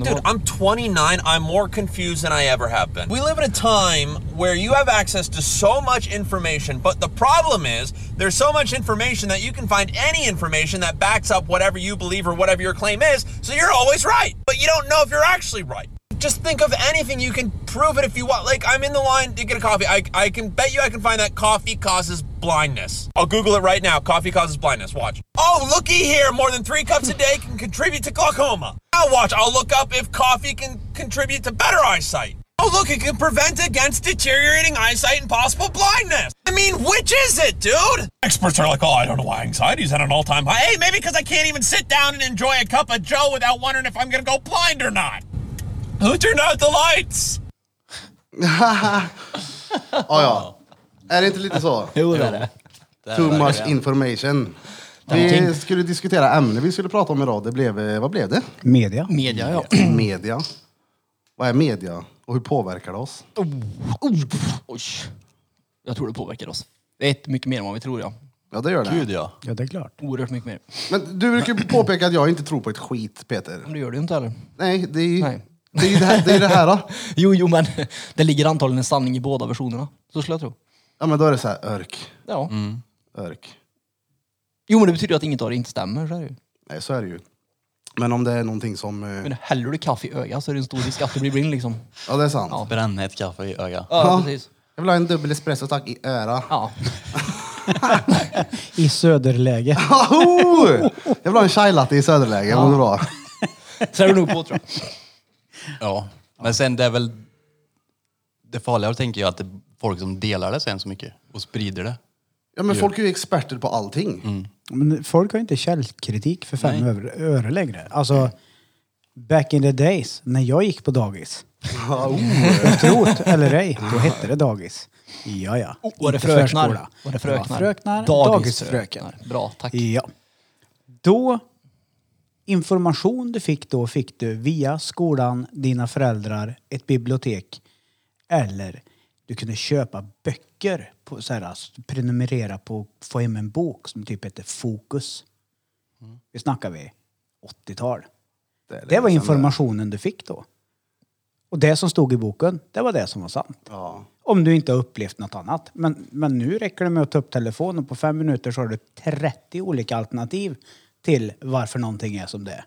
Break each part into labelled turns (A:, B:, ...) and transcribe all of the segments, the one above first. A: the
B: Dude,
A: world.
B: I'm 29. I'm more confused than I ever have been. We live in a time where you have access to so much information, but the problem is there's so much information that you can find any information that backs up whatever you believe or whatever your claim is, so you're always right. But you don't know if you're actually right. Just think of anything you can prove it if you want. Like, I'm in the line to get a coffee. I, I can bet you I can find that coffee causes blindness. I'll Google it right now. Coffee causes blindness. Watch. Oh, looky here. More than three cups a day can contribute to glaucoma. I'll watch. I'll look up if coffee can contribute to better eyesight. Oh, look, it can prevent against deteriorating eyesight and possible blindness. I mean, which is it, dude? Experts are like, oh, I don't know why anxiety's at an all time high. Hey, maybe because I can't even sit down and enjoy a cup of Joe without wondering if I'm going to go blind or not. Who turned out the lights?
C: Ja, ja. Är det inte lite så?
A: Jo, det är det.
C: Too much information. Vi
D: Någonting.
C: skulle diskutera ämne vi skulle prata om idag. Det blev, eh, vad blev det?
E: Media.
D: Media, ja.
C: Media. Vad är media? Och hur påverkar det oss?
D: Oj. Jag tror det påverkar oss. Det är mycket mer än vad vi tror, ja.
C: Ja, det gör det.
A: Gud ja.
E: Ja, det är klart.
D: Oerhört mycket mer.
C: Men du brukar ju påpeka att jag inte tror på ett skit, Peter.
D: Men det gör du ju inte heller.
C: Nej, det är ju
D: Nej.
C: det, är ju det här. Det, är det här då.
D: Jo, jo, men det ligger antagligen en sanning i båda versionerna. Så skulle jag tro.
C: Ja, men då är det så här, örk.
D: Ja.
E: Mm.
C: Örk.
D: Jo, men det betyder ju att inget av det inte stämmer. Så är det ju.
C: Nej, så är det ju. Men om det är någonting som... eh,
D: Men häller du kaffe i ögat så är det en stor risk att du blir blind liksom.
C: Ja, det är sant.
D: Ja.
A: Brännhett kaffe i ögat.
D: Ja, precis.
C: Jag vill ha en dubbel espresso tack i öra.
D: Ja.
E: I söderläge.
C: Aho! Jag vill ha en chai latte i söderläge, ja. det bra.
D: Så är du nog på tror jag.
A: Ja. Men sen det är väl... Det farliga tänker jag att det är folk som delar det sen så mycket och sprider det.
C: Ja, men folk är ju experter på allting.
E: Men folk har inte källkritik för fem
A: Nej.
E: öre- öre längre. Alltså, back in the days, när jag gick på dagis. Trot eller ej, då hette det dagis. Ja, ja.
D: Var det
E: Inte
D: fröknar?
E: förskola.
D: Var det fröknar?
E: Ja, fröknar
D: Dagisfröknar.
E: dagisfröken.
D: Bra, tack.
E: Ja. Då, information du fick då fick du via skolan, dina föräldrar, ett bibliotek eller du kunde köpa böcker, på, så här, alltså, prenumerera på, få hem en bok som typ hette Fokus. Vi snackar vi 80-tal.
C: är
E: Det var
C: liksom
E: informationen du fick då. Och det som stod i boken, det var det som var sant.
C: Ja.
E: Om du inte har upplevt något annat. Men, men nu räcker det med att ta upp telefonen och på fem minuter så har du 30 olika alternativ till varför någonting är som det är.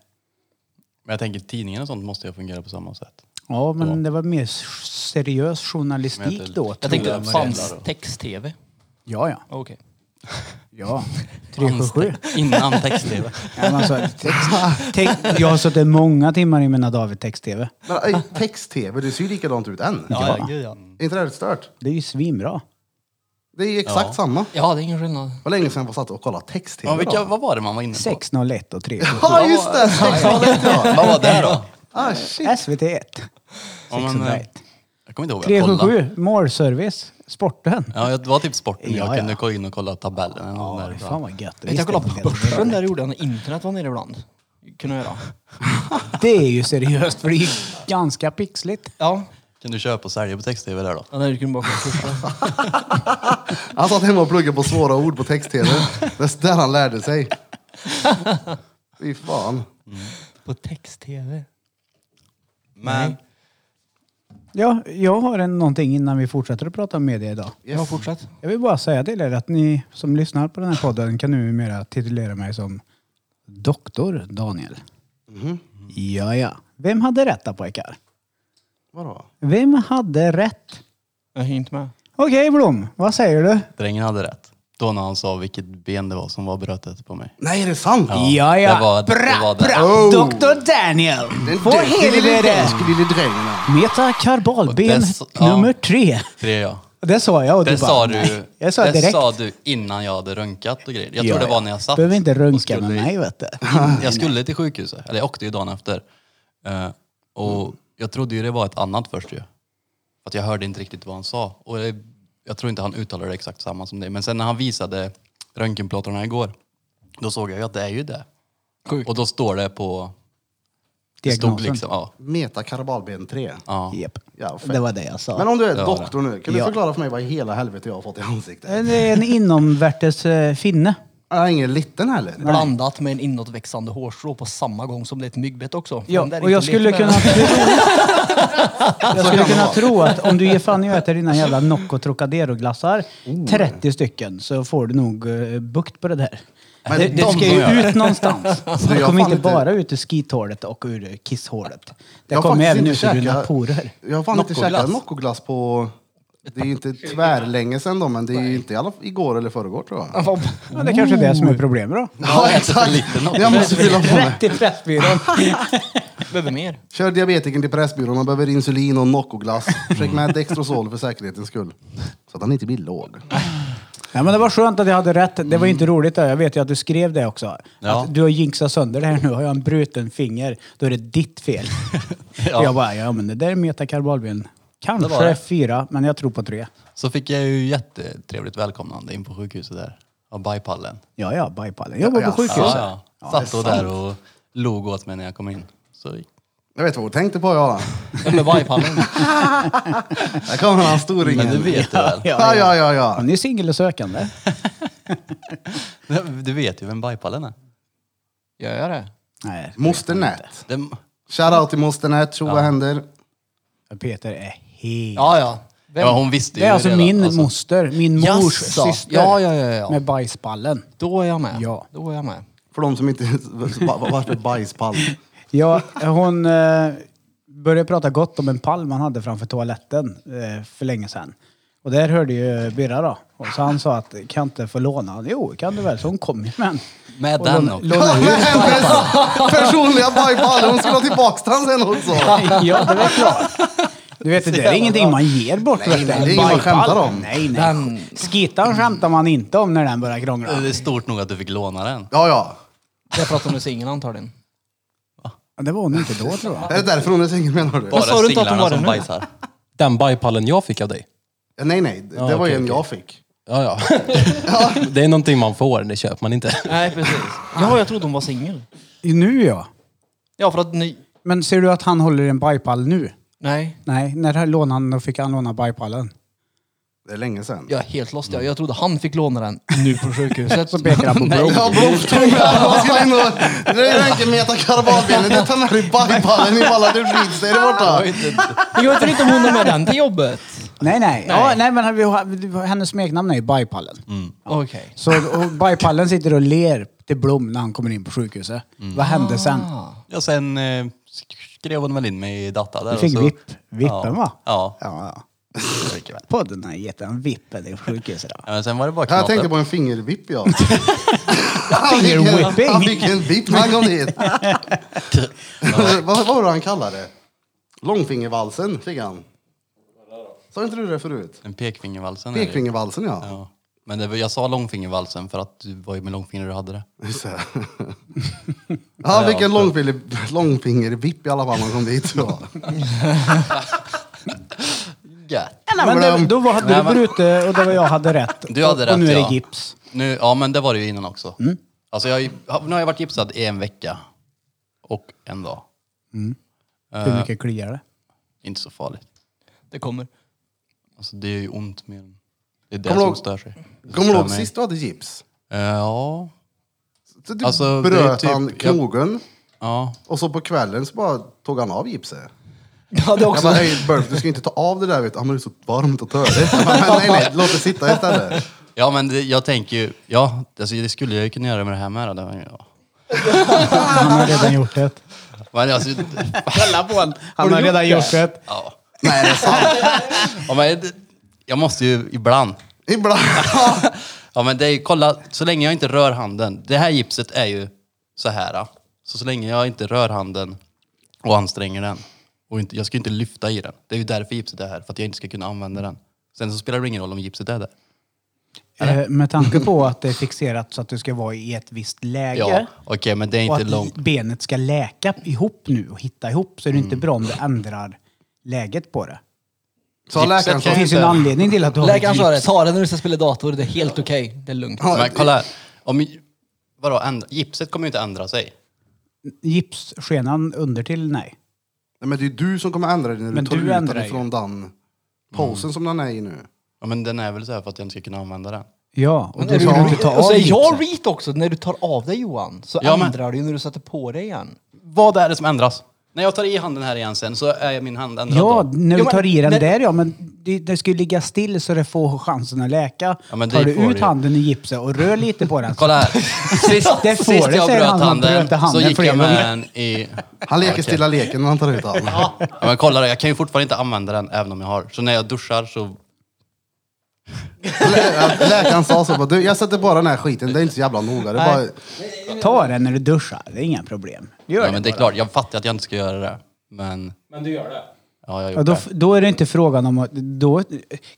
A: Men jag tänker tidningen och sånt måste ju fungera på samma sätt.
E: Ja, men det var mer seriös journalistik
A: Men jag-
E: då.
D: Jag
E: tror
D: tänkte,
A: Mariella
D: fanns
A: då.
D: text-tv?
E: Ja, ja.
D: Okej.
E: ja. 377.
A: Innan text-tv.
E: Ja, men alltså, text, text, jag har suttit många timmar i mina David text-tv.
C: Men eh, text-tv, det ser ju likadant ut än.
D: Ja, ja, gud ja.
C: Är inte det här stört?
E: Det är ju svinbra.
C: Det är ju exakt samma.
D: Ja, det är ingen skillnad.
C: Vad länge sedan jag satt och kollade text-tv
A: Men vilka,
C: då?
A: vad var det man var inne på?
E: 601 och 3.
C: Ja, just det! Sextalet ja.
A: Vad var det då?
C: Ah, shit.
E: SVT1.
A: Ja, men, eh,
E: 601.
A: jag kommer inte ihåg. Jag kollade.
E: 377, målservice, sporten.
A: Ja, jag- det var typ sporten.
E: Ja,
A: Jag
E: ja.
A: kunde gå in och kolla tabellen. Ja, där.
E: Fan vad gött.
D: Vet, jag kollade på börsen där gjorde jag när internet var nere ibland. Kunde jag göra.
E: Det är ju seriöst för det är ju ganska pixligt.
D: Ja.
A: Kan du köpa och sälja på text-tv där då?
D: Ja, där kunde man bara kolla kurser.
C: Han satt hemma och pluggade på svåra ord på text-tv. Det är där han lärde sig. Fy fan.
D: På text-tv.
A: Men
E: Ja, jag har en, någonting innan vi fortsätter att prata om media idag.
D: Ja, fortsätt.
E: Jag vill bara säga till er att ni som lyssnar på den här podden kan numera titulera mig som Doktor Daniel.
A: Mhm.
E: Ja, ja. Vem hade rätt då pojkar?
C: Vadå?
E: Vem hade rätt?
D: Jag hänger inte med.
E: Okej Blom, vad säger du?
A: drängen hade rätt. Då när han sa vilket ben det var som var brötet på mig.
C: Nej, är det sant?
E: Ja, ja.
A: Det var, det Oh.
E: Bra,
A: var det.
E: bra! Doktor Daniel! På helvete!
C: Lille drängen.
E: Metakarbalben
A: Och det s- ja.
E: nummer tre.
A: Tre ja.
E: Det sa jag och
A: Det
E: du bara,
A: sa
E: nej.
A: du,
E: Jag sa
A: det
E: direkt.
A: sa du innan jag hade röntgat och grejer. Jag
E: Ja,
A: tror det var
E: ja.
A: när jag satt.
E: Behöver inte
A: och
E: runka
A: skulle
E: med mig vet du.
A: Jag skulle till sjukhuset, eller jag åkte ju dagen efter. Eh, och jag trodde ju det var ett annat först ju. För att jag hörde inte riktigt vad han sa. Och det, jag tror inte han uttalade det exakt samma som det. Men sen när han visade röntgenplåtarna igår, då såg jag ju att det är ju det.
D: Sjukt.
A: Och då står det på... Det stod
E: Diagnosen.
A: liksom, ja.
C: Metakarbalben 3.
A: ja.
E: Japp.
C: Ja, fett.
E: Det var det jag sa.
C: Men om du är
A: det.
C: doktor nu, kan du
E: Ja.
C: förklara för mig vad i hela helvete jag har fått i ansiktet?
E: En, en inomvärtes eh, finne.
C: Ja, Han är ingen liten heller.
D: Blandat med en inåtväxande hårstrå på samma gång som det är ett myggbett också. För de där
E: Ja,
D: är
E: och jag
D: inte att leka
E: skulle
D: med.
E: kunna tro... jag skulle
C: kan det
E: kunna
C: vara.
E: tro att om du ger fan i att äta dina jävla Nocco Trocadero-glassar, 30 stycken, så får du nog uh, bukt på det där.
C: Men
E: det,
C: de
E: det
C: som
E: ska
C: gör
E: ju
C: det.
E: ut någonstans. Det
C: jag
E: kommer
C: fan
E: inte
C: inte-
E: bara ut ur skithålet och ur eh, kisshålet. Det
C: Jag har
E: kommer
C: faktiskt
E: även
C: inte
E: ut ur dina
C: käkat-
E: porer.
C: Jag har fan inte
A: Noccoglass.
C: käkat Noccoglass på... Det är ju inte tvärlänge sedan då, men det är ju inte i alla igår eller förrgår tror jag.
E: Ja, det är kanske är det som är problemet då.
A: Ja, äter för lite Nocco.
C: Jag måste fylla på mig.
E: Rätt i Pressbyrån.
D: Behöver mer.
C: Kör diabetikern till Pressbyrån, man behöver insulin och Noccoglass. Försök med Dextrosol för säkerhetens skull. Så att han inte blir låg.
E: Ja, men det var skönt att jag hade rätt. Det var inte roligt. Där. Jag vet ju att du skrev det också.
A: Ja.
E: Att du har jinxat sönder det här nu. Har jag en bruten finger, då är det ditt fel.
A: Ja.
E: Jag bara, ja men det där är metakarbalbin. Kanske
A: Det var det.
E: fyra, men jag tror på tre.
A: Så fick jag ju jättetrevligt välkomnande in på sjukhuset där. Av bajpallen.
E: Ja, ja, bajpallen. Jag var
C: Ja,
E: på
C: ja,
E: sjukhuset.
A: Ja, ja.
E: Ja,
A: Satt då där och log åt mig när jag kom in. Så
C: Jag vet vad hon tänkte på, ja.
A: under bajpallen.
C: Där kommer han,
A: Men det
C: storingen.
A: vet du väl?
C: Ja, ja, ja, ja.
E: Han är singel och sökande.
A: Du vet ju vem bajpallen är.
D: Gör jag det?
E: Nej,
C: Moster Nät.
A: Det,
C: Shoutout till Moster Nät, tro vad händer.
E: Peter är helt...
D: Ja, ja. Vem?
A: ja, hon visste ju
E: det är alltså
A: redan,
E: min moster, min mors
D: Jaså.
E: syster.
D: Ja, ja, ja, ja.
E: Med bajspallen.
D: Då är jag med.
E: Ja.
D: Då är jag med.
C: För de som inte... va- va- Varför bajspall?
E: Ja, hon eh, började prata gott om en pall man hade framför toaletten eh, för länge sedan. Och där hörde ju Birra då. Och så han sa att kan inte få låna? Jo, kan du väl? Så hon kom ju med en.
A: Med
E: Och
A: den
E: låna-
A: också.
E: låna
C: Med
E: ut.
C: hennes personliga bajpall! Hon skulle ha tillbaks den sen också.
E: Ja, det var klart. Du vet, det där är ingenting man ger bort.
C: Nej,
E: vet du.
C: nej, det är ingen man skämtar om.
E: Nej, nej. Skitan skämtar man inte om när den börjar krångla.
C: Eh.
A: Det är stort nog att du fick låna den.
C: Ja, ja.
D: Jag pratar om du är singel antagligen.
E: Det var hon inte då, tror jag.
C: Är det därför hon är singel menar du?
A: Bara
D: sa du inte att hon
A: singlarna
D: var det
A: som
D: nu?
A: bajsar.
F: Den bajpallen jag fick av dig.
C: Ja, Nej, nej. Det
F: Ja,
C: det var ju
F: okej,
C: en
F: okej.
C: jag fick.
F: Ja, ja. det är någonting man får, det köper man inte.
D: Nej, precis. Ja, jag trodde hon var singel.
E: Nu ja.
D: Ja, för att ni...
E: Men ser du att han håller en bajpall nu?
D: Nej.
E: Nej, när lånade han och fick han låna bajpallen?
C: Det är länge sedan.
D: Jag är helt lost. Jag, jag trodde han fick låna den nu på sjukhuset.
E: Så pekar han på blod.
C: Ja, blodprov. Jag skulle in och... Det är inte metakarbalbenet. Det tar med dig bajpallen ifall att du skjuts dig där borta.
D: Det går inte om hon är med den till jobbet.
E: Nej, nej. Ja, nej men vi har- hennes smeknamn är ju Bajpallen.
A: Mm.
D: Okej.
E: Så och Bajpallen sitter och ler till Blom när han kommer in på sjukhuset.
A: Mm.
E: Vad hände sen?
A: Ja, sen eh, skrev hon väl in mig i data där.
E: Du fick
A: och så-
E: vipp. Vippen,
A: ja.
E: va?
A: Ja.
E: Ja, ja.
A: det fick jag väl.
E: Podden har gett en vippen i sjukhuset. Då.
A: ja. Men sen var det bara
C: Jag tänkte
A: knaten.
C: på en fingervipp, ja. Han fick en-
E: Fingerwhipping.
C: Han fick en vipp när han kom dit. Vad vad var det han kallade det? Långfingervalsen fick han. Sa inte du det förut?
A: En pekfingervalsen. är det.
C: Pekfingervalsen, ja.
A: Ja. Men det, var- jag sa långfingervalsen för att du var ju med långfinger du hade det.
C: Just det. Han fick en långfinger, långfingervipp i alla fall när han kom dit. Ja.
A: Gött.
E: Men
C: men-
E: det, då var, hade
A: Nej,
E: du
A: men-
E: brutit och det var jag hade rätt.
A: Du hade
E: och,
A: rätt
E: och nu är det
A: ja.
E: gips.
A: Nu, ja men det var det ju innan också. Alltså jag, har- nu har jag varit gipsad i en vecka. Och en dag.
E: Hur mycket kliar det?
A: Inte så farligt.
D: Det kommer.
A: Alltså det är ju ont mer. än- Det är det
C: Kommer
A: som
C: ihåg-
A: stör sig. Det
C: Kommer du
A: stör
C: ihåg
A: mig.
C: sist du hade gips?
A: Eh, Ja.
C: Så du
A: Alltså, det är
C: bröt
A: typ-
C: han
A: jag-
C: knogen
A: Ja.
C: och så på kvällen så bara tog han av gipset.
D: Ja, det
C: Jag
D: också.
C: bara, hej Burf, du ska inte ta av det där vet du. Ja, men det är så varmt och törligt. Jag bara, "Men Nej, nej, låt det sitta istället.
A: Ja men det, jag tänker ju, ja alltså, det skulle jag ju kunna göra med det här med. då. Det var ju- ja.
E: Han har redan gjort det.
A: Men alltså,
E: Kolla på honom. Han har redan gjort det.
A: ja.
C: Nej, det är sant.
A: ja men, det- jag måste ju ibland.
C: Ibland.
A: Ja men det är ju, kolla, så länge jag inte rör handen. Det här gipset är ju så här. ja. Så så länge jag inte rör handen och anstränger den. Och inte, jag ska ju inte lyfta i den. Det är ju därför gipset är här, för att jag inte ska kunna använda den. Sen så spelar det ingen roll om gipset är där.
E: Eh, Med tanke på att det är fixerat så att du ska vara i ett visst läge.
A: Ja, okej men det är
E: och
A: inte
E: att
A: långt.
E: benet ska läka ihop nu och hitta ihop så är det inte bra om du ändrar läget på det.
C: Sa läkaren
A: Gipset
E: Det
C: så.
A: kan-
E: finns ju en
A: inte-
E: anledning till att du har
D: Läkaren
E: ett
D: sa det.
E: gips.
D: Ta den när du ska spela dator. Det är helt okej. Det är lugnt.
A: Men kolla här. Om, vadå, ändra, gipset kommer ju inte ändra sig.
E: Gipsskenan under till nej.
C: Nej, men det är ju du som kommer ändra dig när du
E: Men
C: tar
E: du
C: ut
E: ändrar
C: den
E: ju.
C: från
A: Mm.
C: den posen som den är i nu.
A: Ja, men den är väl så här för att jag inte ska kunna använda den.
E: Ja, och
D: Men
E: då
D: är
E: ska du inte ta
D: och
E: av
D: så är jag
E: gipset.
D: reet också. När du tar av dig Johan så
A: Ja, men-
D: ändrar du ju när du sätter på dig igen.
A: Vad är det som ändras? När jag tar i handen här igen sen så är min hand ändrad
E: Ja,
A: då.
E: när
D: Ja,
E: du
D: men-
E: tar i den
D: men-
E: där ja, men det, det ska ju ligga still så det får chansen att läka.
A: Ja, men det
E: tar du
A: får
E: ut
A: det ju.
E: handen i gipset och rör lite på den.
A: Kolla här. Sist,
E: Det får
A: sist
E: det,
A: jag
E: säger
A: bröt
E: han som
A: handen,
E: bröt handen
A: så gick
E: flera
A: jag
E: gånger.
A: med den i...
C: Han leker
A: Okej.
C: stilla leken när han tar ut den.
A: Ja, men kolla då, jag kan ju fortfarande inte använda den även om jag har. Så när jag duschar så...
C: Lä- Läkaren sa så. bara, Du, jag sätter bara den här skiten. Det är inte så jävla noga. Det är bara,
E: Ta den när du duschar, det är inga problem. Gör
A: Ja,
E: det
A: men det är
E: bara.
A: klart, jag fattar att jag inte ska göra det. Men...
F: Men du gör det?
A: Ja, jag
E: Ja,
A: gjorde
E: då,
A: det.
E: f- då är det inte frågan om att... Då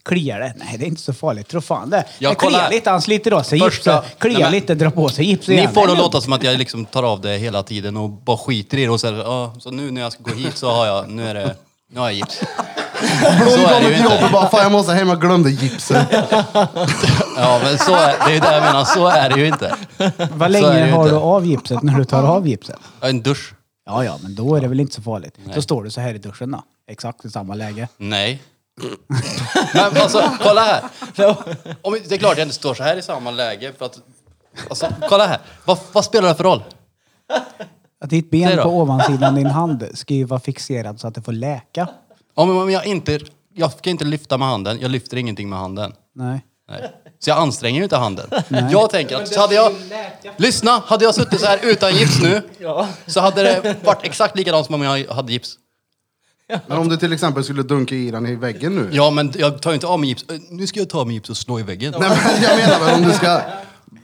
E: kliar det. Nej, det är inte så farligt. Tro fan det.
A: Jag
E: det kliar
A: kollar-
E: lite, han sliter av sig
A: Första-
E: gipset. Kliar
A: Nej, men-
E: lite, drar på sig gipset
A: Ni
E: igen.
A: får det att låta som att jag liksom tar av det hela tiden och bara skiter i det och så, här, ja, så nu när jag ska gå hit så har jag, nu är det, nu har jag gips.
C: Blom
A: Så är det
C: kommer
A: ju
C: till
A: inte.
C: jobbet och bara, fan jag måste hem, jag glömde gipsen.
A: Ja men så är, det är ju det jag menar, så är det ju inte.
E: Vad
A: Så är det
E: länge
A: ju
E: har
A: inte.
E: du av gipset när du tar av gipset?
A: Ja, En dusch?
E: Ja, ja, men då är det väl inte så farligt. Då står du så här i duschen då. Exakt i samma läge.
A: Nej. Men alltså, kolla här. Om, det är klart jag inte står så här i samma läge för att, alltså kolla här. Vad, vad spelar det för roll?
E: Att ditt
A: Säg
E: ben
A: då.
E: på ovansidan din hand ska ju vara fixerad så att det får läka.
A: Om, om jag inte, jag ska inte lyfta med handen, jag lyfter ingenting med handen.
E: Nej.
A: Nej. Så jag anstränger ju inte handen. Jag tänker att så hade jag... Lyssna! Hade jag suttit så här utan gips nu så hade det varit exakt likadant som om jag hade gips.
C: Men om du till exempel skulle dunka i den i väggen nu.
A: Ja, men jag tar ju inte av mig gips. Eh, Nu ska jag ta av mig gips och slå i väggen.
C: Nej men jag menar väl om du ska,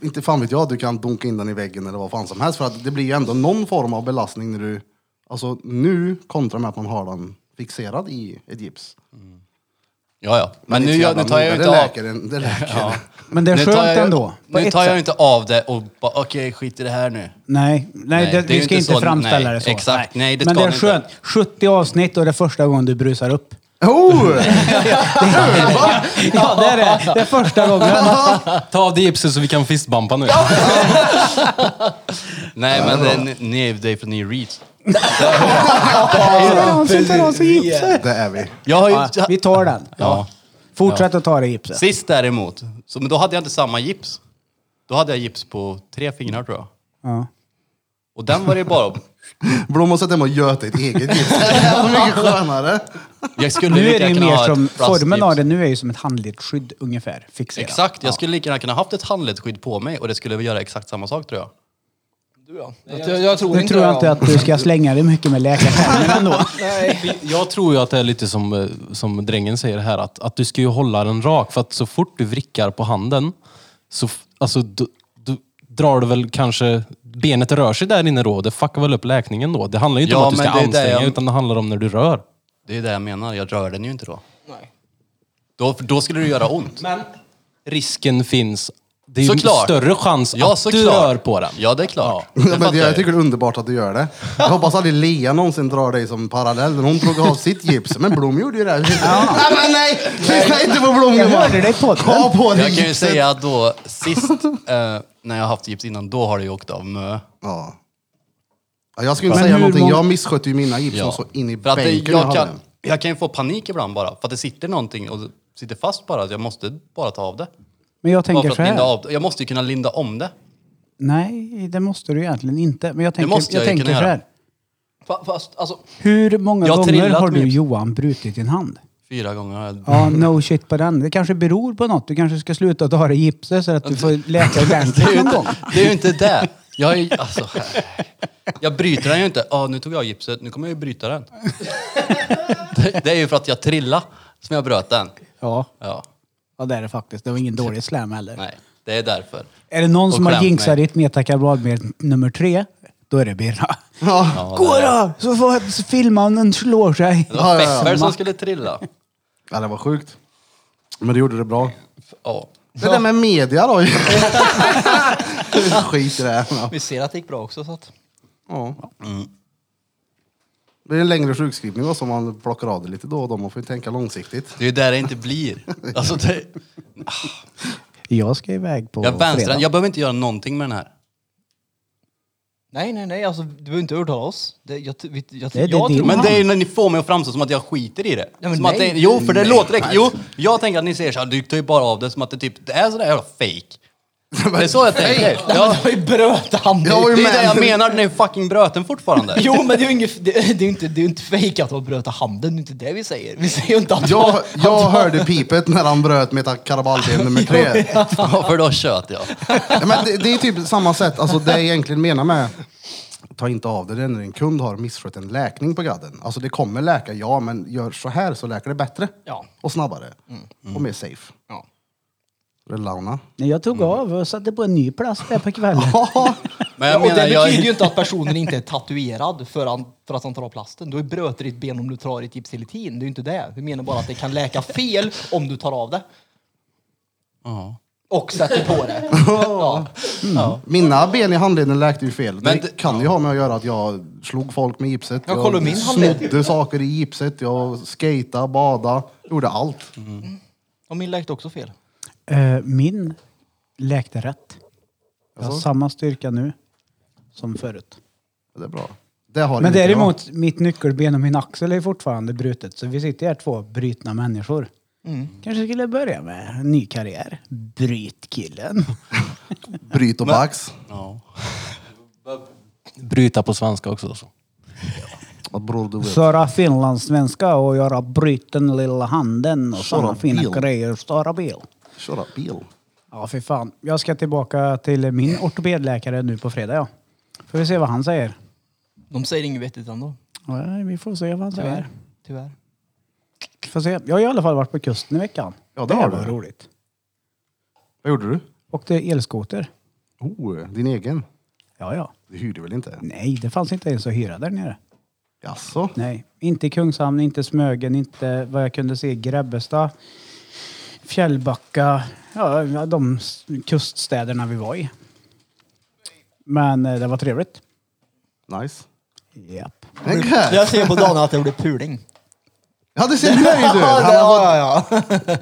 C: inte fan vet jag, du kan dunka in den i väggen eller vad fan som helst. För att det blir ju ändå någon form av belastning när du, alltså nu kontra med att man har den fixerad i ett gips.
A: Ja, ja. Men
C: Det är
A: nu,
C: inte
A: jag,
C: jävla
A: nu tar jag
C: noga.
A: ju inte
C: det
A: av...
C: läker, en- Det läker.
E: Men det är
A: nu
E: skönt
A: tar jag, ju-
E: ändå. På
A: Nu
E: ett
A: tar jag
E: sätt.
A: ju inte av det och bara okej, skit i det här nu.
E: Nej, nej,
A: Nej,
E: det,
A: det är
E: vi
A: ju
E: ska
A: inte
E: inte
A: så-
E: framställa
A: nej,
E: det så.
A: exakt. Nej, det
E: Men
A: ska
E: det är
A: ni
E: skönt. 70 avsnitt och det är första gången du brusar upp.
C: Oh!
E: Ja, det är det. Det är första gången.
F: Ta av dig gipset så vi kan fistbumpa nu.
A: Nej, men det, ni- ni är det är för ni är reeds.
E: Det är han som tar av sig gipset.
C: Det är vi.
A: Jag har ju...
E: Ja, vi tar den.
A: Ja.
E: Fortsätt att ta det gipset.
A: Sist däremot, så, men då hade jag inte samma gips. Då hade jag gips på tre fingrar tror jag.
E: Ja.
A: Och den var det ju bara...
C: Blom har sett hem och göta ett eget gips. Det är så mycket skönare.
A: Jag skulle
E: Nu
A: lika
E: är det ju
A: gärna
E: mer
A: ha ett
E: som,
A: plastgips.
E: formen av det nu är ju som ett handledsskydd ungefär. Fixerat.
A: Exakt, jag skulle lika gärna kunna haft ett handledsskydd på mig och det skulle göra exakt samma sak tror jag.
D: Du ja. Jag, jag tror
E: Nu
D: inte
E: tror jag
D: det,
E: inte
D: ja.
E: att du ska slänga dig mycket med läkartermer ändå.
F: Jag tror ju att det är lite som, eh, som drängen säger här, att, att du ska ju hålla den rak. För att så fort du vrickar på handen, så f- alltså, du, du drar du väl kanske... Benet rör sig där inne då, det fuckar väl upp läkningen då. Det handlar ju inte
A: Ja,
F: om att du
A: men
F: ska
A: det är det
F: anstränga,
A: jag-
F: utan det handlar om när du rör.
A: Det är det jag menar, jag rör den ju inte då.
D: Nej.
A: Då, för då skulle det göra ont.
F: Men risken finns. Det är ju
A: Såklart.
F: större chans
A: Ja,
F: att
A: såklart.
F: du rör på den.
A: Ja, det är klart.
C: Ja,
A: Det
C: men
A: fattar
C: det, jag
A: jag.
C: tycker det är underbart att du gör det. Jag hoppas aldrig Lea någonsin drar dig som parallell. Hon drog av sitt gips, men Blom gjorde ju det. Här. Nej, men nej! Lyssna inte på Blom
E: Jag
C: gumman.
E: hörde dig i podden.
C: Ta på dig
A: Jag kan ju
C: gipset.
A: säga att då sist, eh, när jag har haft gips innan, då har det ju åkt av mö.
C: Ja. Ja, jag skulle inte
E: Men
C: säga
E: hur
C: någonting.
E: många-
C: Jag misskötte ju mina gips som så in i
A: För att det,
C: bänken.
A: jag,
C: Jag
A: kan,
C: hade.
A: jag kan ju få panik ibland bara, för att det sitter någonting och sitter fast bara. att Jag måste bara ta av det.
E: Men jag
A: Bara
E: tänker
A: för
E: så
A: att linda
E: här.
A: av det. Jag måste ju kunna linda om det.
E: Nej, det måste du egentligen inte. Men jag tänker,
A: måste
E: jag
A: jag ju
E: tänker så
A: kunna
E: här.
A: göra. Fa- Fast, alltså,
E: Hur många
A: Jag har
E: gånger
A: trillat
E: har
A: med
E: du
A: gips.
E: Johan brutit din hand?
A: fyra gånger har jag...
E: Ja, no shit på den. Det kanske beror på något. Du kanske ska sluta att ha det i gipset så att du får läka
A: Det är
E: ordentligt
A: ju
E: någon gång.
A: inte det. Är ju inte det. Jag, är, ju- alltså, jag bryter den ju inte. Ja, nu tog jag gipset, nu kommer jag ju bryta den. Det, det är ju för att jag trillade som jag bröt den.
E: Ja,
A: Ja,
E: ja det är det faktiskt. Det var ingen dålig slam heller.
A: nej, det är därför.
E: Är det någon
A: Och
E: som har
A: klämt
E: jinxat
A: mig.
E: ditt metakarbalmed nummer tre, då är det Birra.
C: Ja.
A: Ja,
E: Gå
A: det, är-
E: då! Så får så filmaren slår sig.
A: det var
C: Ja, ja, ja.
A: Pepper som skulle trilla.
C: ja, det var sjukt. Men du gjorde det bra.
A: Ja.
C: Det där med media då. Skit i det. här. Ja.
D: Vi ser att det gick bra också. Så att...
C: Ja.
A: Mm.
C: Det är en längre sjukskrivning också, om man plockar av det lite då och då. Man får ju tänka långsiktigt.
A: Det är ju där det inte blir. Alltså, det,
E: Jag ska iväg på
A: jag, vänstrar,
E: fredag.
A: jag behöver inte göra någonting med den här.
G: Nej, nej, nej. Alltså, du behöver inte övertala oss. Det, jag, jag, jag,
E: Det- det-
G: jag
E: det-
G: tror...
A: Men det är ju när ni får mig att framstå som att jag skiter i det.
G: Ja, men
A: som att
G: nej.
A: det jo, för det låter riktigt. Jo, jag tänker att ni säger såhär, du tar ju bara av det som att det typ, det är sådär jävla fake. Det är så jag tänker. Ja,
G: Jag har ju bröt han.
C: Jag var
A: det
C: ju
A: är det jag
C: med.
A: menar, den är ju fucking bröten fortfarande.
G: Jo, men det är ju inget, det, det är ju inte, det är ju inte fejk att han bröt handen, det är inte det vi säger. Vi säger ju inte att
C: Jag,
G: han,
C: jag hörde pipet när han bröt mitt karabalben nummer tre.
A: Ja, för då tjöt jag.
C: Ja, men det, det är typ samma sätt, alltså det jag egentligen menar med ta inte av det, det är när en kund har misskött en läkning på gadden. Alltså det kommer läka, ja, men gör så här så läker det bättre.
G: Ja. Mm.
C: Och snabbare. Och mer safe.
G: Ja.
C: Relauna.
E: Nej, jag
A: Mm.
E: tog av och satte på en ny plast där på kvällen.
A: Men
G: Ja,
A: jag
G: och det
A: menar, jag,
G: betyder ju inte att personen inte är tatuerad för, han, för att han tar av plasten. Du har ju bröt ditt ben om du tar ett gipsilitin. Det är ju inte det. Vi menar bara att det kan läka fel om du tar av det. Och sätter på det. Ja.
C: Mina ben i handleden läkte ju fel.
A: Men
C: Men
A: det-
C: det kan ju ha med att göra att jag slog folk med gipset.
G: Ja, kolla min handled.
C: snodde saker i gipset, jag skata, bada, gjorde allt.
G: Mm. Och min läkte också fel.
E: Eh, Min läkte rätt. Jag har samma styrka nu som förut.
C: Det är bra. Det har
E: Men
C: inte jag.
E: däremot, mitt nyckelben och min axel är fortfarande brutet. Så vi sitter här två brutna människor.
A: Mm.
E: Kanske skulle jag börja med en ny karriär. Bryt killen.
C: Bryt och bax.
A: ja.
F: Bryta på svenska också. Alltså.
C: Vad bror du vet.
E: Söra finlandssvenska och göra bryt den lilla handen och
C: Köra
E: sådana fina
C: bil.
E: grejer. Störa bil.
C: Köra bil.
E: Ja, för fan. Jag ska tillbaka till min ortopedläkare nu på fredag. Ja. Får vi se vad han säger.
G: De säger inget vettigt ändå.
E: Ja, vi får se vad han säger.
G: Tyvärr. Tyvärr.
E: Får se. Jag har i alla fall varit på kusten i veckan.
C: Ja, det har
E: var
C: du.
E: roligt.
C: Vad gjorde du?
E: Åkte elskoter.
C: Oh, din egen?
E: Ja, ja.
C: Du hyrde väl inte?
E: Nej, det fanns inte ens att hyra där nere.
C: Jaså?
E: Nej, inte Kungshamn, inte Smögen, inte vad jag kunde se Grebbestad, Fjällbacka, ja, de s- kuststäderna vi var i. Men eh, det var trevligt.
C: Nice.
E: Japp.
G: Jag ser på Dana att jag gjorde puling.
C: Ja, du ser nöjd ut! Han
G: Ja,
C: har fått,
G: ja, ja.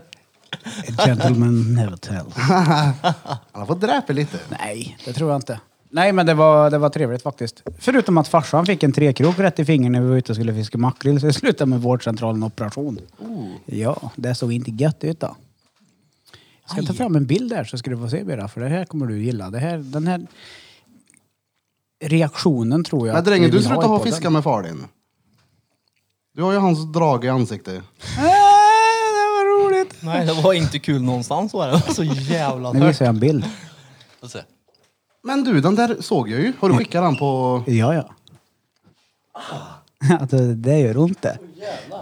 E: A gentleman never tells.
C: han har fått dräpa lite.
E: Nej, det tror jag inte. Nej, men det var, det var trevligt faktiskt. Förutom att farsan fick en trekrok rätt i fingern när vi var ute och skulle fiska makrill, så det slutade med vårdcentralen operation. Ja, det såg inte gött ut då. Jag ska ta fram en bild här så ska du få se Bera, för det här kommer du gilla. Det här, den här reaktionen tror jag
C: Men
E: att vi
C: drängen, du
E: vill
C: slutar
E: i
C: ha
E: podden.
C: fiska med far din. Du har ju hans drag i ansiktet.
E: Äh, det var roligt!
G: Nej, det var inte kul någonstans var det. Det var så jävla
E: Nu
G: tört.
E: visar jag en bild.
A: Får se.
C: Men du, den där såg jag ju. Har du skickat den på...
E: Ja, ja. Att det, det gör ont det.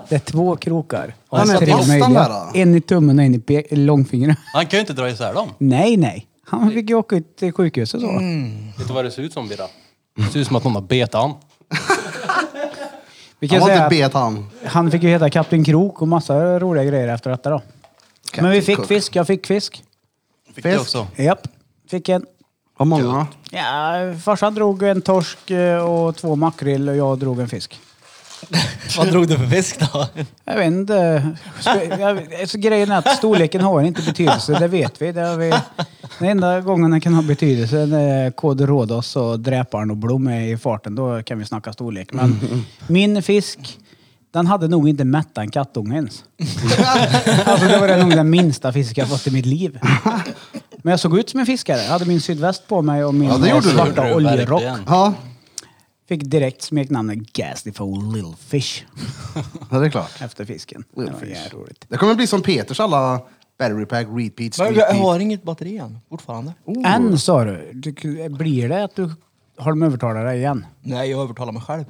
E: Det är två krokar.
C: Men är
E: Tre
C: fast den där, då?
E: En i tummen och en i pe- långfingret.
A: Han kan ju inte dra isär dem.
E: Nej, nej. Han fick ju åka ut till sjukhuset så.
C: Mm.
F: Vet du vad det ser ut som Birra?
A: Mm.
F: Det ser ut som att någon har betat han.
E: Vi kan
C: Han var
E: säga
C: inte
E: att
C: bet han.
E: han fick ju heta Kapten Krok och massa roliga grejer efter detta då. Men vi fick
C: Cook.
E: fisk. Jag fick fisk.
A: Fick
C: Fisk.
A: du också.
E: Japp. Fick en.
C: Vad många?
E: Ja, farsan drog en torsk eh, och två makrill och jag drog en fisk.
G: Vad drog du för fisk då?
E: Jag vet inte. Sp- jag- alltså, Grejen är att storleken har inte betydelse, det vet vi. Det har vi. Den enda gången den kan ha betydelse det är Kode Rhodos och Dräparen och Blom är i farten. Då kan vi snacka storlek. Men min fisk, den hade nog inte mättat en kattunge ens. Alltså det var det nog den minsta fisk jag fått i mitt liv. Men jag såg ut som en fiskare. Jag hade min sydväst på mig och min
C: Ja, det gjorde du.
E: svarta
A: Gjorde du
E: oljerock.
A: verkligen.
C: Ja,
E: Fick direkt smeknamnet Gasly for Little Fish
C: det är klart.
E: efter fisken.
C: Little
E: det var
C: fish.
E: jävligt roligt.
C: Det kommer bli som Peters alla battery pack, repeat,
G: Men
C: street
G: jag
C: beat.
G: har inget batteri än, fortfarande.
C: Oh.
E: Än sa du. Du- Blir det att du har dem övertalat dig igen?
G: Nej, jag övertalar mig själv.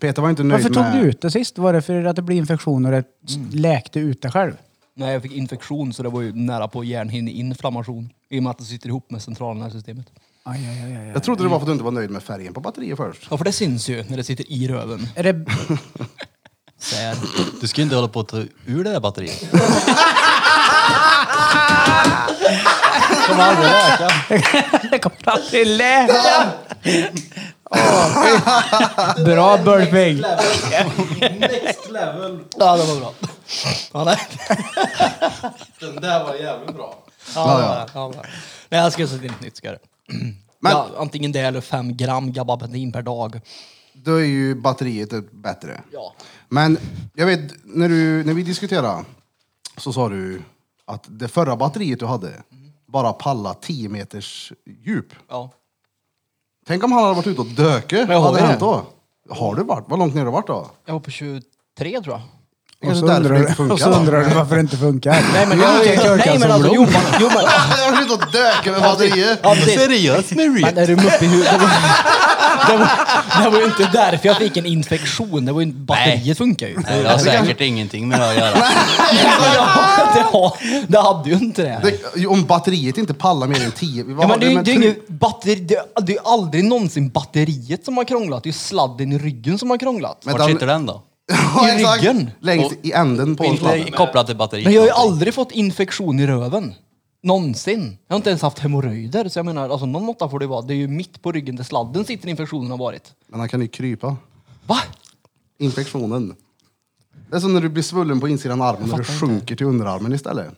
C: Peter var inte nöjd
E: Varför tog
C: med...
E: du ut det sist? Var det för att det blev infektion och det läkte ut det själv?
G: Nej, jag fick infektion så det var ju nära på hjärnhinneinflammation. I och med att det sitter ihop med centralnervsystemet.
E: Aj, aj, aj, aj.
C: Jag trodde det var för att du inte var nöjd med färgen på batteriet först.
G: Ja, för det syns ju när det sitter i röven.
E: Är det,
G: Sär.
A: Du ska ju inte hålla på att ta ur det där batteriet.
G: Kommer aldrig läka.
E: det kommer alltid läka! Åh, fy. Bra burping!
F: Next level!
G: Ja, det var bra. Ja, nej.
F: Den där var jävligt bra.
G: Ja, det var det. Ja, det var det. Nej, jag ska sätta in ett nytt ska jag göra.
C: Men-
G: Ja, antingen det eller fem gram gabapentin per dag.
C: Då är ju batteriet ett bättre.
G: Ja.
C: Men jag vet, när, du, när vi diskuterade så sa du att det förra batteriet du hade bara palla 10 meters djup.
G: Ja.
C: Tänk om han hade varit ute och döke.
G: jag
C: Vad hade
G: har
C: hänt
G: det.
C: då? Har du varit? Vad långt ner har du varit då?
G: Jag var på 23 tror jag.
C: Det
E: Och
C: kanske
E: så,
C: är därför det
E: undrar,
C: inte
E: du- och
C: funkar.
E: så
C: då.
E: undrar du varför det inte funkar.
G: Nej men, jag, nej, men alltså, jo, men, jo, men,
C: Jag har varit ute och döke med batteriet.
G: ja, precis.
A: Seriöst nu?
G: Men är du uppe i huvudet? Det var, det, var, det var ju inte därför jag fick en infektion. Det var ju, batteriet funkar ju.
A: Nej, alltså, det har
G: Alltså,
A: säkert ingenting med det att göra.
G: Ja, det, har, det hade ju inte det.
C: Det, om batteriet inte pallar mer än 10... vad
G: Ja,
C: har
G: men det,
C: du
G: är ju-
C: med
G: det, är
C: tryck-
G: ju inget batteri, det, det är ju aldrig någonsin batteriet som har krånglat. Det är ju sladden i ryggen som har krånglat. Men,
A: Vart sitter den då?
C: Ja,
G: i
C: exakt.
G: ryggen.
C: Längst i änden på en
A: Inte
C: sladden.
A: kopplad till batteriet.
G: jag har ju aldrig fått infektion i röven. Någonsin. Jag har inte ens haft hemorrojder. Så jag menar, alltså, någon måtta får det ju vara. Det är ju mitt på ryggen där sladden sitter infektionen har varit.
C: Men han kan ju krypa.
G: Va?
C: Infektionen. Det är som när du blir svullen på insidan av armen och du sjunker till underarmen istället.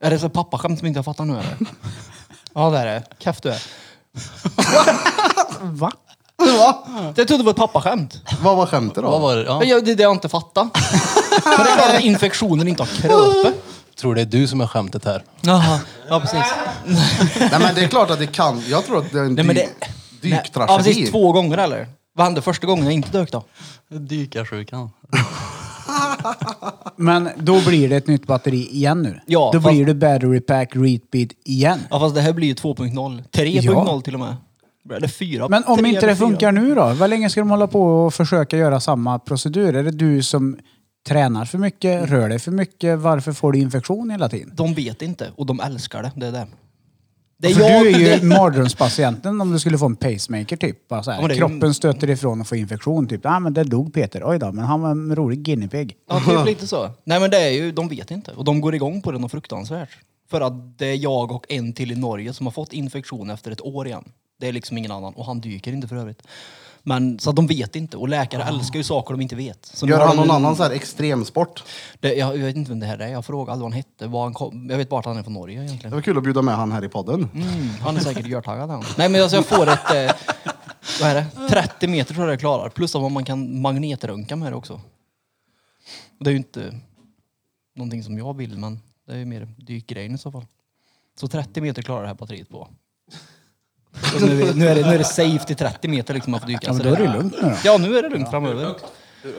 G: Är det så pappaskämt som inte jag fattar nu eller? ja det är det. Keff du är.
E: Va?
C: Va?
G: Jag trodde det var ett pappaskämt.
C: Vad var skämtet då?
A: Vad var det? Ja.
G: Men jag- Det är det jag inte fattar. Men det är klart att infektionen inte har kröpet.
F: Tror det är du som är skämtet här.
G: Jaha, ja precis.
C: Nej men det är klart att det kan. Jag tror att det är en
G: Nej, men
C: dy-
G: det- Ja
C: dyktragedi.
G: precis, två gånger eller? Vad hände första gången jag inte dök då?
A: Dykarsjukan.
E: Men då blir det ett nytt batteri igen nu.
G: Ja,
E: då
G: fast-
E: blir det battery pack repeat igen.
G: Ja fast det här blir ju 2.0. 3.0 till och med. Eller 4.
E: Men om
G: Tre
E: inte
G: eller
E: det
G: fyra.
E: funkar nu då? Vad länge ska de hålla på och försöka göra samma procedur? Är det du som tränar för mycket, rör dig för mycket? Varför får du infektion hela tiden?
G: De vet inte och de älskar det. Det är det. Det
E: För Alltså, du är ju
G: det-
E: mardrömspatienten om du skulle få en pacemaker typ. Bara så här.
G: Ja, men det är ju-
E: Kroppen stöter ifrån och får infektion typ. Ja ah, men där dog Peter. Oj då, men han var en rolig guinea pig.
G: Ja, typ lite så. Nej men det är ju, de vet inte. Och de går igång på det något fruktansvärt. För att det är jag och en till i Norge som har fått infektion efter ett år igen. Det är liksom ingen annan. Och han dyker inte för övrigt. Men så att de vet inte. Och läkare älskar ju saker de inte vet. Så nu
C: Ah. Gör
G: har
C: han
G: de-
C: någon annan så här extremsport?
G: Det, jag, jag vet inte vem det här är. Jag frågade aldrig vad han hette. Var han kom. Jag vet bara att han är från Norge
C: Det
G: egentligen.
C: var kul att bjuda med han här i podden.
G: Mm, han är säkert görtaggad han. Nej men alltså jag får ett... Eh, vad är det? 30 meter tror jag det klarar. Plus att man kan magnetröntga med det också. Och det är ju inte någonting som jag vill men det är ju mer dykgrejen i så fall. Så 30 meter klarar det här batteriet på. Och nu, är, nu, är det, nu är det safe till 30 meter liksom man får dyka.
E: Ja, men
G: Så
E: då är det lugnt nu då.
G: Ja nu är det lugnt framöver.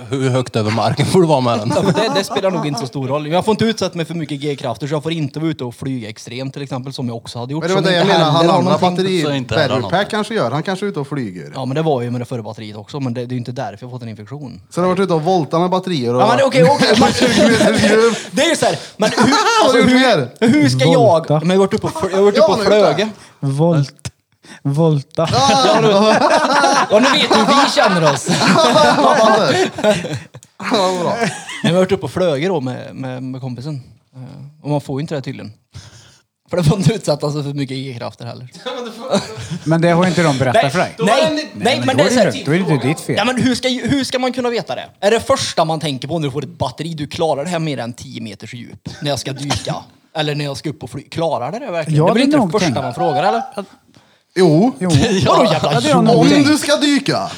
F: Hur högt över marken får du vara med den?
G: Ja, men det, det spelar nog inte så stor roll. Jag får inte utsätta mig för mycket G-krafter så jag får inte vara ute och flyga extremt till exempel som jag också hade gjort.
C: Men det var
G: som
C: det jag
G: inte
C: menar, han
G: heller har
C: andra
G: någonting-
C: batteri...
A: så inte är det
C: battery
A: något.
C: pack kanske gör. Han kanske är ute och flyger.
G: Ja men det var ju med det förra batteriet också men det, det är ju inte därför jag fått en infektion.
C: Så han har varit ute och voltat med batterier och...
G: Ja men okej, okej. men-
C: 20 meters djup.
G: Det är ju såhär, men hur,
C: Har du
G: alltså,
C: gjort mer?
G: hur, hur ska jag...
E: Volta.
G: Men jag har varit uppe och, fl- jag har varit
C: Ja,
G: uppe och
C: men gjort det.
G: flöge.
E: Volt. Volta.
G: Ja nu vet du hur vi känner oss.
C: Ja, vad bra.
G: Nej, men jag har varit uppe och flög då med, med, med kompisen. Eh, Och man får ju inte det tydligen. För det får inte utsätta sig för mycket G-krafter heller.
E: Men det har ju inte de berättat för dig.
G: nej, nej, men det
E: då är
G: är
E: det
G: så här, typ-
E: lugnt. Då är det inte ditt fel.
G: Ja, men hur, ska, hur ska man kunna veta det? Är det första man tänker på när du får ett batteri, du klarar det här mer än 10 meters djup när jag ska dyka? Eller när jag ska upp och fly. Klarar det det verkligen?
E: Jag
G: det är väl inte
E: hade
G: det
E: nog
G: första
E: tänkt.
G: man frågar eller?
C: Jo,
E: Jo.
G: Vadå jävla
E: hade jag nog
C: om
E: tänkt.
C: du ska dyka.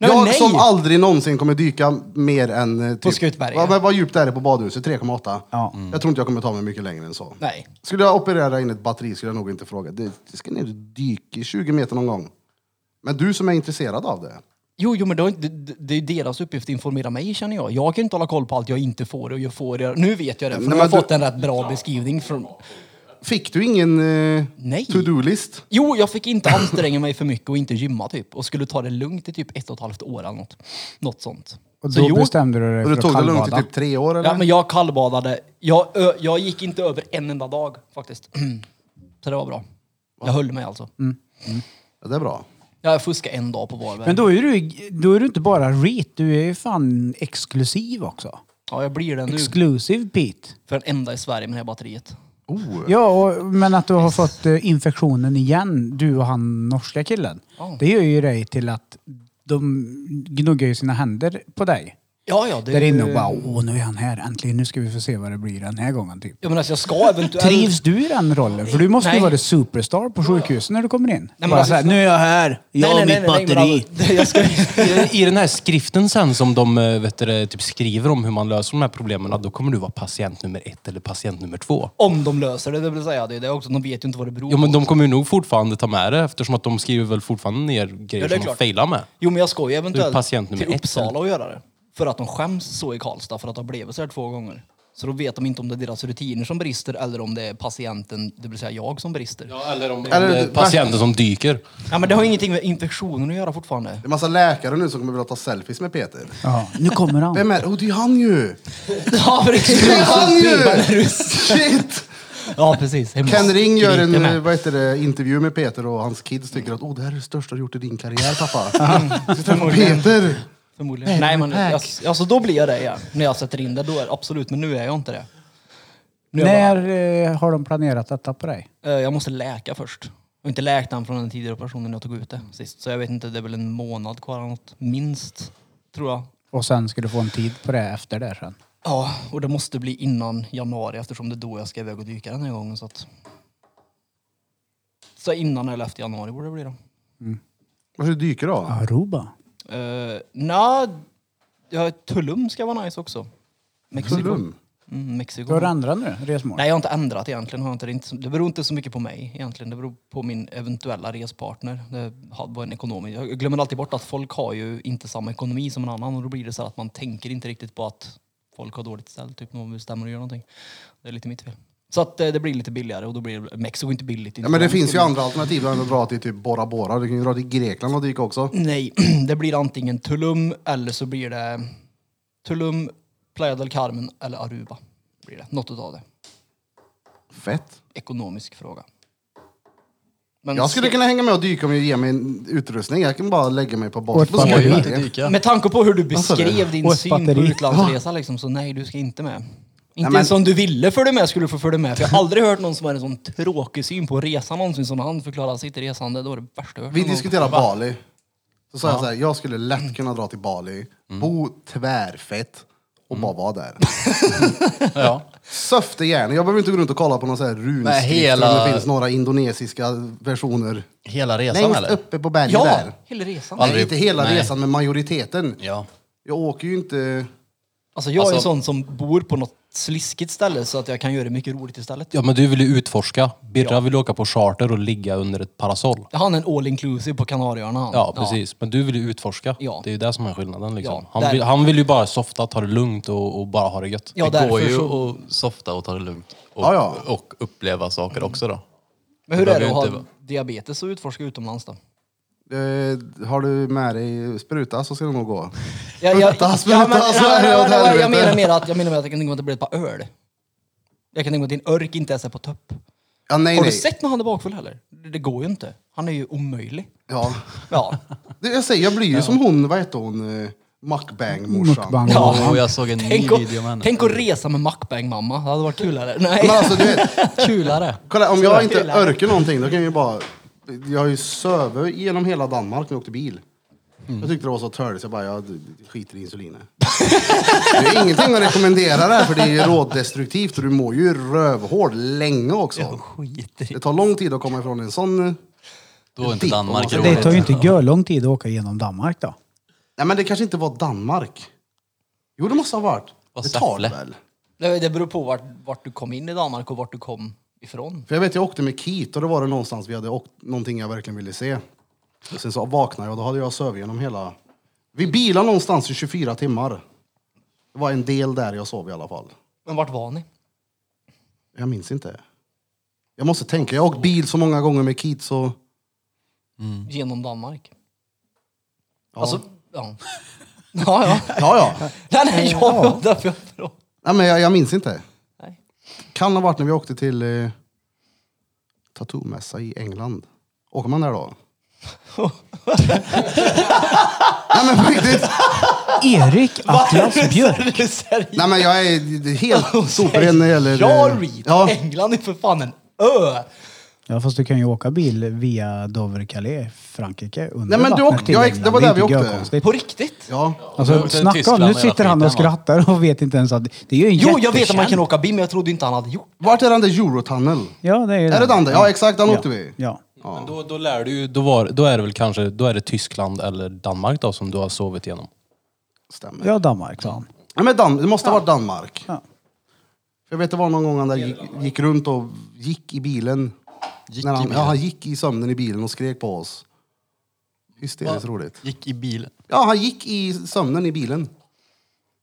G: Nej, men
C: jag
G: nej.
C: som aldrig någonsin kommer dyka mer än... eh, Typ,
G: På Skutberget.
C: Vad, vad- vad djupt är det på badhuset? 3,8?
E: Ja.
C: Mm. Jag tror inte jag kommer ta mig mycket längre än så.
G: Nej.
C: Skulle jag operera in ett batteri skulle jag nog inte fråga. Det, det ska ner och dyka i 20 meter någon gång. Men du som är intresserad av det.
G: Jo, jo men det, har inte, det, det är ju deras uppgift att informera mig känner jag. Jag kan ju inte hålla koll på allt jag inte får och jag får. Jag, nu vet jag det, för
C: Nej,
G: nu
C: men
G: har jag
C: du-
G: fått en rätt bra beskrivning från...
C: Fick du ingen eh,
G: Nej.
C: to-do-list?
G: Jo, jag fick inte anstränga mig för mycket och inte gymma typ. Och skulle ta det lugnt i typ ett och ett halvt år eller något. Något sånt.
E: Och
G: Så
E: då
G: jo.
E: bestämde du dig
C: Och
E: för
C: du
E: att
C: tog det lugnt i
E: kallbada.
C: typ tre år eller?
G: Ja, men jag kallbadade. Jag, ö, jag gick inte över en enda dag faktiskt. Så det var bra. Jag höll mig alltså.
C: ja, det är bra.
G: Jag fuskade en dag på Varberg.
E: Men då är, du, då är du inte bara REIT, du är ju fan exklusiv också.
G: Ja, jag blir det nu.
E: Exclusive Pete.
G: För den enda i Sverige med det här batteriet.
C: Oh.
E: Ja, och, men att du har fått eh, infektionen igen, du och han norska killen.
G: Ja.
E: Det gör ju dig till att de gnuggar ju sina händer på dig.
G: Ja, ja. Det,
E: Där inne och bara, åh nu är han här, äntligen nu ska vi få se vad det blir den här gången typ.
G: Ja, men alltså jag ska eventuellt...
E: Trivs du i den rollen? För du måste ju
G: Nej.
E: vara superstar på sjukhuset när du kommer in.
G: men
E: Bara
G: alltså-
E: såhär, nu är jag här, jag och mitt
G: men
E: batteri.
G: alltså, jag ska,
F: I, I den här skriften sen som de eh, vet du, det, typ skriver om hur man löser de här problemen, då kommer du vara patient nummer ett eller patient nummer två.
G: om de löser det, det vill säga. Det, är det också, de vet ju inte vad det beror
F: Jo men
G: på.
F: de kommer ju nog fortfarande ta med det eftersom att de skriver väl fortfarande ner
G: Ja,
F: grejer
G: det är
F: som de
G: klart.
F: failar med.
G: Jo, men jag ska ju
F: Du är
G: eventuellt
F: patient nummer
G: till
F: ett, eller?
G: Uppsala och göra det. För att de skäms så i Karlstad för att det har blivit så här två gånger. Så då vet de inte om det är deras rutiner som brister eller om det är patienten, det vill säga jag, som brister. Ja,
F: eller om
C: Eller-
F: det är patienten som dyker.
G: men det har ingenting med infektionen att göra fortfarande.
C: Det är massa läkare nu som kommer vilja ta selfies med Peter.
E: Ja, nu kommer han.
C: Vem är det? Oh, det är han ju!
G: Ja, precis.
C: Det är han ju! Shit!
G: Ja, precis. Hemma.
C: Ken Ring gör en
G: Skryter
C: eh,
G: med.
C: vad heter det, intervju med Peter och hans kids tycker att oh, det här är det största du gjort i din karriär pappa. Så träffa Peter!
G: Förmodligen. Nej, men jag, alltså, då blir jag det igen. När jag sätter in det, då är absolut. Men nu är jag inte det. Nu är jag bara-
E: När eh, har de planerat detta på dig?
G: Eh, Jag måste läka först. Och inte läkt den från den tidigare operationen jag tog ut det sist. Så jag vet inte, det är väl en månad kvar eller något. Minst, tror jag.
E: Och sen ska du få en tid på det efter det sen.
G: Ja, och det måste bli innan januari eftersom det är då jag ska iväg och dyka den här gången. Så, att... så innan eller efter januari borde det bli då.
C: Vad ska du dyka då?
E: Aruba.
G: Uh, Nja, ja, Tulum ska vara nice också. Mexiko.
C: Tulum?
G: Mm, Mexiko.
E: Du har ändrat nu, resmål?
G: Nej, jag har inte ändrat egentligen. Har jag inte, det, är inte, så- det beror inte så mycket på mig egentligen. Det beror på min eventuella respartner. Det ha- var en ekonomi. Jag glömmer alltid bort att folk har ju inte samma ekonomi som en annan och då blir det så här att man tänker inte riktigt på att folk har dåligt ställt, typ när man bestämmer att göra någonting. Det är lite mitt fel. Så att eh, det blir lite billigare och då blir det- Mexiko inte billigt.
C: Ja, men det finns ju andra alternativ än att dra till typ Bora Bora. Du kan ju dra till Grekland och dyka också.
G: Nej, det blir antingen Tulum eller så blir det Tulum, Playa del Carmen eller Aruba. Blir det. Något utav det.
C: Fett.
G: Ekonomisk fråga. Men
C: Jag skulle kunna hänga med och dyka om jag ger mig en utrustning. Jag kan bara lägga mig på
E: Och ett
C: basen på
E: batteri.
C: skojbacken.
A: Dyka.
G: Med tanke på hur du beskrev din
E: Och ett
G: syn på
E: batteri.
G: utlandsresa liksom, så nej, du ska inte med. Inte
C: men-
G: ens om du ville följa med skulle du få följa med. För jag har aldrig hört någon som har en sån tråkig syn på resa någonsin som när han förklarar sitt resande. Det var det värsta jag hört.
C: Vi
G: någon gång.
C: diskuterade Bali. Så sa jag så här, jag skulle lätt kunna dra till Bali, bo tvärfett och bara vara där.
A: Ja.
C: Söfte gärna. Jag behöver inte gå runt och kolla på någon sån här
A: Nej,
C: runskrift
A: hela-
C: om det finns några indonesiska versioner.
A: Hela resan
C: Längst
A: eller?
C: uppe på berget
G: Ja,
C: där.
G: hela resan.
A: Aldrig-
C: Nej, inte hela
A: Nej.
C: resan, men majoriteten.
A: Ja.
C: Jag åker ju inte...
G: Alltså jag är en
A: Alltså-
G: sån som bor på något sliskigt ställe så att jag kan göra mycket roligt istället.
F: Ja men du vill ju utforska. Birra vill åka på charter och ligga under ett parasoll.
G: Han är en all inclusive på Kanarieöarna. han.
F: Ja precis, men du vill ju utforska.
G: Ja.
F: Det är ju det som är skillnaden liksom.
G: Ja, där-
F: han, vill, han vill ju bara softa, ta det lugnt och, och bara ha det gött.
G: Ja,
A: det går
G: därför
A: ju
G: så...
A: att softa och ta det lugnt. Och,
C: Ja, ja.
A: och uppleva saker också då.
G: Men hur
A: det
G: är det att
A: behöver
G: ha
A: ju inte
G: diabetes och utforska utomlands då?
C: Eh, har du med dig spruta så ska det nog gå.
G: Ja,
C: Spruta, spruta, så alltså, är det åt
G: jag, jag
C: helvete.
G: menar mer att jag menar mer att jag kan tänka mig att det blir ett par öl. Jag kan tänka mig att din örk inte ens är på topp.
C: Ja, nej,
G: Har
C: nej.
G: du sett när han är bakfull heller? Det det går ju inte. Han är ju omöjlig.
C: Ja.
G: Ja.
C: Det, jag säger, jag blir ju som hon, vad heter hon, eh, Mukbang-morsan.
E: Mukbang.
G: Ja.
A: Och jag såg en
G: Tänk,
A: ny
G: att-
A: video med henne.
G: tänk att resa med Macbang-mamma. Det hade varit kulare.
C: Men
G: Nej,
C: alltså, du vet,
G: kulare.
C: kolla, om
G: Så
C: jag
G: jag
C: inte
G: gillar det.
C: örker någonting, då kan jag ju bara... Jag har ju sövit genom hela Danmark när jag åkte bil.
G: Mm.
C: Jag tyckte det var så törligt, så jag bara, jag skiter i insulinet. det är ingenting att rekommendera det här, för det är ju rådestruktivt och du mår ju rövhård länge också.
G: Skit i.
C: Det tar lång tid att komma ifrån en sån... eh,
A: Då är inte
C: dit,
A: Danmark
C: alltså,
E: Så det
A: roligt.
E: tar ju inte görlång tid att åka genom Danmark då.
C: Nej men det kanske inte var Danmark. Jo det måste ha varit.
A: Var
C: det tar det
A: Säffle.
C: väl?
G: Det det beror på vart, vart du kom in i Danmark och vart du kom ifrån.
C: För jag vet jag åkte med Keith och då var det någonstans vi hade åkt, någonting jag verkligen ville se. Och sen så vaknade jag och då hade jag sovit genom hela... Vi bilade någonstans i 24 timmar. Det var en del där jag sov i alla fall.
G: Men vart var ni?
C: Jag minns inte. Jag måste tänka, jag har åkt bil så många gånger med Keith så...
G: Genom Danmark.
C: Ja.
G: Alltså, ja. Ja, ja.
C: ja, ja.
G: Nej, nej, ja. Därför jag frågar.
C: Nej, men jag, jag minns inte.
G: Nej.
C: Kan ha varit när vi åkte till eh, Tattoo-mässa i England. Åker man där då? Nej men på riktigt!
E: Erik Atlas Björk.
G: Är du seriös?
C: Nej men jag är helt sopren när det gäller... eh,
G: Jarvik!
C: ja,
G: England är för fan en ö!
E: Ja, fast du kan ju åka bil via Dover-Calais, Frankrike, under
C: Nej, men du
E: vattnet
C: åkte-
E: till
C: ja,
E: England.
C: det var där vi
E: inte
C: åkte.
E: görkonstigt.
G: På riktigt?
C: Ja.
A: Jag
E: Alltså,
A: åkte till
E: snacka om,
A: Tyskland
E: nu
A: och
E: sitter han
A: skiten,
E: och
A: va?
E: skrattar och vet inte ens att... Det är ju en
G: Jo, jag vet att man
E: jättekänd-
G: kan åka bil, men jag trodde inte han hade gjort
C: Vart är den där Eurotunnel?
E: Ja, det är,
C: Är det den där? Ja, exakt, den åkte vi.
E: Ja.
F: Men då, då lär du ju, då, var, då är det väl kanske, då är det Tyskland eller Danmark då som du har sovit igenom.
C: Stämmer.
E: ja, Danmark sa han.
C: Nej, men Dan- det måste ha varit Danmark.
E: Ja.
C: För jag vet det var någon gång han där gick, gick runt och gick i bilen.
A: Gick
C: när han,
A: i
C: Ja,
A: bilen.
C: han gick i sömnen i bilen och skrek på oss. Hysteriskt roligt.
A: Gick i bilen.
C: Ja, han gick i sömnen i bilen.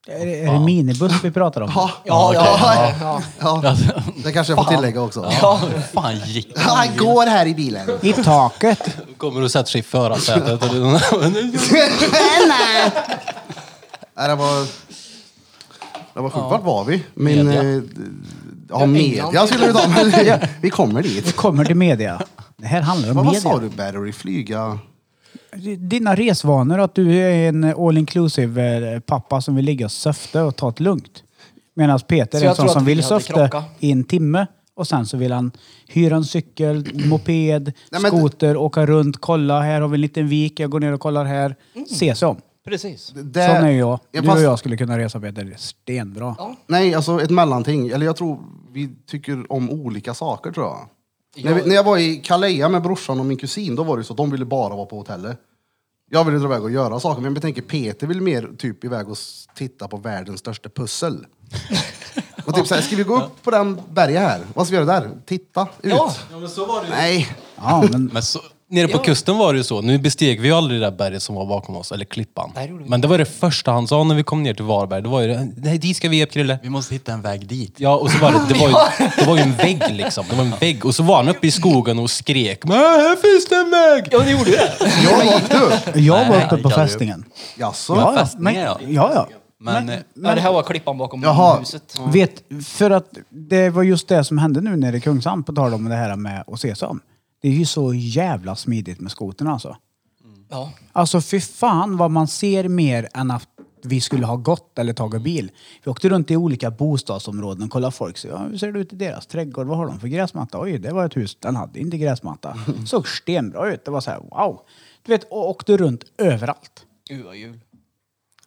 E: Är det, är det minibuss vi pratar om?
C: Ja,
G: Ja, ja, ja.
C: ja. Det kanske jag får tillägga också.
A: fan gick
C: Han går här i bilen.
E: I taket.
F: Kommer och sätter sig i förarsätet. eller-
C: Nej, det var... Det var sjukt. Vart var vi? Min...
F: Media.
C: eh, Ja, media skulle vi ta. Men vi kommer dit.
E: Kommer till media. Det här handlar om
C: Men vad
E: media.
C: sa du, Barry? Flyga?
E: Dina resvanor, att du är en all inclusive eh, pappa som vill ligga och söfte och ta det lugnt. Medan Peter
G: Så
E: är en
G: jag
E: sån
G: tror
E: som
G: att vi
E: vill
G: hade
E: söfte
G: krockat.
E: i en timme och sen så vill han hyra en cykel, moped,
C: Nej, men-
E: skoter, åka runt, kolla här har vi en liten vik, jag går ner och kollar här.
G: Mm.
E: Se sig om.
G: Precis.
C: Det-
E: Sån är jag.
C: Ja,
E: Du
C: fast-
E: och jag skulle kunna resa Peter, stenbra.
C: Nej, alltså ett mellanting. Eller jag tror vi tycker om olika saker tror jag. När, vi, när jag var i Calais med brorsan och min kusin, då var det så att de ville bara vara på hotellet. Jag ville dra iväg och göra saker, men jag tänker Peter vill mer typ iväg och s- titta på världens största pussel. och typ såhär, ska vi gå upp på den berget här? Vad ska vi göra där? Titta ut.
G: Ja.
C: Nej,
E: Ja, men
A: Men så,
F: Nere på kusten var det ju så. Nu besteg vi ju aldrig det där berget som var bakom oss, eller klippan.
G: Nej, det gjorde vi
F: Men det var det första han sa när vi kom ner till Varberg. Det var ju det, nej dit ska vi upp Krille.
A: vi måste hitta en väg dit.
F: Ja, och så var det, det, var ju, det var ju en vägg liksom. Det var en vägg. Och så var han uppe i skogen och skrek. Men här finns det en väg!
G: Ja, det gjorde det.
C: jag var du.
E: jag var
A: nej,
E: uppe
A: det
E: på
A: kan du.
E: fästingen.
C: Jaså?
E: Ja, ja.
A: fästningen,
E: Men,
A: ja.
E: ja, ja.
A: Men, eh,
G: Ja, det här var klippan bakom
C: Jaha.
G: huset.
E: Vet, för att det var just det som hände nu nere i Kungshamn, på tal om det här med att ses om. Det är ju så jävla smidigt med skotern alltså.
G: Ja.
E: Alltså fy fan vad man ser mer än att vi skulle ha gått eller tagit bil. Vi åkte runt i olika bostadsområden och kollade folk. Så, ja, hur ser det ut i deras trädgård? Vad har de för gräsmatta? Oj, det var ett hus. Den hade inte gräsmatta. Såg stenbra ut. Det var så här, wow. Du vet, och åkte runt överallt.
G: Gud vad jul.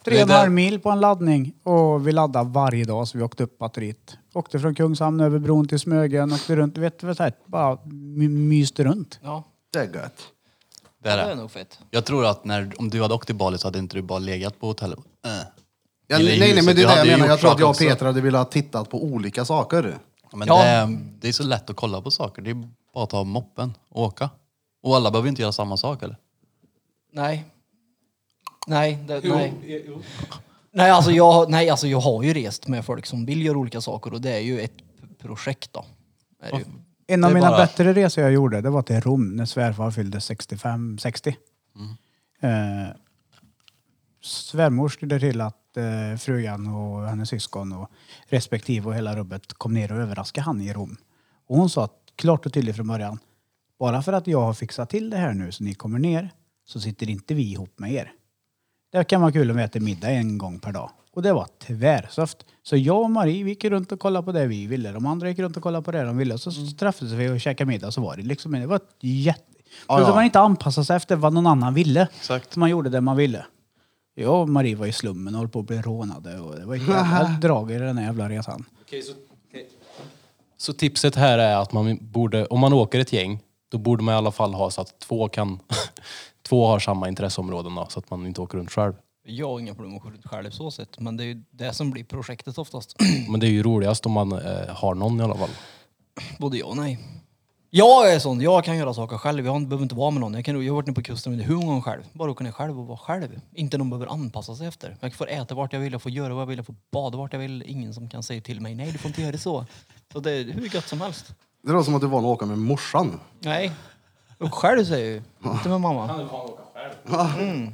E: Tre och en halv mil på en laddning och vi laddade varje dag så vi åkte upp batteriet. Åkte från Kungshamn över bron till Smögen, åkte runt, du vet du, så här, bara my- myste runt.
G: Ja,
C: Det är gött.
A: det är
G: det är
A: det.
G: nog fett.
A: Jag tror att när, om du hade åkt till Bali så hade inte du bara legat på hotellet. Äh.
C: Ja,
A: Eller
C: nej, nej,
A: huset.
C: men det
A: Du
C: är det jag
A: hade ju
C: menar.
A: gjort
C: Jag tror att
A: saker
C: jag och
A: också.
C: Peter hade velat titta på olika saker.
A: Men
G: Ja.
A: det, är- det är så lätt att kolla på saker. Det är bara att ta moppen och åka. Och alla behöver inte göra samma sak eller?
G: Nej. Nej, det, nej. Nej alltså, jag, nej, alltså jag har ju rest med folk som vill göra olika saker och det är ju ett p- projekt då. Är det ju.
E: En av
A: Det är
E: mina
A: bara-
E: bättre resor jag gjorde, det var till Rom när svärfar fyllde 65-60.
A: Mm.
E: Eh, svärmor skulle till att eh, frugan och hennes syskon och respektive och hela rubbet kom ner och överraskade han i Rom. Och hon sa att, klart och tydligt från början, bara för att jag har fixat till det här nu så ni kommer ner så sitter inte vi ihop med er. Det kan vara kul om vi äter middag en gång per dag. Och det var tvärsöft. Så jag och Marie vi gick runt och kollade på det vi ville. De andra gick runt och kollade på det de ville. Så
C: Mm.
E: träffades vi och käkade middag. Så var det liksom, det var ett jätte...
C: Ja,
E: Plus att
C: ja.
E: man inte anpassade sig efter vad någon annan ville. Så man gjorde det man ville. Jag och Marie var i slummen och höll på att bli rånade. Och det var ett jävla drag i den här jävla resan.
F: Så tipset här är att man borde, om man åker ett gäng, då borde man i alla fall ha så att två kan, två har samma intresseområden då, så att man inte åker runt själv.
G: Jag har inga problem med att gå runt själv så sett, men det är ju det som blir projektet oftast.
F: Men det är ju roligast om man eh, har någon i alla fall.
G: Både ja och nej. Jag är sån, jag kan göra saker själv. Jag har inte- behöver inte vara med någon. Jag, kan, jag har varit nere på kusten under hur många gånger själv. Bara åka ner själv och vara själv. Inte någon behöver anpassa sig efter. Jag får äta vart jag vill, jag får göra vad jag vill, jag får bada vart jag vill. Ingen som kan säga till mig, nej du får inte göra så. Så det är hur gött som helst.
C: Det låter som att du var och åka med morsan.
G: Nej. Och själv säger jag ju. Inte med mamma. Han vill fan åka själv. Mm.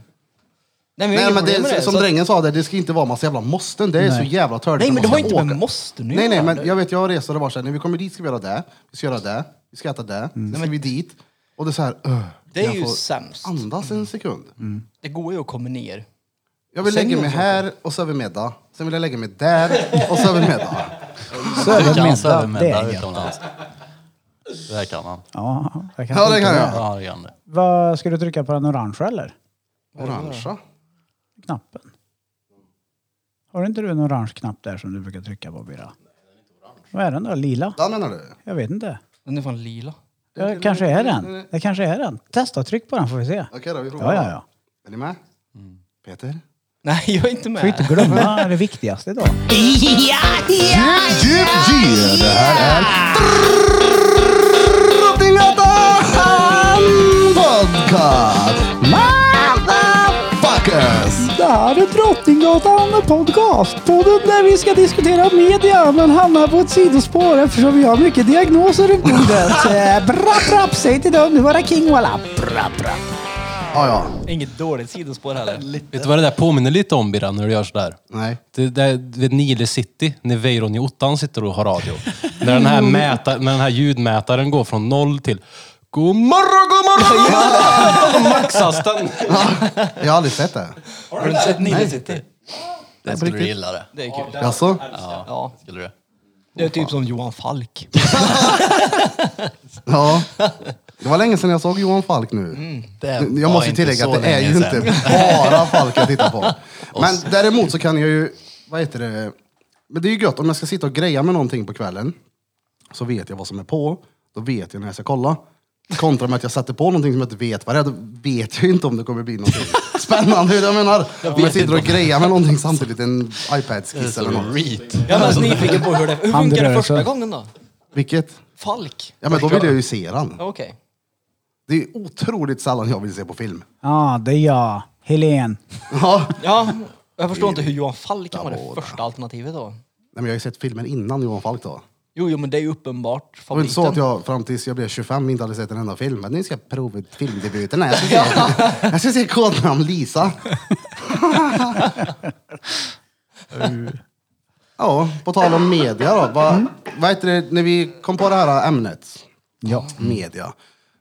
C: Nej, men det,
G: jag har inga problem med
C: är-
G: det.
C: som
G: Så att-
C: drängen sa, det, det ska inte vara massa jävla måsten. Det är så jävla tördigt. när
G: Nej men det
C: man
G: har
C: ska
G: inte
C: åka.
G: med måste nu
C: Nej, nej,
G: göra.
C: men jag vet, jag reser och bara såhär, när vi kommer dit ska vi göra det, vi ska göra det, vi ska äta det,
G: Mm.
C: sen ska vi dit. Och det är såhär, öh,
G: Det är
C: jag
G: ju
C: får
G: sämst.
C: andas
G: Mm.
C: en sekund.
G: Det går ju att komma ner.
C: Jag vill
G: Sen
C: lägga
G: gör
C: mig
G: jag
C: här och så över middag. Sen vill jag lägga mig där och så över middag.
E: Södermiddag,
A: Södermiddag
E: det är gött.
A: utomlands. Det här kan han.
E: Ja, jag kan
C: Ja, det
E: tänka
C: kan
E: mig.
C: jag.
A: Ja, det kan det.
E: Vad, ska du trycka på den orangea eller?
C: Orangea.
E: Knappen? Har inte du en orange knapp där som du brukar trycka på Birra? Vad är den då? Lila?
C: Den menar du?
E: Jag vet inte.
G: Den är fan lila.
E: Det kanske är den. Det kanske är den. Testa tryck på den får vi se.
C: Okej då, vi provar.
E: Ja, ja, ja.
C: Är ni med?
G: Mm.
C: Peter?
G: Nej, jag är inte
E: Får
G: med.
E: inte glömma det viktigaste idag.
C: Drottninggatan podcast! Motherfuckers!
E: Det här är Drottninggatan podcast. Podden där vi ska diskutera media men hamnar på ett sidospår eftersom vi har mycket diagnoser runt bordet. Eh, Brapp, brapp, säg till dem, nu var det king walla. Brapp, brapp.
C: Ja, ja.
G: Inget dåligt sidospår heller.
F: Vet du vad det där påminner lite om Birra, när du gör sådär?
C: Nej.
F: Det där vid Nile City, när Veiron i ottan sitter och har radio. när, den här mäta, när den här ljudmätaren går från noll till God morgon, god morgon! Maxas den.
C: Jag har aldrig sett det.
G: Har du inte sett Nile City?
A: Det skulle du gilla det.
G: Det är kul.
C: Jaså?
G: Ja.
A: Skulle du?
G: Det är typ som Johan Falk.
C: Ja. Det var länge sedan jag såg Johan Falk nu.
E: Mm.
A: Det
C: Nu-
A: var
C: Jag måste
A: inte
C: tillägga
A: så
C: att det är
A: länge
C: ju
A: sedan.
C: inte bara Falk jag tittar på. Men däremot så kan jag ju, vad heter det, men det är ju gött om jag ska sitta och greja med någonting på kvällen. Så vet jag vad som är på, då vet jag när jag ska kolla. Kontra med att jag sätter på någonting som jag inte vet vad det är, då vet jag ju inte om det kommer bli någonting spännande. Hur jag menar, om jag sitter och grejar med någonting samtidigt, en iPad-skiss eller något.
A: Reet.
G: Jag är mest nyfiken på hur det... Hur funkar det första gången då?
C: Vilket?
G: Falk?
C: Ja men då vill jag ju se den.
G: Ja, Okej.
C: Det är otroligt sällan jag vill se på film.
E: Ja, det är jag. Helen.
C: Ja.
G: Ja, jag förstår inte hur Johan Falk kan vara det första alternativet då.
C: Nej, men jag har ju sett filmen innan Johan Falk då.
G: Jo, jo men det är ju uppenbart
C: Det var inte så att
G: favoriten.
C: jag fram tills jag blev 25 inte hade sett en enda film. Men nu ska jag prova filmdebuten. här. Jag ska se, jag ska se kodnamn Lisa. ja, på tal om media då. Vad, vad heter det, när vi kom på det här ämnet, ja. media,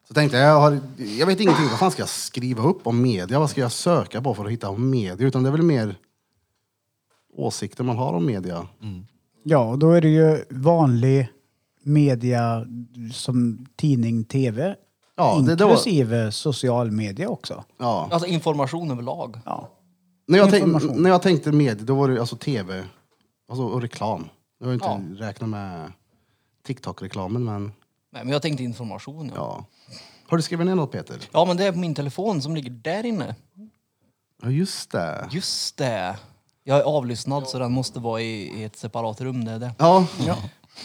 C: så tänkte jag, jag, har, jag vet ingenting, vad fan ska jag skriva upp om media? Vad ska jag söka på för att hitta om media? Utan det är väl mer åsikter man har om media.
E: Ja, och då är det ju vanlig media som tidning, tv.
C: Ja, det- det var-
E: inklusive social media också.
C: Ja.
G: Alltså information överlag.
E: Ja.
C: När jag, tänk,
E: Information.
C: när jag tänkte med, då var det alltså tv alltså, och reklam. Jag har inte räknat med TikTok-reklamen, men
G: Nej, men jag tänkte information. Ja.
C: ja. Har du skrivit ner något Peter?
G: ja, men det är på min telefon som ligger där inne.
C: Ja, just det.
G: Just det. Jag är avlyssnad så den måste vara i, i ett separat rum. Det är det.
C: Ja,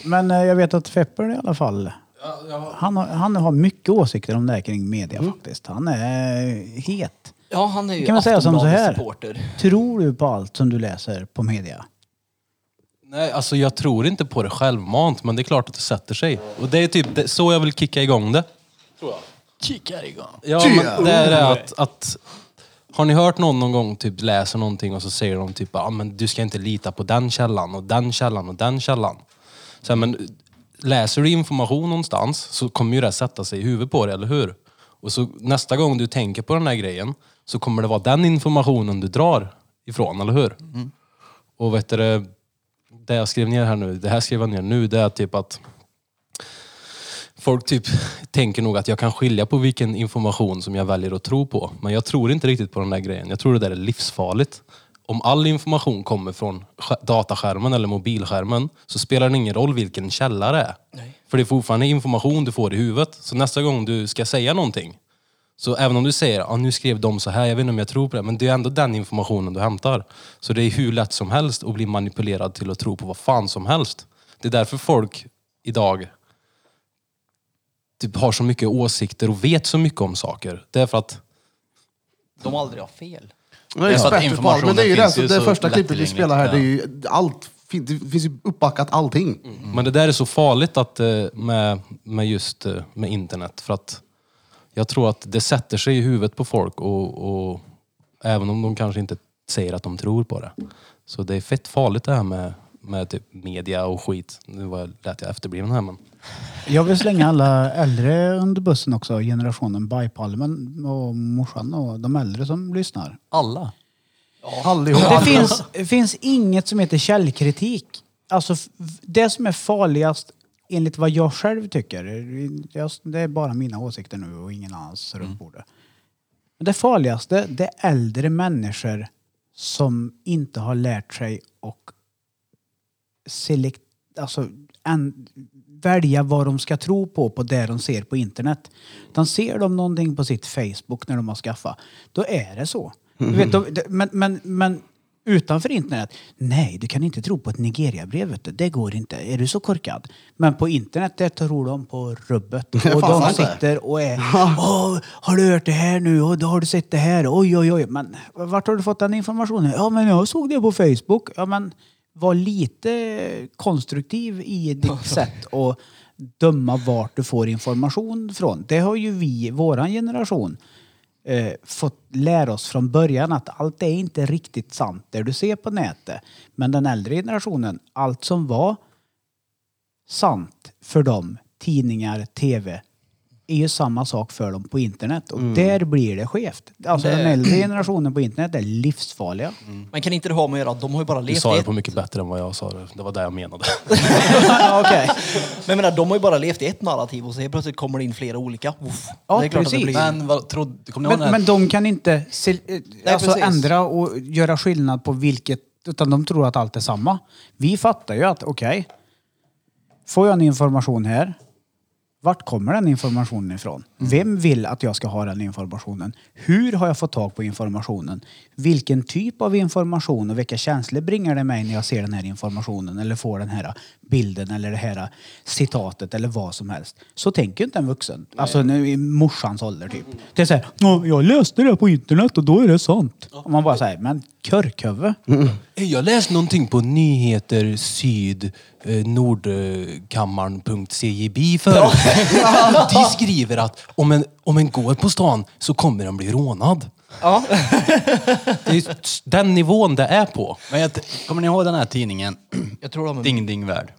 E: Men eh, jag vet att Feppel i alla fall, han, har, han har mycket åsikter om det här kring media faktiskt. Han är het.
G: Ja, han är ju
E: Kan man säga som så här?
G: Aftonbladet-supporter.
E: Tror du på allt som du läser på media?
F: Nej, alltså jag tror inte på det självmant, men det är klart att det sätter sig. Och det är typ det, så jag vill kicka igång det.
A: Kickar igång.
F: Ja, men det är det att, att... Har ni hört någon någon gång typ läser någonting och så säger de typ ah, men du ska inte lita på den källan och den källan och den källan. Så här, men läser du information någonstans så kommer ju det sätta sig i huvudet på dig, eller hur? Och så nästa gång du tänker på den här grejen så kommer det vara den informationen du drar ifrån, eller hur? Och vet du, det- det jag skrev ner här nu, det här skrev jag ner nu, det är typ att Folk typ tänker nog att jag kan skilja på vilken information som jag väljer att tro på. Men jag tror inte riktigt på den där grejen. Jag tror det där är livsfarligt. Om all information kommer från sk- dataskärmen eller mobilskärmen så spelar det ingen roll vilken källa det är. För det är fortfarande information du får i huvudet. Så nästa gång du ska säga någonting, så även om du säger att ah, nu skrev de så här, jag vet inte om jag tror på det, men det är ändå den informationen du hämtar. Så det är hur lätt som helst att bli manipulerad till att tro på vad fan som helst. Det är därför folk idag typ har så mycket åsikter och vet så mycket om saker. Det är för att...
G: De aldrig har fel.
C: jag är
A: Ja, så att
C: expert på barn, men det är ju det. Alltså,
A: informationen finns
C: det
A: ju så
C: första klippet vi
A: lättillgängligt,
C: spelar här,
A: ja.
C: det är ju allt. fin- Det finns ju uppbackat allting.
F: Men det där är så farligt att, eh, med, med just eh, med internet. För att jag tror att det sätter sig i huvudet på folk och, och även om de kanske inte säger att de tror på det. Så det är fett farligt det här med, med typ media och skit. Nu var jag, lät jag efterbliven här men.
E: Jag vill slänga alla äldre under bussen också, generationen Bajpalmen och morsan och de äldre som lyssnar.
A: Alla.
C: Allihop.
E: Det finns, det finns inget som heter källkritik. Alltså, f- det som är farligast enligt vad jag själv tycker, jag- det är bara mina åsikter nu och ingen annans runt bordet. Men det farligaste, det är äldre människor som inte har lärt sig och selekt, alltså, en, välja vad de ska tro på, på det de ser på internet. Utan ser de någonting på sitt Facebook när de har skaffat, då är det så. Du vet, de, de- men, men, men utanför internet, nej du kan inte tro på ett Nigeria-brev, vet du. det går inte. Är du så korkad? Men på internet, där tror de på rubbet. Och
C: fan
E: de
C: sant det.
E: sitter och är, Åh, har du hört det här nu? Och då har du sett det här? Oj, oj, oj. Men vart har du fått den informationen? Ja, men jag såg det på Facebook. Ja, men var lite konstruktiv i ditt sätt att döma vart du får information från. Det har ju vi, våran generation, eh, fått lära oss från början att allt är inte riktigt sant det du ser på nätet. Men den äldre generationen, allt som var sant för dem, tidningar, tv, är ju samma sak för dem på internet. Och där blir det skevt. Alltså den äldre generationen på internet är livsfarliga.
G: Men kan inte det ha med att göra? De har ju bara
F: Du
G: levt
F: sa
G: i
F: det
G: ett...
F: på mycket bättre än vad jag sa det. Det var det jag menade.
G: Ja, okej. Men jag menar, de har ju bara levt i ett narrativ och så helt plötsligt kommer det in flera olika. Uff.
E: Ja,
G: det är klart att
E: precis.
G: det blir...
A: Men vad trodde... Kommer ni
E: Men,
A: ihåg
E: men
A: den
E: de kan inte se, eh, alltså
G: precis.
E: ändra och göra skillnad på vilket, utan de tror att allt är samma. Vi fattar ju att okej, får jag en information här, vart kommer den informationen ifrån? Vem vill att jag ska ha den informationen? Hur har jag fått tag på informationen? Vilken typ av information och vilka känslor bringar det mig när jag ser den här informationen eller får den här bilden eller det här citatet eller vad som helst? Så tänker ju inte en vuxen. Alltså nu i morsans ålder typ. Det är såhär, jag läste det på internet och då är det sant. Och man bara säger, men körkhuvud.
F: Hej, Eh, Jag läste någonting på nyheter syd eh, nordkammaren.cjb förut. De skriver att om en, om en går på stan så kommer den bli rånad. Det är s- den nivån det är på.
A: Men jag, kommer ni ihåg den här tidningen?
G: Jag tror de är...
A: Ding Ding Värld.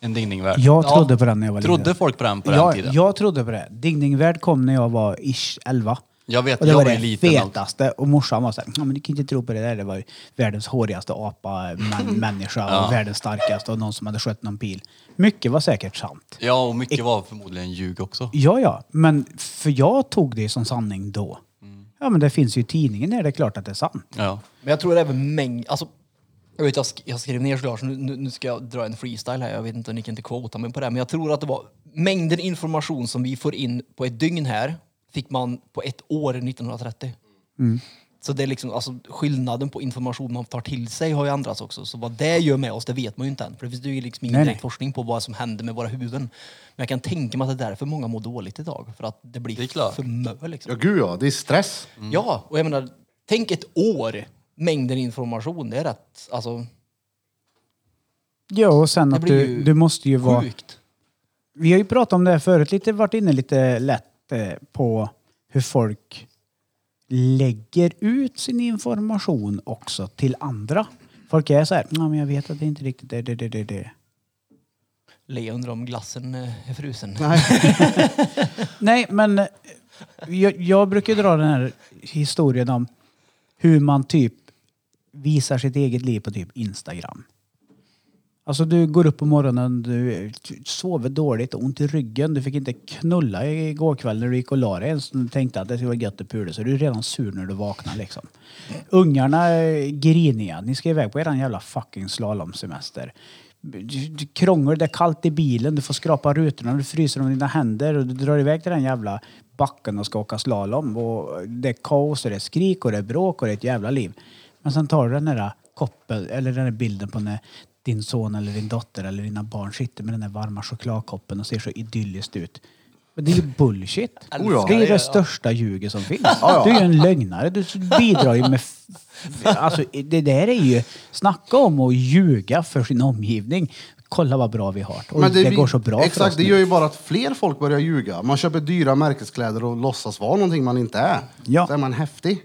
A: En Ding Ding Värld.
E: Jag trodde på den när jag var
A: Trodde
E: liten.
A: folk på den på
E: ja,
A: den tiden?
E: Jag trodde på det. Dingningvärld kom när jag var ish 11.
A: Jag vet,
E: och det
A: jag
E: var
A: var
E: det
A: ju liten då.
E: fetaste. Och morsan var såhär, "Ja, men du kan inte tro på det där. Det var ju världens hårigaste apa, män, människa och världens starkaste och någon som hade skött någon pil. Mycket var säkert sant.
A: Ja, och mycket var förmodligen ljug också.
E: Ja, ja. Men för jag tog det som sanning då.
A: Mm.
E: Ja, men det finns ju i tidningen där det är klart att det är sant.
A: Ja.
G: Men jag tror även mängd... Alltså, jag, vet, jag, sk- jag skrev ner såklart, så nu, nu nu ska jag dra en freestyle här. Jag vet inte, ni kan inte quota mig på det. här, Men jag tror att det var mängden information som vi får in på ett dygn här fick man på ett år 1930.
E: Mm.
G: Så det är liksom, alltså, skillnaden på information man tar till sig har ju ändrats också. Så vad det gör med oss, det vet man ju inte än. För det finns ju liksom ingen
E: Nej,
G: direkt
E: nej.
G: forskning på vad som händer med våra huvuden. Men jag kan tänka mig att det är därför många mår dåligt idag. För att det blir
A: Det är klart.
G: för mö liksom.
C: Ja, gud ja. Det är stress.
A: Mm.
G: Ja, och jag menar, tänk ett år mängden information. Det är rätt alltså,
E: Ja, och sen
G: Det
E: att
G: blir
E: du,
G: ju
E: du måste ju vara...
G: sjukt.
E: Vi har ju pratat om det här förut, lite, varit inne lite lätt eh, på hur folk lägger ut sin information också till andra. Folk är så här, "Ja, men jag vet att det inte riktigt är det, det, det, det.
G: Le undrar om glassen eh, är frusen.
E: Nej, men eh, jag, jag brukar ju dra den här historien om hur man typ visar sitt eget liv på typ Instagram. Alltså du går upp på morgonen, du sover dåligt, ont i ryggen, du fick inte knulla igår kväll när du gick och la dig ens. Du tänkte att det skulle vara gött att pula, så du är redan sur när du vaknar liksom. Ungarna är griniga, ni ska iväg på eran jävla fucking slalomsemester. Du- du Krångel, det är kallt i bilen, du får skrapa rutorna, du fryser om dina händer och du drar iväg till den jävla backen och ska åka slalom. Och det är kaos och det är skrik och det är bråk och det är ett jävla liv. Men sen tar du den där koppen, eller den där bilden på när din son eller din dotter eller dina barn sitter med den där varma chokladkoppen och ser så idylliskt ut. Men det är ju bullshit.
C: Oh ja.
E: Det är det största ljuget som finns. Du är ju en lögnare. Du bidrar ju med... f- f- Alltså, det där är ju... Snacka om att ljuga för sin omgivning. Kolla vad bra vi har Och det,
C: blir-
E: går så bra för oss
C: Exakt, det
E: nu.
C: gör ju bara att fler folk börjar ljuga. Man köper dyra märkeskläder och låtsas vara någonting man inte är.
E: Ja.
C: Så är man häftig.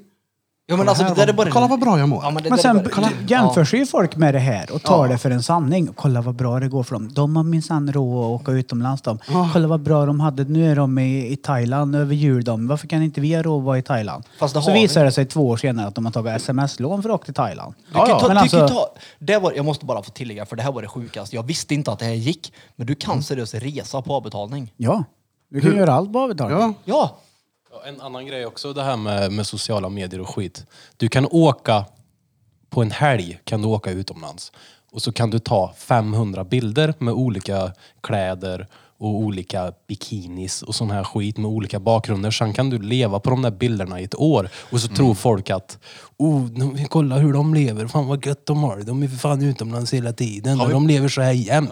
G: Ja men alltså det där är bara...
C: Kolla vad bra jag mår.
G: Ja, men det
E: Men
G: där
E: sen
G: är bara...
E: b- jämför sig ju folk med det här och tar det för en sanning. Kolla vad bra det går för dem. De har minsann råd att åka utomlands de. Kolla vad bra de hade. Nu är de i, i Thailand över jul de. Varför kan inte vi ha råd att vara i Thailand?
G: Fast det
E: Så
G: har vi.
E: visar det sig två år senare att de har tagit sms-lån för att åka till Thailand.
G: Du kan ju ta,
E: Men
G: du kan ju
E: alltså,
G: ta, det var, jag måste bara få tillägga, för det här var det sjukaste. Jag visste inte att det här gick, men du kan seriöst resa på avbetalning.
E: ja. Du kan göra allt på avbetalning.
C: Ja.
G: Ja!
F: Ja, En annan grej också, det här med, med sociala medier och skit. Du kan åka, på en helg kan du åka utomlands. Och så kan du ta 500 bilder med olika kläder och olika bikinis och sån här skit med olika bakgrunder. Sen kan du leva på de där bilderna i ett år. Och
G: Mm.
F: så tror folk att, oh, de, kolla hur de lever, fan vad gött de har det. De är för fan utomlands hela tiden och de lever så här jämt.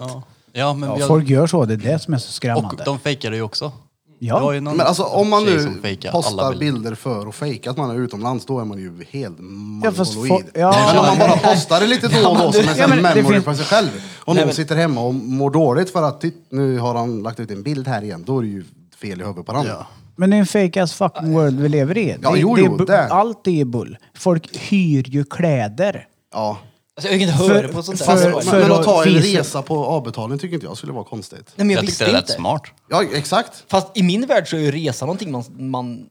A: Ja, men
E: Ja,
A: jag,
E: folk gör så. Det är det som är så
A: och
E: skrämmande.
A: de fejkar det ju också.
E: Ja.
A: Det var ju någon
C: Men alltså om man
A: tjej som
C: nu
A: fejkade alla
C: postar bilder. för att fejka att man är utomlands, då är man ju helt
E: Ja, fast
C: mongoloid.
E: fo- ja.
C: Men om man bara postar det lite då och då som en
E: Ja, men
C: sån
E: det
C: memory
E: finns-
C: för sig själv. Och någon sitter hemma och mår dåligt för att titt, nu har han lagt ut en bild här igen, då är det ju fel i huvudet på den. Ja.
E: Men det är en fake as fucking world vi lever i.
C: Ja,
E: det,
C: jo,
E: det är
C: jo,
E: bu-
C: det.
E: Allt är bull. Folk hyr ju kläder.
G: Alltså, jag kan inte höra på sånt där.
E: för-
G: Alltså,
E: för-
C: Men, men att ta en
E: visa-
C: resa på avbetalning tycker inte jag skulle vara konstigt.
G: nej, men jag,
A: Jag
G: visste
A: tyckte det lät
G: inte.
A: smart.
C: Ja, exakt.
G: Fast i min värld så är ju resa någonting man... man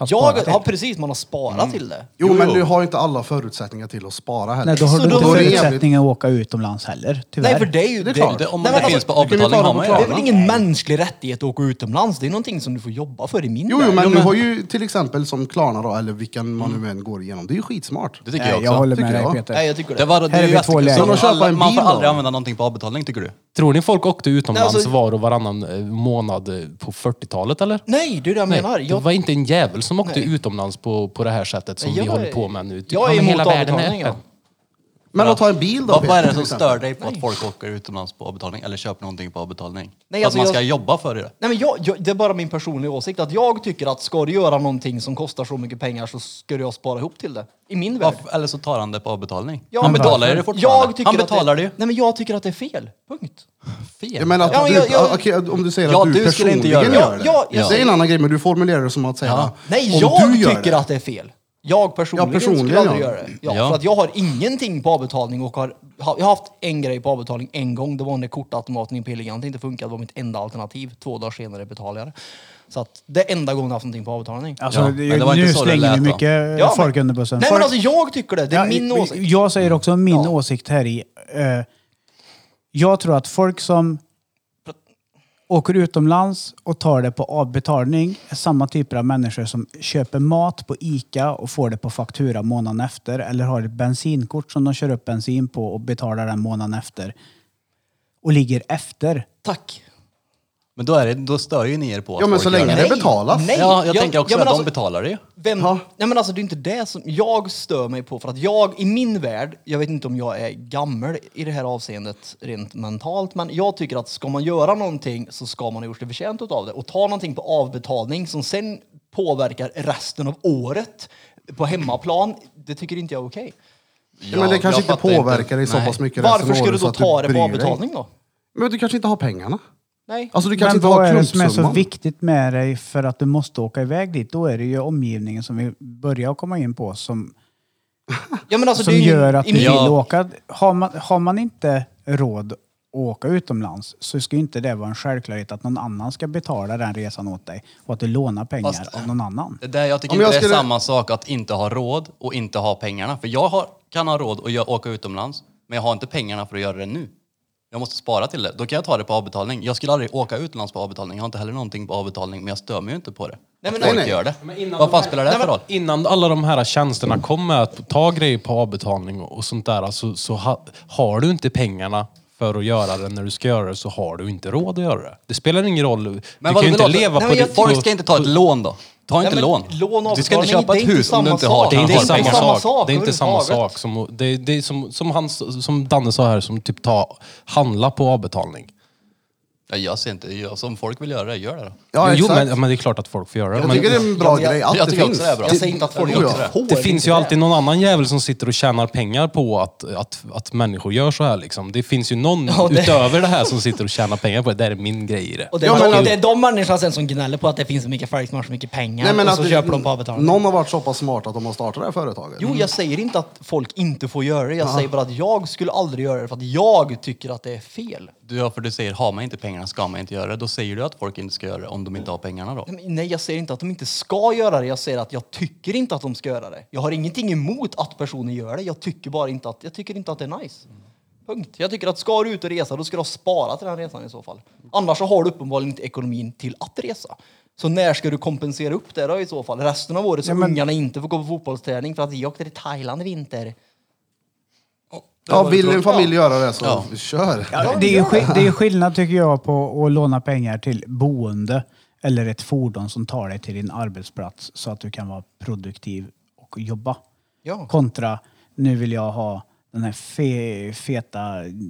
E: Har sparat
G: jag,
E: till.
G: ja precis, man har sparat
A: Mm.
G: till det.
C: Jo, men du har ju inte alla förutsättningar till att spara heller.
E: Nej, då har
G: Så
E: du inte
G: då-
E: förutsättningar att åka utomlands heller. Tyvärr.
G: Nej för det är ju... Det,
A: Det, om
G: nej,
A: man
G: men
A: finns
G: alltså,
A: på
C: du kan ju
A: avbetalning
C: ta
A: har
C: dem
A: man ju
C: på
G: det
A: det.
G: är väl ingen mänsklig rättighet att åka utomlands? Det är någonting som du får jobba för i min
C: Jo,
G: värld.
C: jo, men du har ju till exempel som Klarna då, eller vilken man
E: Mm.
C: nu än går igenom. Det är ju skitsmart.
A: Det tycker
E: Nej,
A: jag också.
E: jag håller
C: tycker
E: med dig
C: jag.
E: Peter.
G: Nej, jag tycker det.
A: Det var, det
E: Här är
A: ju
E: vi två
A: jättekul.
E: läger.
A: Så
E: Som
C: att köpa
A: alla-
C: en
A: Man får
C: bil
A: aldrig
C: av.
A: använda någonting på avbetalning tycker du?
F: Tror ni folk åkte utomlands
G: Nej, alltså-
F: var och varannan eh, månad eh, på 40-talet eller?
G: Nej, det är det jag
F: Nej,
G: menar.
F: det
G: Jag,
F: var inte en jävel som åkte
G: Nej.
F: utomlands på, på det här sättet som
G: Jag
F: vi
G: är-
F: håller på med nu. Typ,
G: jag
F: ja,
G: är
F: men
G: emot
F: hela världen är
G: avbetalning, ja.
F: öppen.
C: Men att ta en bil då,
A: Vad, vad är
C: Peter,
A: det som
C: till exempel?
A: stör dig på att folk åker utomlands på avbetalning eller köper någonting på avbetalning?
G: Nej,
A: För
G: alltså
A: att man ska
G: jag-
A: jobba för det?
G: Nej, men jag, jag, det är bara min personliga åsikt att jag tycker att ska du göra någonting som kostar så mycket pengar så ska jag spara ihop till det. I min värld.
A: Varför, eller så tar han det på avbetalning.
G: Ja,
A: han
G: men
A: betalar ju
G: varför?
A: det fortfarande.
G: Jag tycker
A: han betalar
G: att
A: det
G: det
A: ju.
G: Nej, men jag tycker att det är fel. Punkt.
A: Fel.
C: Jag menar att
G: Ja, men
C: du,
G: jag- jag-
C: okej, om du säger
A: Ja,
C: att du,
A: du skulle
C: personligen
A: inte
C: gör
A: göra
C: det.
A: det.
G: Ja, ja, jag
C: det är en
G: säger-
C: annan grej, men du formulerar det som att säga
G: Nej,
C: om
G: jag
C: du gör
G: tycker
C: det.
G: att det är fel. Jag personligen,
C: Ja, personligen,
G: skulle aldrig
C: ja.
G: göra det. Ja,
A: Ja.
G: För att jag har ingenting på avbetalning och har, ha- jag har haft en grej på avbetalning en gång. Det var när kortautomaten i Pilgrimsland inte funkade. Det var mitt enda alternativ. Två dagar senare betalade jag det. Så att det är enda gången jag har haft någonting på avbetalning.
E: Alltså,
A: Ja,
E: det,
A: men det var
E: nu
A: inte så det
E: slänger
A: lät,
E: ni
A: va?
E: mycket eh,
C: eh,
G: Ja,
E: folk
G: men-
E: under bussen.
G: Nej
E: folk,
G: men alltså jag tycker det. Det är
E: Ja,
G: min
E: jag-
G: åsikt.
E: Jag säger också min
G: Ja.
E: åsikt här i. Eh, jag tror att folk som åker utomlands och tar det på avbetalning är samma typer av människor som köper mat på Ica och får det på faktura månaden efter eller har ett bensinkort som de kör upp bensin på och betalar den månaden efter och ligger efter.
G: Tack.
A: Men då, är det, då stör ju ni er på att
C: Ja, men
A: folk
C: så
A: gör
C: länge
A: det.
C: det betalas.
G: Nej,
A: Ja, jag,
G: jag-
A: tänker också
G: ja, men
A: att
G: alltså-
A: de betalar det ju.
G: Vem,
C: Ja.
G: nej men alltså det är inte det som jag stör mig på för att jag i min värld, jag vet inte om jag är gammal i det här avseendet rent mentalt, men jag tycker att ska man göra någonting så ska man ha gjort sig förtjänt av det och ta någonting på avbetalning som sen påverkar resten av året på hemmaplan, det tycker inte jag är okej.
C: Ja, men det
A: Jag-
C: kanske
A: jag
C: inte
A: fattar
C: påverkar dig så
A: Nej.
C: pass mycket resten
G: Varför
C: av
G: ska
C: året
G: du
C: så
G: då
C: att
G: ta det på
C: bryr dig.
G: avbetalning då?
C: Men du kanske inte har pengarna.
G: Nej.
C: Alltså du kanske
E: Men
C: inte
E: vad
C: har
E: är det som är så
C: klumpsumman.
E: viktigt med dig för att du måste åka iväg dit? Då är det ju omgivningen som vi börjar komma in på som
G: Ja, men alltså,
E: som
G: det är ju-
E: gör att
G: i
E: du
G: min-
E: vill
A: Ja.
E: åka. Har man, har man inte råd att åka utomlands så ska ju inte det vara en självklarhet att någon annan ska betala den resan åt dig och att du lånar pengar
A: Fast-
E: av någon annan.
A: Det där jag tycker
C: Om jag
A: inte det
C: skulle-
A: är samma sak att inte ha råd och inte ha pengarna. För jag har, kan ha råd och jag åka utomlands, men jag har inte pengarna för att göra det nu. Jag måste spara till det. Då kan jag ta det på avbetalning. Jag skulle aldrig åka utomlands på avbetalning. Jag har inte heller någonting på avbetalning, men jag stör mig ju inte på det.
G: Nej, men-
A: att folk
C: nej, nej.
A: gör det. Vad fan spelar det för roll?
F: Innan alla de här tjänsterna kom med att ta grejer på avbetalning och och sånt där, så, så ha, har du inte pengarna för att göra det när du ska göra det så har du inte råd att göra det. Det spelar ingen roll.
A: Men
F: du
A: vadå,
F: kan
A: det
F: ju inte
A: låter-
F: leva
G: Nej,
F: på
G: men jag
F: ditt...
A: Folk
F: på-
A: ska inte ta ett lån då. Ta inte
G: men
A: lån.
G: lån och
A: Du ska
G: avbetalning,
A: inte köpa
G: det är
A: ett
G: inte
A: hus om du
G: samma
A: inte har
G: sak.
F: Det är inte
A: pengar.
F: samma
G: samma
F: sak.
G: sak
F: Det är inte samma
G: överhuvudtaget.
F: sak. Som, det är, det är som, som, han, som Danne sa här, som typ ta, handla på avbetalning.
A: Ja, jag ser inte, jag, som folk vill göra det, gör det då.
C: Ja,
F: jo,
C: exakt.
F: men, ja, men det är klart att folk får göra det.
C: jag
F: men,
C: tycker det är en
G: Ja,
C: bra
G: men jag-
C: grej att
A: jag
C: det
A: tycker
C: finns.
A: också det är bra.
G: Jag säger inte att folk
A: Jag tror
G: inte
A: det.
G: får.
F: Det finns ju alltid någon annan jävel som sitter och tjänar pengar på att, att, att människor gör så här liksom. Det finns ju någon
G: Ja, det-
F: utöver det här som sitter och tjänar pengar på det. Det här är min grej i det.
G: Och det, är
C: Ja, men-
G: de, det är de människorna sen som gnäller på att det finns så mycket följare som har så mycket pengar
C: Nej, men alltså,
G: och
C: att
G: så
C: det-
G: köper de på avbetalning.
C: Någon har varit så pass smart att de har startat det här företaget.
G: Jo,
E: Mm.
G: jag säger inte att folk inte får göra det. Jag säger bara att jag skulle aldrig göra det för att jag tycker att det är fel.
A: Du, ja, för du säger, har man inte pengarna ska man inte göra det. Då säger du att folk inte ska göra det om de inte har pengarna då.
G: Nej, men- Nej, jag säger inte att de inte ska göra det. Jag säger att jag tycker inte att de ska göra det. Jag har ingenting emot att personen gör det. Jag tycker bara inte att, jag tycker inte att det är nice. Punkt. Jag tycker att ska du ut och resa, då ska du ha sparat till den resan i så fall. Annars så har du uppenbarligen inte ekonomin till att resa. Så när ska du kompensera upp det då i så fall? Resten av året så
E: Ja, men-
G: ungarna inte får gå på fotbollsträning för att vi åkte till Thailand i vinter.
C: ja, vill en familj göra det så kör.
E: det, är ju, skill- det är ju skillnad tycker jag på att låna pengar till boende eller ett fordon som tar dig till din arbetsplats så att du kan vara produktiv och jobba.
G: Ja.
E: Kontra, nu vill jag ha den här fe, feta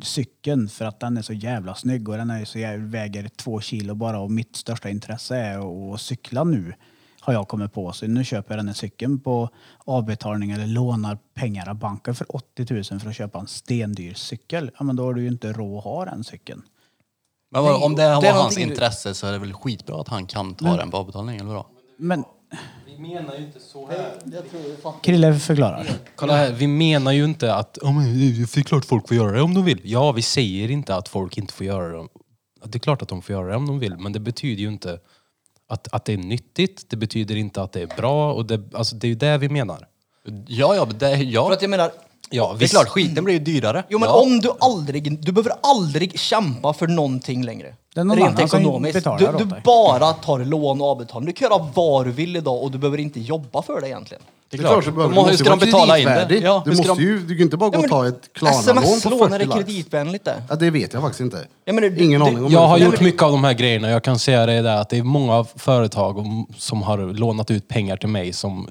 E: cykeln för att den är så jävla snygg och den är så jävla, väger två kilo bara och mitt största intresse är att cykla nu. Har jag kommit på. Så nu köper jag den här cykeln på avbetalning eller lånar pengar av banken för 80 000 för att köpa en stendyr cykel. Ja men då har du ju inte råd att ha den cykeln.
A: Men vad, om det
G: det är
A: var hans
G: någonting du-
A: intresse så är det väl skitbra att han kan ta den på avbetalning, eller vadå?
E: Men
G: Jag tror det
E: Krille förklarar.
F: Kolla här, vi menar ju inte att "Ja, men det är klart folk får göra det om de vill. Ja, vi säger inte att folk inte får göra det. Det är klart att de får göra det om de vill, men det betyder ju inte att, att det är nyttigt. Det betyder inte att det är bra. Och det, alltså, det är ju det vi menar.
A: Ja, ja, det,
G: För
A: Eh, ja.
G: att jag menar,
F: Ja,
A: det är
F: visst.
A: klart, skiten blir ju dyrare.
G: jo men
A: ja.
G: om du aldrig, du behöver aldrig kämpa för någonting längre.
E: Det är någon
G: Rent
E: annan som
G: ekonomiskt.
E: betalar
G: Du,
E: åt
G: du
E: dig.
G: bara tar lån och avbetalning. Du kan göra vad du vill idag och du behöver inte jobba för det egentligen.
A: det är
C: Det är klart,
A: klart.
C: du behöver- du
A: Hur
C: måste
A: ska
C: ju
A: de
C: vara
A: betala in det?
C: kreditvärdig.
A: Ja,
C: du,
A: hur ska
C: måste
A: de-
C: ju, du kan inte bara gå
G: Ja,
C: och
G: men
C: ta ett Klarna-lån på
G: Sms-lån, är
C: 40
G: det
C: lax.
G: kreditvänligt det?
C: Ja, det vet jag faktiskt inte.
G: Ja, men det-
C: Ingen
G: det-
C: aning om
F: Jag
C: det.
F: har
G: Nej,
F: gjort
G: men-
F: mycket av de här grejerna. Jag kan säga det där att det är många företag om- som har lånat ut pengar till mig som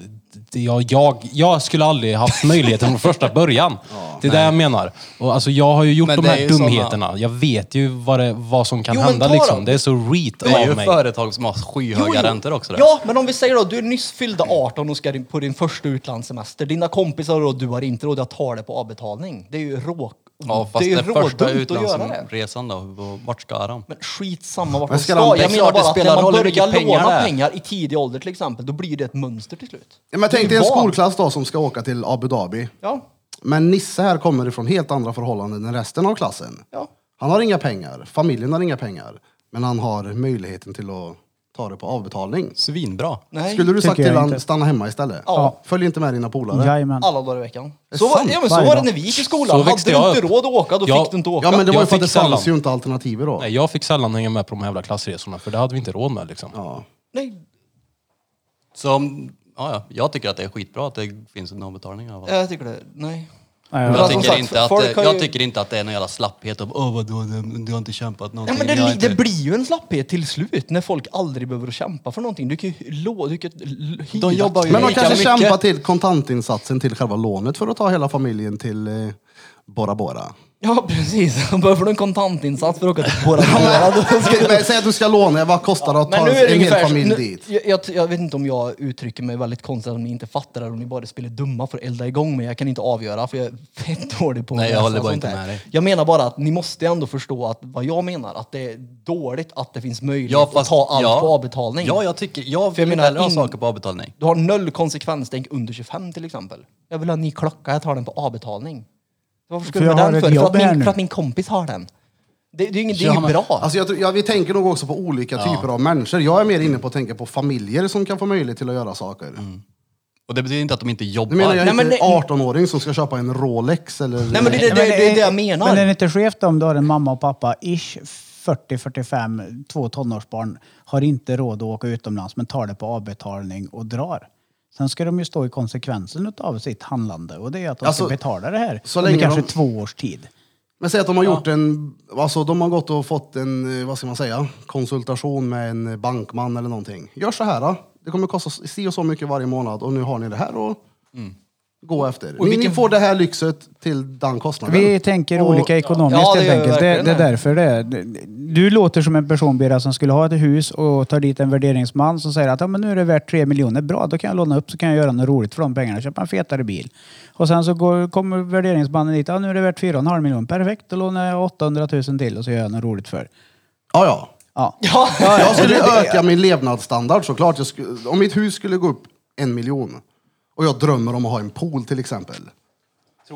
F: jag, jag, jag skulle aldrig haft möjligheten från första början. det är det jag menar. Och alltså, jag har ju gjort
A: Men
F: de
A: det
F: här
A: är ju såna-
F: dumheterna. Jag vet ju vad, det, vad som kan
G: Jo, men
F: hända.
G: ta
F: Liksom.
G: dem.
F: Det är så reat
A: Det är
F: av
A: ju
F: mig.
A: företag som har
G: Jo,
A: skyhöga
G: jo.
A: räntor också. där.
G: Ja, men om vi säger då, du är nyss fyllda 18 och ska din- på din första utlandssemester. Dina kompisar och du har inte råd att ta det på avbetalning. Det är ju rå...
A: ja fast
G: det är
A: det
G: ju
A: första
G: rådumt att göra det.
A: utlandsresan då, v- vart ska han?
G: Men skitsamma vart
C: Men
G: man
C: ska
G: ska.
C: de- det är
G: Jag menar
A: klart det
G: bara att
A: spelar
G: när man
A: roll hur
G: börjar
A: mycket pengar det
G: låna
A: är.
G: pengar i tidig ålder till exempel, då blir det ett mönster till slut.
C: Ja, men
G: Det är
C: tänk dig en
G: barn.
C: skolklass då som ska åka till Abu Dhabi.
G: Ja,
C: Men Nisse här kommer ifrån helt andra förhållanden än resten av klassen.
G: ja.
C: Han har inga pengar, familjen har inga pengar. Men han har möjligheten till att ta det på avbetalning.
A: Svinbra.
G: Nej.
C: Skulle du sagt
E: tycker jag
C: till honom,
E: inte.
C: stanna hemma istället?
G: Ja.
C: Följ inte med dina polare.
E: Jajamän.
G: Alla dagar i veckan.
C: är
G: Så, var,
C: sant,
G: ja, men så
E: varje
G: var det
E: dag.
G: när vi gick i
F: Så
G: skolan. Hade
F: växte
G: du
F: jag
G: inte
F: upp.
G: råd att åka, då
F: Ja.
G: fick du inte åka.
C: Ja, men det var ju
F: Jag
C: för att det
F: fick
C: fanns
F: sällan.
C: ju inte alternativ då.
F: Nej, jag fick sällan hänga med på de här jävla klassresorna för det hade vi inte råd med. Liksom.
C: Ja.
G: Nej,
A: Så, om- ja, ja, jag tycker att det är skitbra att det finns en avbetalning av allt.
G: jag tycker det. Nej.
E: Ja,
G: Men
E: ja.
A: Jag
G: alltså, som
A: tycker,
G: sagt,
A: inte att,
G: folk
A: det-
G: har
A: jag
G: ju-
A: tycker inte att det är någon jävla slapphet av åh vadå, du, du har inte kämpat
G: Ja,
A: någonting.
G: men det,
A: jag typ- har
G: li-
A: inte...
G: det blir ju en slapphet till slut när folk aldrig behöver kämpa för någonting. Du kan ju lå, du kan ju l- hyra.
A: De jobbar ju
C: Men de
A: lika
C: kanske
A: mycket.
C: kämpar till kontantinsatsen till själva lånet för att ta hela familjen till eh, Bora Bora.
G: Ja, precis. Behöver du en kontantinsats för att åka till Bora Bora? då ska
C: Ska- men Säg att du ska låna, vad kostar det att
G: Men
C: ta
G: nu är det
C: en hel
G: ungefär...
C: familj
G: Nu,
C: dit?
G: jag, jag, jag vet inte om jag uttrycker mig väldigt konstigt om ni inte fattar eller om ni bara spelar dumma för att elda igång men jag kan inte avgöra för jag är fett dålig på att
A: Nej, jag
G: läsa
A: håller bara
G: sånt
A: inte
G: här.
A: med dig.
G: Jag menar bara att ni måste ändå förstå att vad jag menar, att det är dåligt att det finns möjlighet
A: Ja, fast-
G: att ta allt
A: ja.
G: på avbetalning.
A: Ja, jag tycker, jag
G: För jag
A: vill inte
G: menar,
A: heller ha
G: in-
A: saker på avbetalning.
G: Du har noll konsekvenstänk under 25 till exempel. Jag vill ha en ny klocka, jag tar den på avbetalning. Varför
E: För
G: skulle du
E: jag
G: ha
E: har
G: den
E: ett
G: för? För
E: jobb
G: att,
E: här
G: min,
E: nu.
G: för att min kompis har den. Det, det är ju inget, det är
A: Ja,
G: ju
A: men-
G: bra.
C: Alltså jag, tror- ja, vi tänker nog också på olika typer av människor. Jag är mer inne på att tänka på familjer som kan få möjlighet till att göra saker.
A: Och det betyder inte att de inte jobbar.
C: Nu menar jag
G: Mm. Nej, men
C: inte
G: det-
C: 18-åring som ska köpa en Rolex eller...
G: Nej men det, det, det,
E: Nej, men
G: det är det jag menar.
E: Men är det inte skevt om du har en mamma och pappa, ish 40-45, två tonårsbarn, har inte råd att åka utomlands men tar det på avbetalning och drar. Sen ska de ju stå i konsekvensen av sitt handlande och det är att de
C: Alltså,
E: ska betala det här
C: så
E: under
C: länge
E: kanske
C: de-
E: två års tid.
C: Men säg att de har gjort en, alltså de har gått och fått en, eh, vad ska man säga, konsultation med en eh, bankman eller någonting. Gör så här då. Det kommer kosta si och så mycket varje månad och nu har ni det här och gå efter.
G: Mm. Och
C: Ni,
G: vilken-
C: ni får det här lyxet till den kostnaden.
E: Vi tänker
C: Och-
E: olika ekonomiskt
G: Ja, det
E: helt
G: gör vi
E: enkelt. Det,
G: verkligen
E: det är
G: det.
E: därför det är. Det- Du låter som en person Bera, som skulle ha ett hus och tar dit en värderingsman som säger att ja, men nu är det värt tre miljoner. Bra, då kan jag låna upp så kan jag göra något roligt för de pengarna. Köpa en fetare bil. Och sen så går, kommer värderingsmannen dit. Ja, nu är det värt fyra och en halv miljon. Perfekt, då lånar jag 800 000 till och så gör jag något roligt för.
C: Ja, ja.
E: Ja.
G: Ja,
C: Jag skulle öka min levnadsstandard såklart. Jag skulle, om mitt hus skulle gå upp en miljon och jag drömmer om att ha en pool till exempel.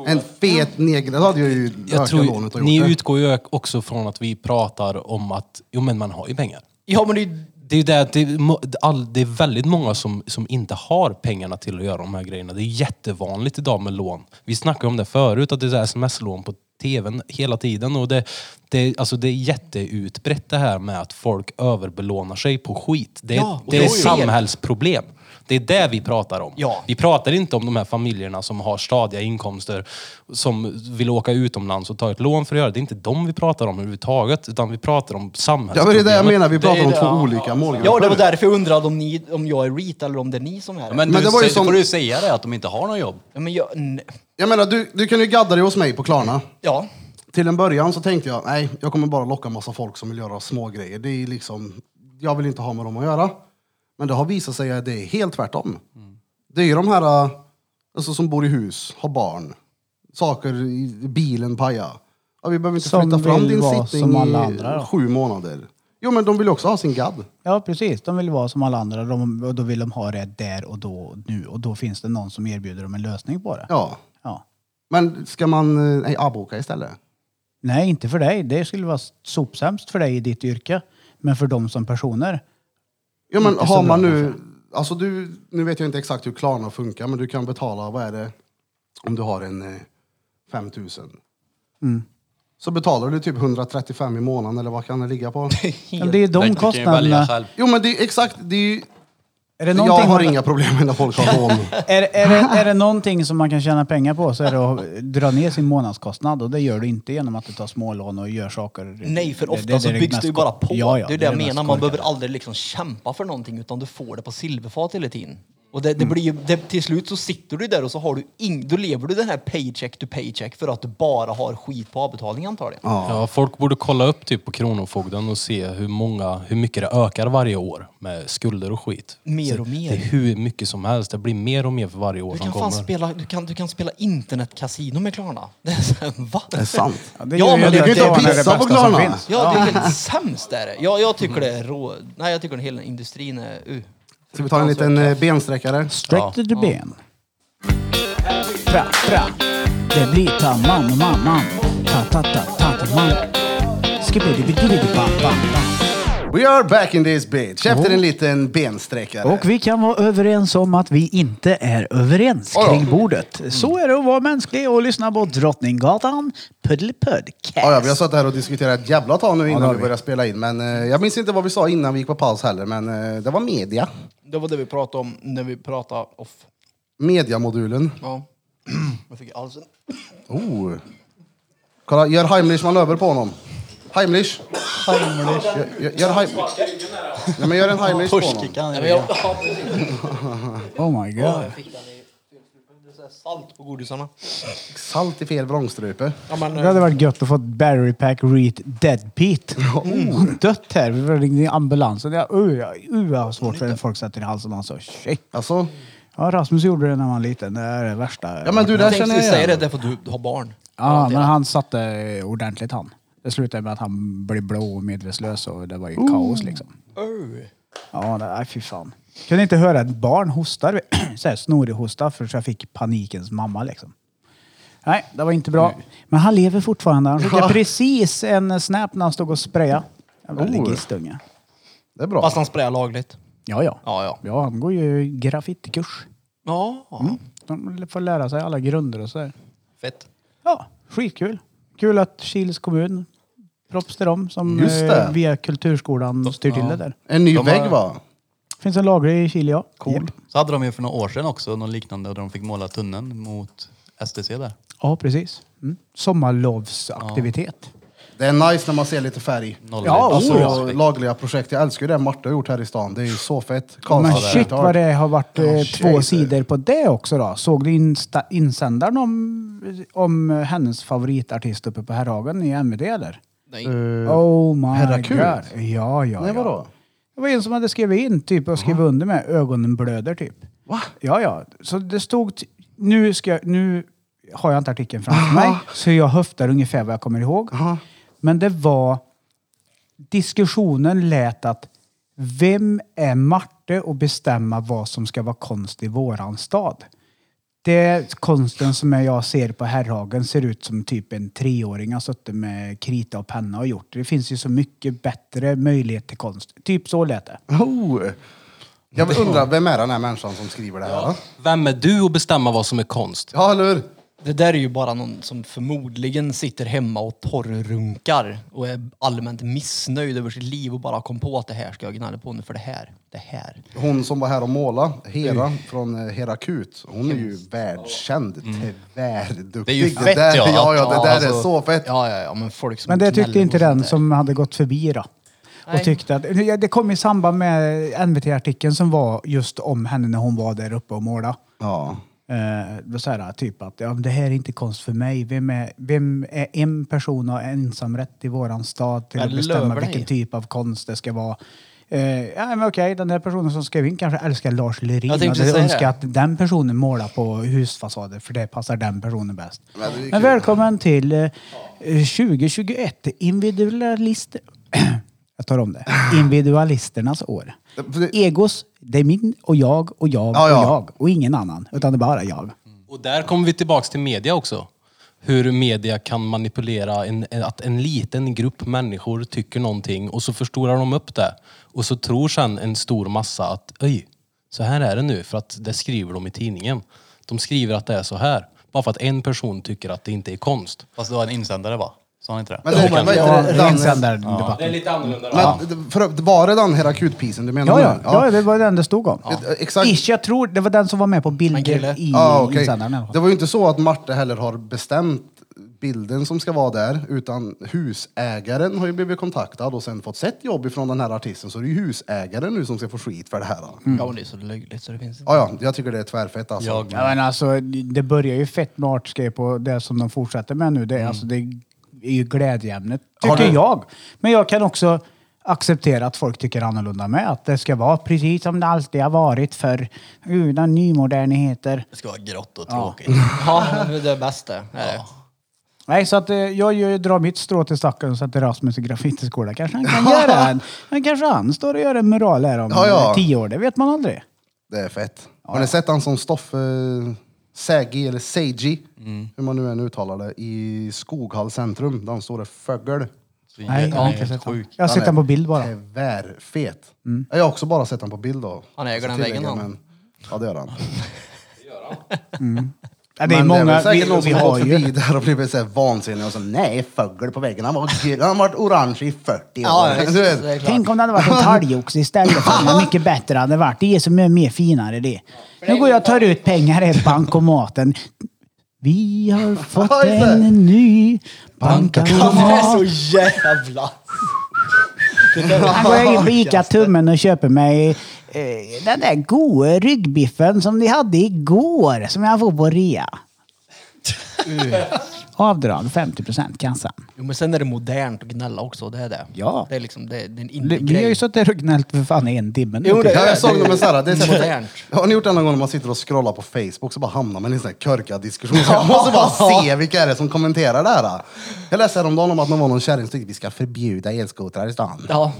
C: En fet negra, då hade jag ju
F: Jag
C: ökat
F: tror,
C: lånet och
F: ni
C: gjort det.
F: utgår ju också från att vi pratar om att jo, men man har ju pengar.
G: ja men det är ju
F: Det är, ju det, att det, är mo- all, det är väldigt många som, som inte har pengarna till att göra de här grejerna. Det är jättevanligt idag med lån. Vi snackade om det förut, att det är så här sms-lån på tvn hela tiden. Och det, det, alltså det är jätteutbrett det här med att folk överbelånar sig på skit. Det, är-
G: Ja, och
F: det
G: då
F: är
G: är det-
F: samhällsproblem. Det är det vi pratar om.
G: Ja.
F: Vi pratar inte om de här familjerna som har stadiga inkomster, som vill åka utomlands och ta ett lån för att göra det. Det är inte de vi pratar om överhuvudtaget, utan vi pratar om
C: Ja, men det är
F: samhällsproblemet.
C: det jag menar, vi pratar
G: är
C: om
G: det,
C: två
G: ja.
C: olika målgrupper.
G: Ja, det var därför jag undrade om, ni, om jag är REIT eller om det är ni som är det.
A: Men,
C: Men
A: du,
C: det var ju
A: säg-
C: som-
A: får du säga det, att de inte har något jobb.
G: Ja, men jag, nej.
C: Jag menar, du, du kan ju gadda dig hos mig på Klarna.
G: ja.
C: Till en början så tänkte jag, nej, jag kommer bara locka massa folk som vill göra små grejer. Det är liksom, jag vill inte ha med dem att göra. Men det har visat sig att det är helt tvärtom. Det är ju de här äh, alltså, som bor i hus, har barn, saker i bilen paja. Ja, vi behöver inte
E: Som
C: flytta fram
E: vill
C: din
E: vara
C: sittning
E: som alla
C: i
E: andra då.
C: sju månader. Jo, men de vill också ha sin gadd.
E: Ja, precis. De vill vara som alla andra de, och då vill de ha det där och då och nu. Och då finns det någon som erbjuder dem en lösning på det.
C: Ja,
E: Ja.
C: men ska man äh, nej, avboka istället?
E: Nej, inte för dig. Det skulle vara sopsämst för dig i ditt yrke. Men för dem som personer.
C: Ja, men
E: Inte så
C: har
E: bra,
C: man nu... Alltså du, nu vet jag inte exakt hur Klarna funkar, men du kan betala, vad är det, om du har en eh, 5000.
E: Mm.
C: Så betalar du typ 135 i månaden, eller vad kan det ligga på?
E: Men det är de
A: Du kan ju välja
E: kostnaderna.
A: själv.
C: jo, men det är exakt, det är ju...
E: Är det,
C: Jag
E: någonting
C: har
E: man,
C: inga problem med när folk har lån.
E: är, är, det, är det någonting som man kan tjäna pengar på så är det att dra ner sin månadskostnad. Och det gör du inte genom att du tar smålån och gör saker.
G: Nej, för
E: Det- det-
G: ofta
E: det är
G: så
E: det
G: byggs
E: mest
G: det ju bara
E: kor-
G: på.
E: Ja, ja,
G: det är det jag
E: mest
G: menar, man
E: korkade.
G: behöver aldrig liksom kämpa för någonting utan du får det på silverfat hela tiden. Och det, det blir ju, det, till slut så sitter du där och så har du ing, då lever du den här paycheck to paycheck för att du bara har skit på avbetalning antagligen.
F: Ja, folk borde kolla upp typ på Kronofogden och se hur, många, hur mycket det ökar varje år med skulder och skit.
G: Mer
F: Så
G: och mer.
F: Det är hur mycket som helst. Det blir mer och mer för varje år
G: Du
F: som
G: kan,
F: kommer.
G: fan spela, du, kan, du kan spela internetkasino med Klarna. Det är så här, Va?
C: Det är sant.
E: Ja, det
G: Ja,
E: gör ju
G: men
E: att
G: du kan ju
E: det
G: inte
E: är det
C: pissa på
E: bästa som
C: Klarna.
E: finns.
G: Ja, det är helt sämst där. Jag, jag tycker det är rå... Nej, jag tycker den hela industrin är... Uh.
C: Ska vi ta en
E: Alltså,
C: liten eh, bensträckare?
E: Sträck dig till ben. Tra, tra. Det blir ta man och mamman. Ta, ta, ta, ta, ta man. Skibidi-bidi-bidi-ba-ba.
C: We are back in this bitch, efter en liten bensträckare.
E: Oh. Och vi kan vara överens om att vi inte är överens
C: Ja, ja.
E: kring bordet. Så är det att vara mänsklig och lyssna på Drottninggatan Puddlepodcast.
C: Ja, ja, vi har suttit här och diskuterat ett jävla tag nu innan
E: det har
C: vi
E: vi.
C: började spela in. Men eh, jag minns inte vad vi sa innan vi gick på paus heller, men eh, det var media.
G: Det var det vi pratade om när vi pratade off.
C: Mediamodulen.
G: Ja. Jag fick alls en...
C: Oh. Kolla, gör Heimlich manöver på honom. Heimlich. Heimlich. Gör, gör, gör Heim- Nej, men gör en Heimlich på honom.
G: Nej, men jag... Ja, precis.
E: Oh my god.
G: Jag fick den i... det är så här Salt på godisarna.
C: Salt i fel vrångstrupe.
G: Ja, men,
E: Det hade varit gött att få Barry Pack Reet Dead Pete. Mm. Dött här. Vi ringde ambulansen. Jag, uh, jag, uh, jag har svårt för när folk sätter i halsen. Han sa shit.
C: Alltså,
E: Ja, Rasmus gjorde det när han var liten. Det är det värsta.
C: ja men du, det
G: jag
C: här
G: tänkte
C: känner
G: vi
C: jag
G: säga det
C: igen.
G: därför att du har barn.
E: Ja, men han satte ordentligt han. Det slutade med att han blev blå och medvetslös och det var ju kaos liksom.
G: Öh.
E: Ja, det- nej fy fan. Kunde inte höra ett barn hosta, så här snorig hosta för så jag fick panikens mamma liksom. Nej, det var inte bra. Men han lever fortfarande. Han skickade precis en snap när han stod och sprayade. Jävla
C: Oh.
E: legistunge.
C: Det är bra.
G: Fast han sprayar lagligt.
E: Ja, ja.
G: Ja, ja.
E: Ja, han går ju graffitikurs.
G: Ja.
E: De får lära sig alla grunder och så där.
A: Fett.
E: Ja, skitkul. Kul att Kils kommun, props till dem som
C: Just det.
E: eh, via Kulturskolan styr till det där.
C: En ny
A: De
C: vägg
A: har-
C: va?
E: Finns en laglig i Kil, ja.
C: Cool.
E: Japp.
A: Så hade de ju för några år sedan också något liknande där de fick måla tunneln mot STC där.
E: Ja, precis. Mm. Sommarlovsaktivitet.
C: Det är nice när man ser lite färg.
A: Noll
E: Ja,
C: Alltså,
E: oh, ja.
C: lagliga projekt. Jag älskar ju det Marta har gjort här i stan. Det är ju så fett.
E: Men
C: Karlstad,
E: shit vad det har varit eh, två
C: Jesus.
E: sidor på det också då. Såg du insta- insändaren om, om eh, hennes favoritartist uppe på Herrhagen i MVD eller?
G: Nej.
E: oh my
C: Herrakul?
E: god.
C: Eh,
E: Ja, ja,
C: Nej,
E: ja.
C: vadå?
E: Det var en som hade skrivit in typ och skrivit under med ögonen blöder typ. Va? Ja, ja. Så det stod... T- nu ska jag, Nu har jag inte artikeln framför mig, så jag höftar ungefär vad jag kommer ihåg. Men det var... Diskussionen lät att vem är Marte och bestämma vad som ska vara konst i våran stad? Det konsten som jag ser på Herrhagen ser ut som typ en treåring har suttit med krita och penna och gjort. Det finns ju så mycket bättre möjlighet till konst. Typ så lät det.
C: Oh. Jag undrar, vem är den här människan som skriver det här? Ja,
F: Vem är du att bestämma vad som är konst?
C: ja eller hur?
G: Det där är ju bara någon som förmodligen sitter hemma och torrrunkar och är allmänt missnöjd över sitt liv och bara kom på att det här ska jag gnälla på nu för det här, det här.
C: Hon som var här och måla, Hera från eh, Herakut, hon är ju världskänd. Tvärduktig.
A: Det är ju fett,
C: där,
A: ja.
C: ja, ja. Det där är
G: alltså,
C: så fett.
G: Ja, ja, ja, men folk som
E: Men det
G: gnäller
E: tyckte
G: på
E: inte
G: sånt
E: den
G: där.
E: som hade gått förbi då. Och
G: Nej.
E: tyckte att, ja, det kom i samband med NVT-artikeln som var just om henne när hon var där uppe och målade.
C: Ja.
E: Eh, det var så här, typ att ja, men det här är inte konst för mig. Vem är, vem är en person och har ensamrätt i våran stad till
G: Jag
E: att bestämma
G: lovar dig.
E: vilken typ av konst det ska vara? Eh, ja, men okej, den där personen som skrev in kanske älskar Lars Lerin
G: Jag
E: och
G: tänkte
E: hade
G: säga
E: önskat
G: det.
E: att den personen målar på husfasader för det passar den personen bäst.
C: Men det är ju
E: Men,
C: kul.
E: välkommen till eh, 2021, individualister... jag tar om det. Individualisternas år.
C: För det-
E: Egos, det är min och jag och jag
C: Ja, ja.
E: och jag och ingen annan. Utan det är bara jag.
F: Och där kommer vi tillbaks till media också. Hur media kan manipulera en, en- att en liten grupp människor tycker någonting och så förstorar de upp det. Och så tror sen en stor massa att oj, så här är det nu för att det skriver de i tidningen. De skriver att det är så här. Bara för att en person tycker att det inte är konst.
A: Fast det var en insändare va? Sa han inte det?
C: Men det, vad heter
E: Ja,
C: det?
E: ren
C: Danne-
E: sändardebatt.
F: är lite annorlunda.
C: Men för, var det den Herakut-pisen du menar?
E: Ja,
C: nu?
E: ja, ja, det var den det stod om.
C: Ja. Exakt.
E: Ish, jag tror det var den som var med på
G: Men kille.
E: bilder i
C: Ja, okej.
E: insändaren. i alla fall.
C: Det var ju inte så att Marte heller har bestämt bilden som ska vara där, utan husägaren har ju blivit kontaktad och sen fått sett jobb ifrån den här artisten, så det är ju husägaren nu som ska få skit för det här.
G: Ja, men det är så löjligt så det finns
C: Ja, ja, jag tycker det är tvärfett alltså.
A: Jag,
E: Ja, men alltså, det börjar ju fett med artscape och det som de fortsätter med nu. Det, är alltså, det är ju glädjeämnet,
C: Mm. Har
E: tycker
C: du-
E: jag. Men jag kan också acceptera att folk tycker annorlunda med. Att det ska vara precis som det alltid har varit för utan nymodernheter.
A: det ska vara grått och tråkigt.
G: Ja, det är det bästa. Är det.
E: Nej, så att eh, jag gör- drar mitt strå till stacken så att Rasmus i graffitiskola kanske han kan göra en. Men kanske han står och gör en mural här om
C: Ja, ja.
E: eh, tio år. Det vet man aldrig.
C: Det är fett. Har ni sett han som Stoffe Sägi, eller Seiji,
E: Mm.
C: hur man nu än uttalar det, i Skoghall centrum, där han står och fögel.
A: Så
E: Nej,
A: jag
E: jag har
A: är
E: inte sett
A: helt
E: den.
A: sjuk.
E: Jag har sett den på bild bara.
C: Tvärfet.
E: Mm.
C: Jag har också bara sett han på bild då.
G: Han äger
C: ska
G: den väggen,
C: tillägga,
G: han.
C: men- Ja, det gör han.
E: Ja, det är
C: Men
E: många,
C: väl säkert
E: vi,
C: någon
E: vi
C: som har
E: har
C: gått
E: ju...
C: förbi där och blivit så här vansinnig och så nej, fågel på väggen. Han var gul, han har varit orange i 40 år.
G: Ja, ja,
C: du
G: det
C: vet.
G: är klart.
E: Tänk om det hade varit en talgoxe istället. Fan vad mycket bättre det hade varit. Det är som är mer finare det. Nu går jag och tar ut pengar i bankomaten. Vi har fått
C: just det.
E: en ny bankomat.
G: Det är så jävla...
E: Han går jag in på Ica-tummen och köper mig eh, den där goa ryggbiffen som ni hade igår, som jag får på rea.
G: Mm.
E: Avdrag 50 procent kassan.
G: Jo, men sen är det modernt att gnälla också, det är det.
E: Ja.
G: Det är liksom, det, det är en
E: Vi har
G: indie-grej.
E: ju suttit och gnällt för fan i en timme nu.
G: Jo, det-
C: Ja, jag såg
G: Det-
C: dem med såhär, det är såhär,
G: Modernt.
C: har ni gjort det någon gång när man sitter och scrollar på Facebook så bara hamnar man i en sån här körkad diskussion. Så jag måste bara se vilka är det som kommenterar det här. Jag läste häromdagen om att någon var någon kärring som tyckte vi ska förbjuda elskotrar i stan.
G: Ja.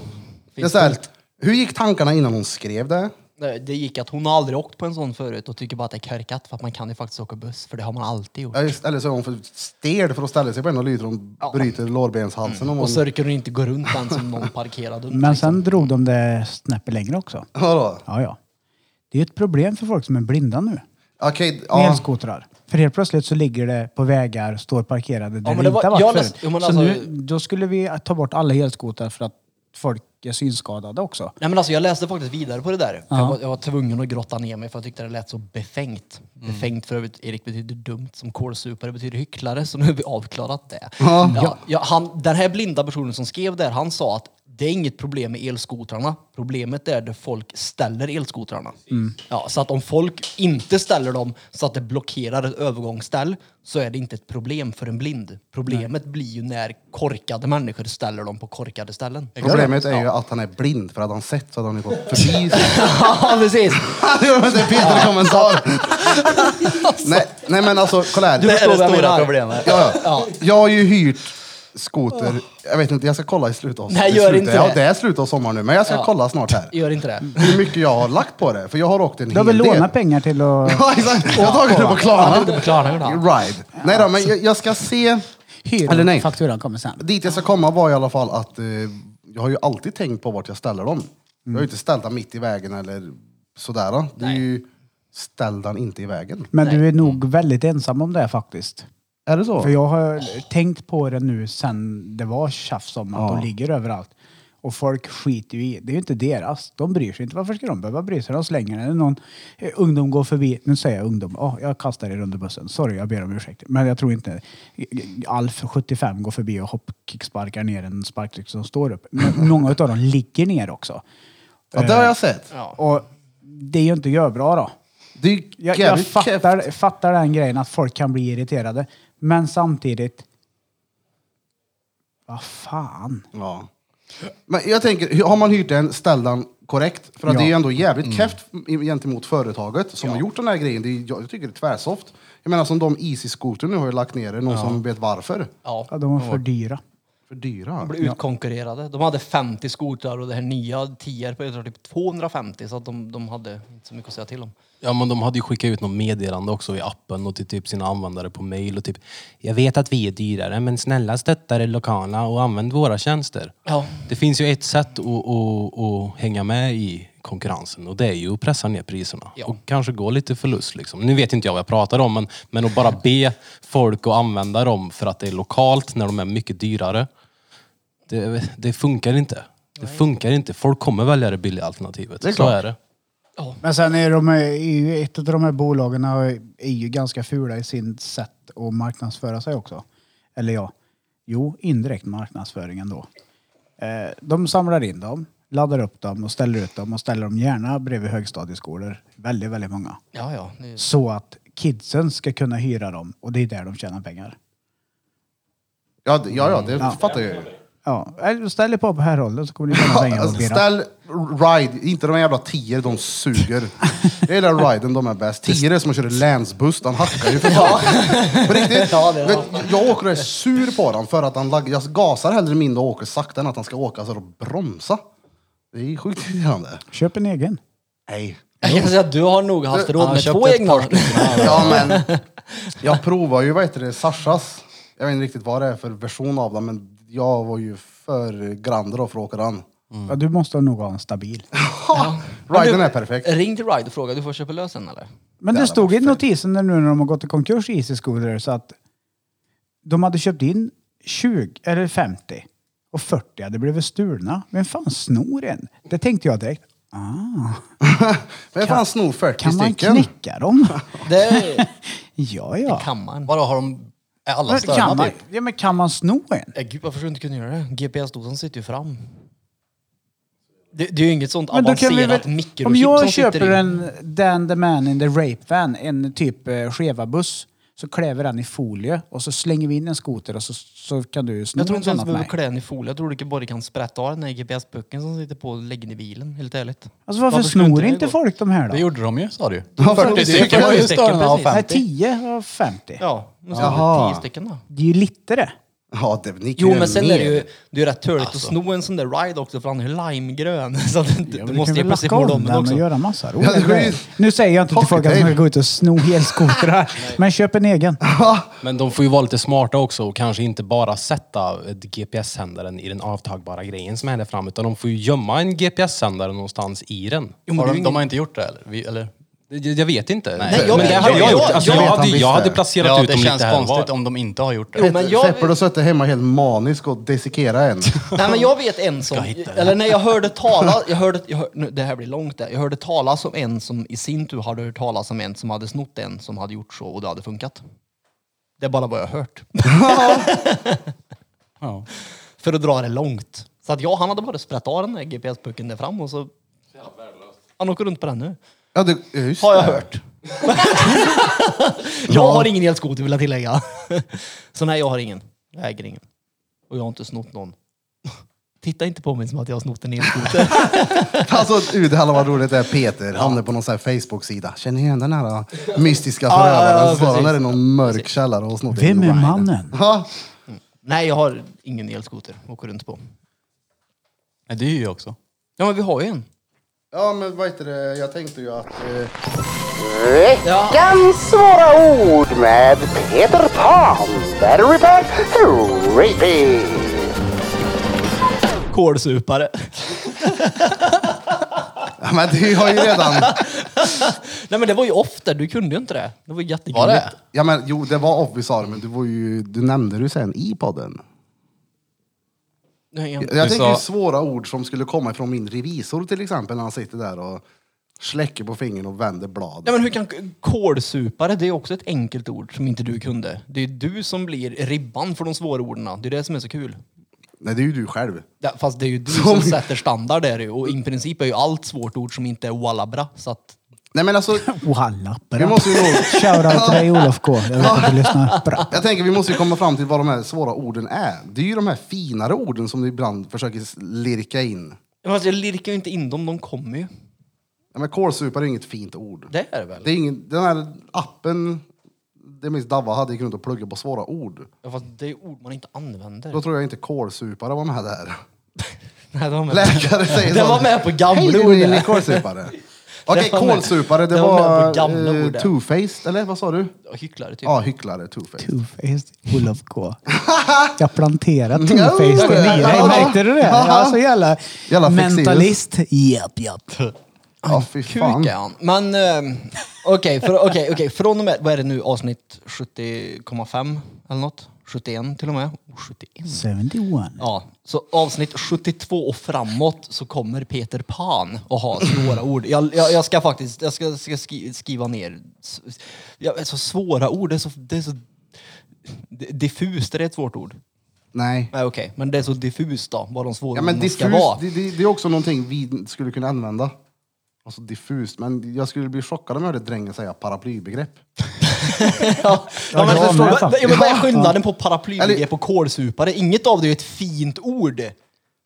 C: Det är
G: Finns
C: så här, hur gick tankarna innan hon skrev det?
G: Det det gick att hon har aldrig åkt på en sån förut och tycker bara att det är körkat för att man kan ju faktiskt åka buss för det har man alltid gjort.
C: Ja, just- Eller så är hon för stel för att ställa sig på en och lyder hon bryter lårbenshalsen. om
G: Mm. Och
C: hon-
G: så orkar hon inte gå runt den som någon parkerade under.
E: Men
G: liksom.
E: sen drog de det snäppet längre också.
C: Vadå?
E: Ja, ja. Det är ju ett problem för folk som är blinda nu.
C: Okej,
E: Med
C: ja.
E: elskotrar. För helt plötsligt så ligger det på vägar, står parkerade där
G: men
E: det,
G: det
E: inte
G: var-
E: har varit
G: jag
E: förut.
G: läste- jo, men
E: så
G: alltså-
E: nu, då skulle vi ta bort alla elskotrar för att folk är synskadade också.
G: Nej men alltså jag läste faktiskt vidare på det där. För Jag, var, jag var tvungen att grotta ner mig för jag tyckte det lät så befängt. Befängt för övrigt, Erik betyder dumt som kålsupare betyder hycklare så nu har vi avklarat det. Ja, ja, han, den här blinda personen som skrev där, han sa att det är inget problem med elskotrarna. Problemet är där folk ställer elskotrarna. Ja, så att om folk inte ställer dem så att det blockerar ett övergångsställ så är det inte ett problem för en blind. Problemet blir ju när korkade människor ställer dem på korkade ställen.
C: Problemet är ju att han är blind, för hade han sett så hade han ju gått förbi.
G: ja, precis.
C: det är Peter kommentar. nej, nej men alltså, kolla här.
G: Du förstår vad jag menar.
C: Ja, ja. Jag har ju hyrt skoter, jag vet inte, jag ska kolla i slutet av
G: Nej,
C: i
G: gör
C: slutet.
G: inte
C: ja,
G: det.
C: det är slutet av sommaren nu, men jag ska
G: Ja.
C: kolla snart här.
G: Gör inte det.
C: Hur mycket jag har lagt på det, för jag har åkt en
E: Du har
C: hel
E: väl
C: del.
E: lånat pengar till att
C: Ja, exakt. Jag har tagit det på Klarna.
G: Klarna
C: Right. Nej då, men jag, jag ska se.
E: hyra?
C: Eller nej.
E: Fakturan kommer sen.
C: Dit jag ska komma var i alla fall att eh, jag har ju alltid tänkt på vart jag ställer dem. Jag har
E: Mm.
C: ju inte ställt dem mitt i vägen eller sådär. Det är ju, ställ den inte i vägen.
E: Men du är nog väldigt ensam om det faktiskt.
C: Är det så?
E: För jag har tänkt på det nu sen det var tjafs om att
C: Ja.
E: de ligger överallt. Och folk skiter ju i, det är ju inte deras. De bryr sig inte. Varför ska de behöva bry sig? De slänger den. När någon eh, ungdom går förbi, nu säger jag ungdom, oh, jag kastar er under bussen. Sorry, jag ber om ursäkt. Men jag tror inte Alf, 75, går förbi och hoppkicksparkar ner en sparkcykel som står upp. Men många av dem ligger ner också.
C: Ja, det har jag sett.
E: Och det är ju inte görbra då.
C: Det är ju
E: Jag, jag
C: jävligt keft.
E: fattar, fattar den grejen att folk kan bli irriterade. Men samtidigt... Vad fan?
C: Ja. Men jag tänker, har man hyrt den, ställ den korrekt. För att
E: Ja. Mm.
C: det är ju ändå jävligt keft gentemot företaget som har gjort den här grejen. Det är, jag tycker det är tvärsoft. Jag menar som de Easy-skoter nu har ju lagt ner det, någon som vet varför.
E: Ja, de var för dyra.
C: För dyra.
G: blev utkonkurrerade. De hade 50 skotrar och det här nya 10 på jag tror typ 250 så att de, de hade inte så mycket att säga till om.
F: Ja men de hade ju skickat ut något meddelande också i appen och till typ sina användare på mail och typ Jag vet att vi är dyrare men snälla stötta det lokala och använd våra tjänster.
G: Ja.
F: Det finns ju ett sätt att, att, att hänga med i konkurrensen och det är ju att pressa ner priserna
G: Ja.
F: och kanske gå lite förlust. Liksom. Nu vet inte jag vad jag pratar om men, men att bara be folk att använda dem för att det är lokalt när de är mycket dyrare. Det, det funkar inte. Det funkar inte. Folk kommer välja det billiga alternativet.
C: Det är
F: Så
C: klart.
F: är det.
E: Men sen är de är ju, ett av de här bolagen har- är ju ganska fula i sin sätt att marknadsföra sig också. Eller ja, jo, indirekt marknadsföring ändå. Eh, de samlar in dem, laddar upp dem och ställer ut dem och ställer dem gärna bredvid högstadieskolor. Väldigt, väldigt många.
G: Ja, ja. det är-
E: så att kidsen ska kunna hyra dem och det är där de tjänar pengar.
C: Ja, d- ja, ja det fattar jag ju.
E: Mm. Ja, eller ställ er på på härhållet så kommer ni tjäna pengar och
C: Alltså,
E: bira.
C: ställ ride, inte de jävla tior, de suger. Jag gillar riden, de är bäst. Tior är som att köra länsbuss, den hackar ju för fan. På riktigt.
G: Ja, det är
C: Vet, jag åker och är sur på den för att han lag, jag gasar hellre mindre och åker sakta än att han ska åka så och bromsa. Det är sjukt irriterande.
E: Köp en egen.
C: Nej.
G: Jag kan säga att du har nog haft råd
D: han
G: med
D: köpte
G: två
D: ett
G: egna.
D: par stycken.
C: Ja, men jag provar ju, vad heter det, Sashas. Jag vet inte riktigt vad det är för version av den, men jag var ju för grand då för att åka den.
E: Ja, du måste nog ha en stabil.
G: Men
C: Riden
G: du,
C: är perfekt.
G: Ring till Ride och fråga, du får köpa lös en eller?
E: Men det stod i notisen där nu när de har gått i konkurs i Easy Scooter så att de hade köpt in 20 eller 50 och 40 hade blivit stulna. Vem fan snor en? Det tänkte jag direkt. Ah,
C: Men fan snor 40
E: kan man
C: stycken.
E: knäcka dem?
G: Det är
E: ja, ja.
G: kammaren.
A: Vadå, har de... Är alla
E: Men kan,
A: störna
E: man,
A: typ?
E: ja, men kan man sno en?
G: Eh, Gud, varför skulle du inte kunna göra det? GPS-dosan sitter ju fram. Det, det är ju inget sånt
E: Men då kan vi
G: avancerat
E: väl-
G: mikrochip
E: Om
G: som
E: jag
G: sitter
E: köper
G: i.
E: en Dan the Man in the Rape Van, en typ eh, Cheva-buss, så klär vi den i folie och så slänger vi in en skoter och så, så kan du sno
G: Jag tror
E: en
G: inte
E: sån
G: ens
E: åt
G: du behöver
E: mig.
G: klä den i folie. Jag tror du bara kan sprätta av den här GPS-pucken som sitter på och lägger den i bilen, helt ärligt.
E: Alltså varför,
G: Varför skulle
E: snor
G: det
E: inte
G: gå?
E: folk de här
A: Det
E: då?
A: gjorde de ju, sa du ju.
C: Ja,
A: 40 stycken var ju störna av
E: Nej,
A: 50.
E: 10 och 50.
G: Ja, men så
C: Jaha.
G: är det tio stycken då.
E: Det är ju lite det.
C: Ja, det, ni kan
G: Jo,
C: ju
G: men sen
C: mer.
G: är det ju, det är ju rätt töligt att sno en sån där ride också för han är ju limegrön. Så att du,
E: Ja,
G: du
E: men
G: måste
E: kan
G: ju
E: väl
G: plötsligt
E: lacka
G: få dem
E: om den
G: också.
E: och göra massa roliga
C: det går ju-
E: grejer. Nu säger jag inte till folk att de ska
C: Hockeytape.
E: gå ut och sno helskotrar, men köp en egen.
F: Men de får ju vara lite smarta också och kanske inte bara sätta ett GPS-sändaren i den avtagbara grejen som är där fram, utan de får ju gömma en GPS-sändare någonstans i den.
G: Jo, men
A: Har
G: det är
A: de,
G: ju
A: de
G: ingen,
A: har inte gjort det eller? Vi, eller?
F: Jag jag vet inte.
A: Nej,
G: jag-
F: men det hade
G: jag-
F: jag gjort.
G: jag-
F: Alltså,
G: jag-
F: jag, hade,
C: jag-
F: jag hade
A: Ja,
F: placerat ut
A: det
F: dem i
A: känns
F: det här
A: konstigt
F: var.
A: om de inte har gjort det.
G: Jo, men jag-
C: Shepard har suttit hemma helt manisk och dissekerat en.
G: Nej men jag vet en som, eller när jag hörde talas, jag hörde, jag hör, nu, det här blir långt där. Jag hörde talas om en som i sin tur hade hört talas om en som hade snott en som hade gjort så och det hade funkat. Det är bara vad jag har hört.
A: Ja.
G: För att dra det långt. Så att jag, han hade bara sprätt av den där GPS-pucken där fram och så... Han åker runt på den nu.
C: Ja, det, ja, just
G: Har jag
C: det.
G: hört. jag har ingen elskoter vill jag tillägga. så nej, jag har ingen. Jag äger ingen. Och jag har inte snott någon. Titta inte på mig som att jag har snott en elskoter.
C: Alltså, ut, hallå vad roligt det är. Peter hamnar på någon sån här Facebook-sida. Känner ni igen den här mystiska
G: Ja, ja, ja,
C: förövaren? så står han
G: precis.
C: där i någon mörk källare och snott
E: Vem
C: en
E: är
C: ride.
E: mannen?
C: Ja,
G: nej, jag har ingen elskoter. Åker runt på.
A: Nej, det är ju jag också.
G: Ja, men vi har ju en.
C: Ja, men vad heter det? Jag tänkte ju att... Eh,
H: Veckans svåra ord med Peter Pan. Battery pack, repeat.
G: Kålsupare.
C: ja, men du har ju redan...
G: nej, men det var ju ofta. Du kunde ju inte det. Det var ju jättegulligt.
A: Var det?
C: Ja, men jo, det var obvious sa du, men du, var ju, du nämnde det ju sen i podden.
G: Nej,
C: Jag,
G: jag-
C: jag
A: Du
C: tänker
A: sa-
C: ju svåra ord som skulle komma från min revisor till exempel, när han sitter där och släcker på fingern och vänder blad.
G: Nej, men hur kan kålsupare, det är också ett enkelt ord som inte du kunde. Det är du som blir ribban för de svåra orden. Det är det som är så kul.
C: Nej, det är ju du själv.
G: Ja, Fast det är ju du som sätter standard där ju. och i princip är ju allt svårt ord som inte är walabra. Så att,
C: Nej, men alltså...
E: Walla,
C: Vi
E: bra.
C: måste ju nog...
E: Shoutout till dig Olof K. Jag vet att du lyssnar. Bra.
C: Jag tänker vi måste ju komma fram till vad de här svåra orden är. Det är ju de här finare orden som du ibland försöker s- lirka in.
G: fast jag lirkar ju inte in dem, de kommer ju.
C: Ja, men kålsupare är inget fint ord.
G: Det är det väl?
C: Det är ingen, den här appen, det minns Davva hade, gick runt och pluggade på svåra ord.
G: Ja, fast det är ord man inte använder.
C: Då tror jag inte kålsupare var med där.
G: Nej, det var med.
C: Läkare säger
G: Det
C: så.
G: var med på gamla
C: Hej,
G: ord
C: du är ni
G: där."
C: kålsupare. Okej,
G: Det var med-
C: kålsupare, det
G: det var med
C: var,
G: på gamla
C: eh,
G: ord där.
C: two-faced, eller vad sa du?
G: Ja, Hycklare typ.
C: Ja, hycklare, two-faced.
E: Two-faced Olof K. Jag planterar two-faced i
C: Ja,
E: dig.
C: ja.
E: Märkte du det? Ja, så jävla,
C: Jävla flexibel.
E: mentalist. Japp, japp.
C: Ja, fy
G: Kuk
C: fan.
G: är han. Men ehm, okej, för- okej, okej. från och med, vad är det nu, avsnitt 70,5 eller något? 71 till och med. Oh, 71.
E: 71.
G: Ja, så avsnitt 72 och framåt så kommer Peter Pan att ha svåra ord. Jag, jag, jag ska faktiskt jag ska, ska skri, skriva ner. S- Jag, så svåra ord, det är så, det är så d- diffust. Är det ett svårt ord?
C: Nej.
G: Nej okej, men det är så diffust då, vad de svåra
C: Ja, men
G: orden
C: diffust,
G: ska vara.
C: det, det, det är också någonting vi skulle kunna använda. Alltså diffust, men jag skulle bli chockad om jag hörde drängen säga paraplybegrepp.
G: ja,
E: Ja,
G: men,
E: jag
G: förstår,
E: med,
G: vad-
E: faktiskt.
G: ja, men vad är
E: Ja.
G: skillnaden på paraplybegrepp
C: Eller-
G: och kålsupare? Inget av det är ju ett fint ord.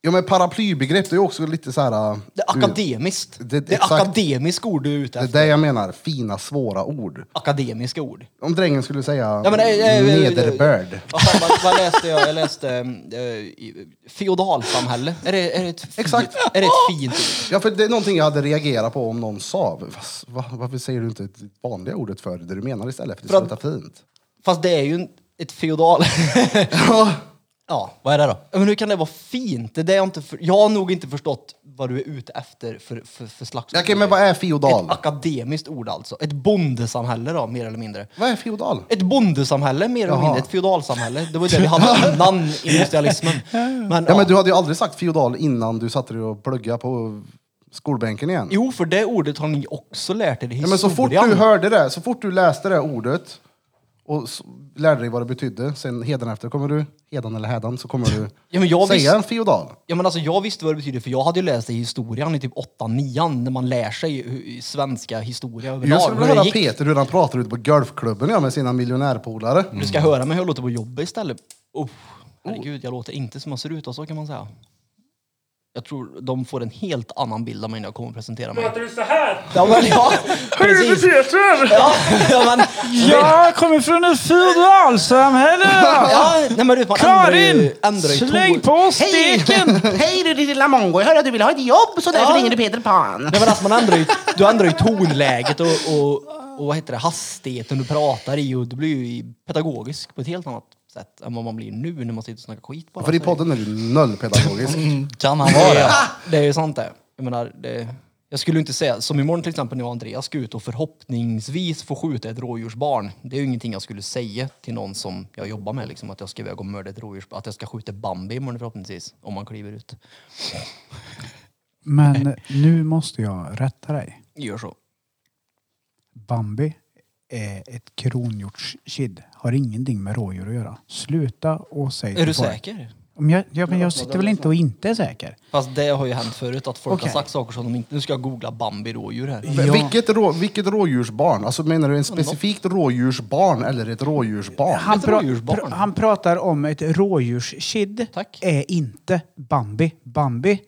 C: Ja, men paraplybegrepp, det är också lite så här... äh,
G: Det är akademiskt.
C: Det-
G: Det,
C: exakt.
G: är akademiskt ord du är ute
C: Det är
G: efter.
C: det jag menar, fina svåra ord.
G: Akademiska ord.
C: Om drängen skulle säga
G: Ja, men, eh, eh, eh,
C: nederbörd.
G: Vad, fan, vad, vad läste jag? Jag läste ehm, eh, i- feodalsamhälle. Är det, är det ett fint,
C: Exakt.
G: Är det ett fint ord?
C: Ja, för det är någonting jag hade reagerat på om någon sa. "Vas- Va, varför säger du inte det vanliga ordet för det du menar istället? För det
G: För att-
C: slutar fint.
G: Fast det är ju en, ett feodal...
C: Ja,
G: ja.
A: Vad är det då?
G: Men hur kan det vara fint? Det är det jag, inte för, jag har nog inte förstått vad du är ute efter för, för, för slags
C: Okej, men vad är feodal?
G: Ett akademiskt ord alltså. Ett bondesamhälle då, mer eller mindre.
C: Vad är feodal?
G: Ett bondesamhälle mer eller
C: Jaha.
G: mindre, ett feodalsamhälle. Det var ju det vi hade innan industrialismen. Men,
C: Ja, men du hade ju aldrig sagt feodal innan du satte dig och pluggade på skolbänken igen.
G: Jo, för det ordet har ni också lärt er i
C: ja,
G: historien.
C: men så fort du hörde det, så fort du läste det ordet och s- lärde dig vad det betydde, sen hedan efter kommer du, hedan eller hädan, så kommer du
G: Ja, men jag
C: säga
G: visste-
C: en feodal.
G: Ja, men alltså, jag visste vad det betyder för jag hade ju läst det i historien i typ 8-9 när man lär sig hur- i svenska historia överlag.
C: Jag skulle vilja
G: hur det
C: höra
G: gick.
C: Peter hur han pratar ute på golfklubben ja, med sina miljonärpolare.
G: Du ska höra mig hur jag låter på jobbet istället. Oh, herregud, jag låter inte som jag ser ut och så kan man säga. Jag tror de får en helt annan bild av mig när jag kommer och presenterar mig.
I: Låter du så här?
G: Ja, men, ja, precis. Ja, ja, men,
I: Jag kommer från ett feodalsamhälle!
G: ja, nej, men du, man ändrar ju, ändrar ju ton.
I: oss steken!
H: Hej du lilla mongo, jag hörde att du vill ha ett jobb så därför
G: Ja.
H: ringer du Peter Pan.
G: Nej, men alltså, man ändrar ju, du ändrar ju tonläget och, och, och vad heter det, hastigheten du pratar i och du blir ju pedagogisk på ett helt annat sätt än vad man blir nu när man sitter och snackar skit bara.
C: För i
G: Så
C: podden är du noll pedagogisk.
A: Kan han vara det?
G: det är ju sant det. Jag menar, det, Jag skulle inte säga, som imorgon till exempel när jag och Andreas ska ut och förhoppningsvis få skjuta ett rådjursbarn. Det är ju ingenting jag skulle säga till någon som jag jobbar med, liksom, att jag ska iväg och mörda ett rådjursbarn. Att jag ska skjuta Bambi imorgon förhoppningsvis, om man kliver ut.
E: Men nu måste jag rätta dig.
G: Gör så.
E: Bambi är ett kronhjortskid. Har ingenting med rådjur att göra. Sluta och säg
G: Är
E: till
G: du
E: folk-
G: säker?
E: Om jag, ja, men jag sitter väl inte och inte är säker?
G: Fast det har ju hänt förut, att folk
E: Okej.
G: har sagt saker som de inte... Nu ska jag googla Bambi rådjur här.
C: V- Vilket, rå, vilket rådjursbarn? Alltså menar du en specifikt rådjursbarn eller ett rådjursbarn?
E: Han,
G: Ett
E: pra-
G: rådjursbarn.
E: pra- han pratar om ett rådjurskid.
G: Tack.
E: Är inte Bambi. Bambis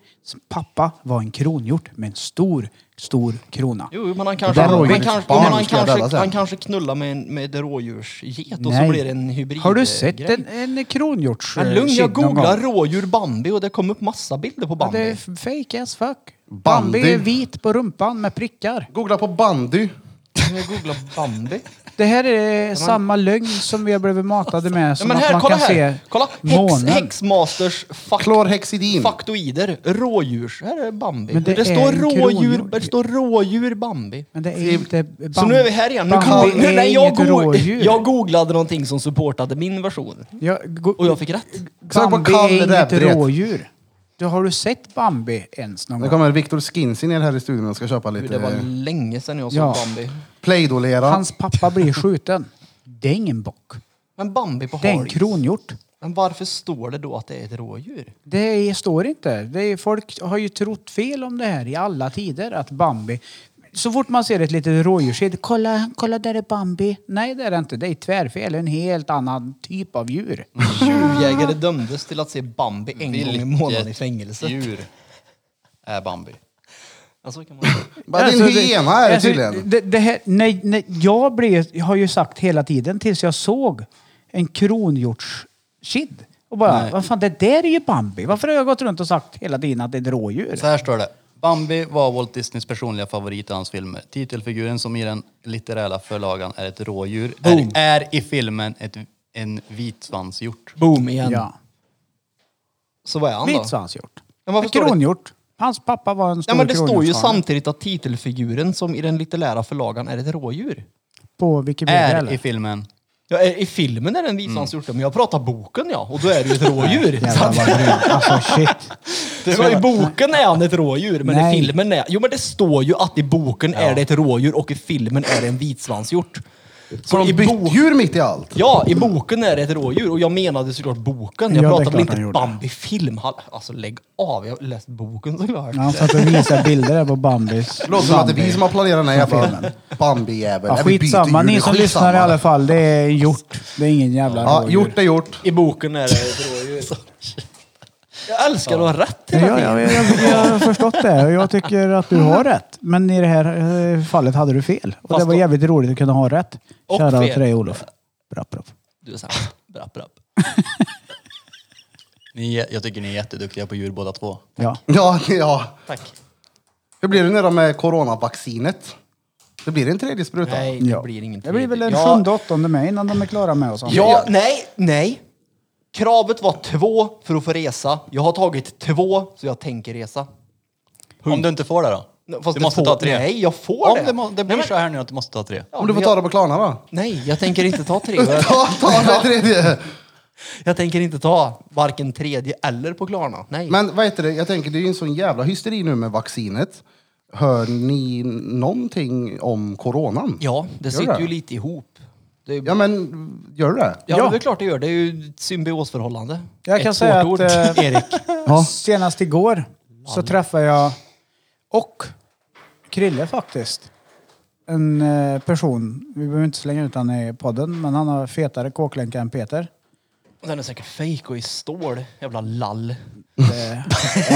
E: pappa var en kronhjort med en stor, stor krona.
G: Jo, men han kanske,
C: Det där
G: han,
C: rådjuret
G: kanske,
C: barn
G: men han,
C: ska jag döda
G: kanske,
C: sen.
G: han kanske knullar med en med en rådjursget och
E: Nej.
G: så blir det en hybrid
E: Har
G: eh,
E: du sett
G: grej.
E: en, en kronhjorts...
G: Men
E: eh,
G: lugn, jag
E: kid någon
G: googlar
E: gång?
G: rådjur Bambi och det kom upp massa bilder på
E: Ja,
G: Bambi.
E: Det är f- fake as fuck. Bambi
C: Bandy.
E: är vit på rumpan med prickar.
C: Googla på bandy.
G: Jag googlar Bambi.
E: Det här är samma lögn som vi har blivit matade med.
G: Ja,
E: Som
G: men
E: att
G: här,
E: man
G: kolla
E: kan
G: här!
E: se
G: Kolla! Hex,
E: månen.
G: Hexmasters fakt,
C: Klorhexidin.
G: faktoider, rådjurs. Här är Bambi.
E: Men
G: det
E: det är
G: står
E: en
G: rådjur,
E: kronhjort.
G: det står rådjur Bambi.
E: Men det är inte... Bambi.
G: Så nu är vi här igen. Nu
E: Bambi
G: goog- nu,
E: är
G: nej, jag,
E: inget
G: goog-
E: rådjur.
G: jag googlade någonting som supportade min version.
E: Jag go-
G: Och jag fick rätt.
C: Exakt vad
E: Bambi
C: Kalle
E: är inget
C: Rävdret.
E: rådjur. Du, har du sett Bambi ens någon
C: Nu
E: gång?
C: kommer Viktor Skinsi ner här i studion och ska köpa
G: Gud, Det var
C: lite
G: länge sedan jag såg
E: Ja.
G: Bambi.
C: Play-Doh-lera.
E: Hans pappa blir skjuten. Det är ingen bock.
G: Men Bambi på
E: Det är en
G: halis.
E: kronhjort.
G: Men varför står det då att det är ett rådjur?
E: Det är- står inte. Det är, folk har ju trott fel om det här i alla tider. Att Bambi... Så fort man ser ett litet rådjurskid. Kolla, kolla där är Bambi. Nej det är det inte. Det är tvärfel. En helt annan typ av djur.
G: Djurjägare dömdes till att se Bambi en gång i månaden i fängelse.
A: djur är Bambi?
G: Ja, så kan man säga.
C: Bara din
E: Alltså, det-
C: hyena är det
E: alltså,
C: tydligen.
E: Det, det här, nej, nej, jag, blev, jag har ju sagt hela tiden tills jag såg en kronhjortskid. Och bara, vad fan det där är ju Bambi. Varför har jag gått runt och sagt hela tiden att det är ett rådjur?
A: Så här står det. Bambi var Walt Disneys personliga favorit i hans filmer. Titelfiguren som i den litterära förlagan är ett rådjur är, är i filmen ett, en vitsvanshjort.
G: Boom igen.
E: Ja.
G: Så vad är han då?
E: Vit svanshjort.
G: Men varför
E: En
G: står det-
E: kronhjort. Hans pappa var en stor
G: Ja, men det står ju
E: kronhjortsfarare.
G: samtidigt att titelfiguren som i den litterära förlagan är ett rådjur.
E: På Wikipedia
A: Är
E: eller?
A: i filmen.
G: Ja, är- I filmen är det en
A: Mm.
G: vitsvanshjorta, men jag pratar boken ja, och då är det ju ett rådjur. Så
E: Jävlar
G: att-
E: vad grym. Alltså shit.
G: Så i boken är han ett rådjur, men i
E: Nej.
G: filmen är... Jo men det står ju att i boken är det ett rådjur och i filmen är det en vitsvanshjort.
C: Så
G: i
C: de bytte
G: bo-
C: djur mitt i allt.
G: Ja, i boken är det ett rådjur och jag menade såklart boken.
E: Ja,
G: Jag
E: det är
G: pratade
E: klart
G: väl
E: han
G: inte
E: gjorde.
G: Bambi film. Hall- Alltså lägg av, jag har läst boken såklart.
E: När han satt och visade bilder där på Bambis.
C: Det låter som att det är vi som har planerat den här jävla
E: Filmen.
C: Bambi-jäveln.
E: Ja,
C: Nej, vi byter
E: skitsamma,
C: djur, det
E: ni
C: är
E: som
C: skitsamma.
E: lyssnar i alla fall. Det är en hjort. Det är ingen jävla
C: Ja,
E: rådjur.
C: gjort är gjort.
G: I boken är det ett rådjur. Jag älskar att ha rätt hela
E: Ja,
G: tiden.
E: jag, jag, jag, jag har förstått det och jag tycker att du har rätt. Men i det här eh, fallet hade du fel. Och
G: Fast
E: det var
G: då-
E: jävligt roligt att kunna ha rätt.
G: Och
E: Kära
G: fel.
E: till dig Olof. Bra, bra.
G: Du är sämst. Brapp, brapp.
A: Ni, är- jag tycker ni är jätteduktiga på djur båda två.
E: Ja.
C: Ja, ja.
G: Tack.
C: Hur blir det nu då med coronavaccinet? Det blir en tredje spruta.
G: Nej, det
E: ja.
G: blir inget
E: Det blir väl en
G: Ja,
E: sjunde, åttonde med innan de är klara med oss.
G: Ja, nej, nej. Kravet var två för att få resa. Jag har tagit två, så jag tänker resa.
A: Om du inte får det då?
G: Fast
A: du
G: det
A: måste
G: får-
A: ta tre.
G: Nej, jag får
A: Om
G: det.
A: det, må, det blir
G: Nej, men-
A: så här nu att du måste ta tre.
C: Om du får ta det på Klarna då?
G: Nej, jag tänker inte ta tre. Jag-
C: Ta, ta den tredje!
G: Jag tänker inte ta varken tredje eller på Klarna. Nej.
C: Men vad heter det, jag tänker det är ju en sån jävla hysteri nu med vaccinet. Hör ni någonting om coronan?
G: ja, det
C: Gör
G: sitter
C: det?
G: ju lite ihop. Det är, ja,
C: Ja men, gör det?
G: det
E: ja.
G: är väl klart det gör. Det är ju ett symbiosförhållande.
E: Jag kan
G: ett
E: säga
G: svårt
E: att,
G: ord.
E: eh,
G: Erik.
E: Senast igår så träffade jag, och Krille faktiskt, en eh, person. Vi behöver inte slänga ut han i podden, men han har fetare kåklänkar än Peter.
G: Den är säkert fake och i stål. Jävla lall.
E: Det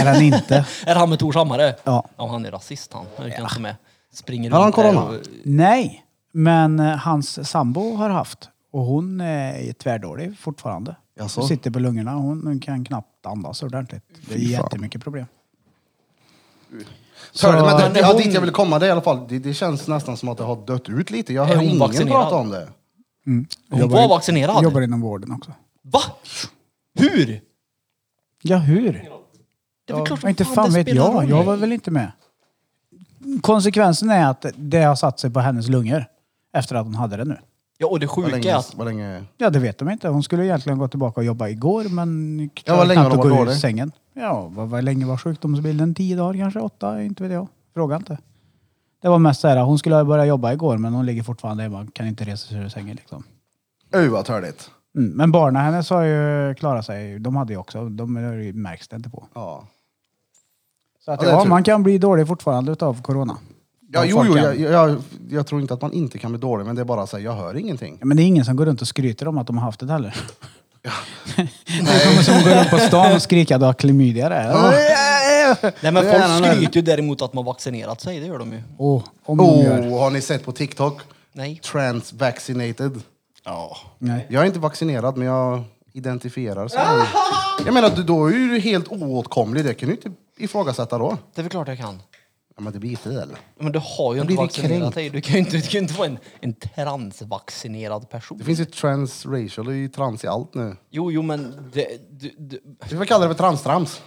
E: är han inte.
G: Är han med Tors Hammare?
E: Ja.
G: ja. Han är rasist han. Han kan inte med. Springer
C: Har han
G: runt där
C: corona?
G: och-
E: Nej, men eh, hans sambo har haft. Och hon eh, är tvärdålig fortfarande.
C: Jaså?
E: Hon sitter på lungorna. Hon hon kan knappt andas ordentligt. Det är
C: Fy fan.
E: jättemycket problem.
C: Så, men det,
G: Men
C: ja,
G: hon-
C: dit jag vill komma, det, är i alla fall, det, det känns nästan som att det har dött ut lite. Jag
G: Är
C: hör
G: hon
C: ingen
G: vaccinerad?
C: prata om det.
G: Hon
E: Jobbar
G: var
E: i-
G: vaccinerad.
E: Jobbar inom vården också.
G: Va? Hur?
E: Ja, hur?
G: Det är väl klart som
E: inte fan
G: det
E: vet
G: spelar
E: jag.
G: roll.
E: Jag var väl inte med. konsekvensen är att det har satt sig på hennes lungor efter att hon hade det nu.
G: Ja, och det
C: Vad
G: sjuka är
C: länge,
G: att
C: vad länge...
E: Ja, det vet de inte. Hon skulle egentligen gå tillbaka och jobba igår, men
C: Ja, vad länge har de
E: knappt att
C: varit
E: gå ur
C: dålig?
E: sängen. Ja, vad, vad länge var sjukdomsbilden? Tio dagar kanske? Åtta? Inte vet jag. Fråga inte. Det var mest så här, hon skulle ha börjat jobba igår, men hon ligger fortfarande hemma. Kan inte resa sig ur sängen liksom.
C: Öj vad törligt.
E: Mm. Men barnen hennes har ju klarat sig. De hade ju också, de har ju- märks det inte på.
C: Ja.
E: Så
C: Ja,
E: att, ja,
C: det tror jag.
E: man kan bli dålig fortfarande utav corona.
C: Ja,
E: De
C: jo,
E: folk
C: jo,
E: kan-
C: jag, jag, jag tror inte att man inte kan bli dålig, men det är bara så här, jag hör ingenting.
E: Ja, Men det är ingen som går runt och skryter om att de har haft det heller. det är kommer som går runt på stan och skriker att du har klamydia där.
G: Nej men
C: Det är
G: folk
C: gärna det.
G: skryter ju däremot att man vaccinerat sig, det gör de ju.
E: Åh, om de gör.
C: Oh, har ni sett på TikTok?
G: Nej.
C: Transvaccinated.
E: Nej.
C: Jag är inte vaccinerad, men jag identifierar som... Jag menar, du- då är du ju helt oåtkomlig. Det kan du inte ifrågasätta då.
G: Det är väl klart jag kan.
C: Ja, men det blir fel.
G: Men du har ju
C: Jag
G: inte
C: blir
G: vaccinerat
C: kränkt.
G: dig. Du kan ju inte, du kan ju inte vara en, en transvaccinerad person.
C: Det finns ju transracial, det är ju trans i allt nu.
G: Jo, jo men det, du, du,
C: Vi får kalla det för transtrams.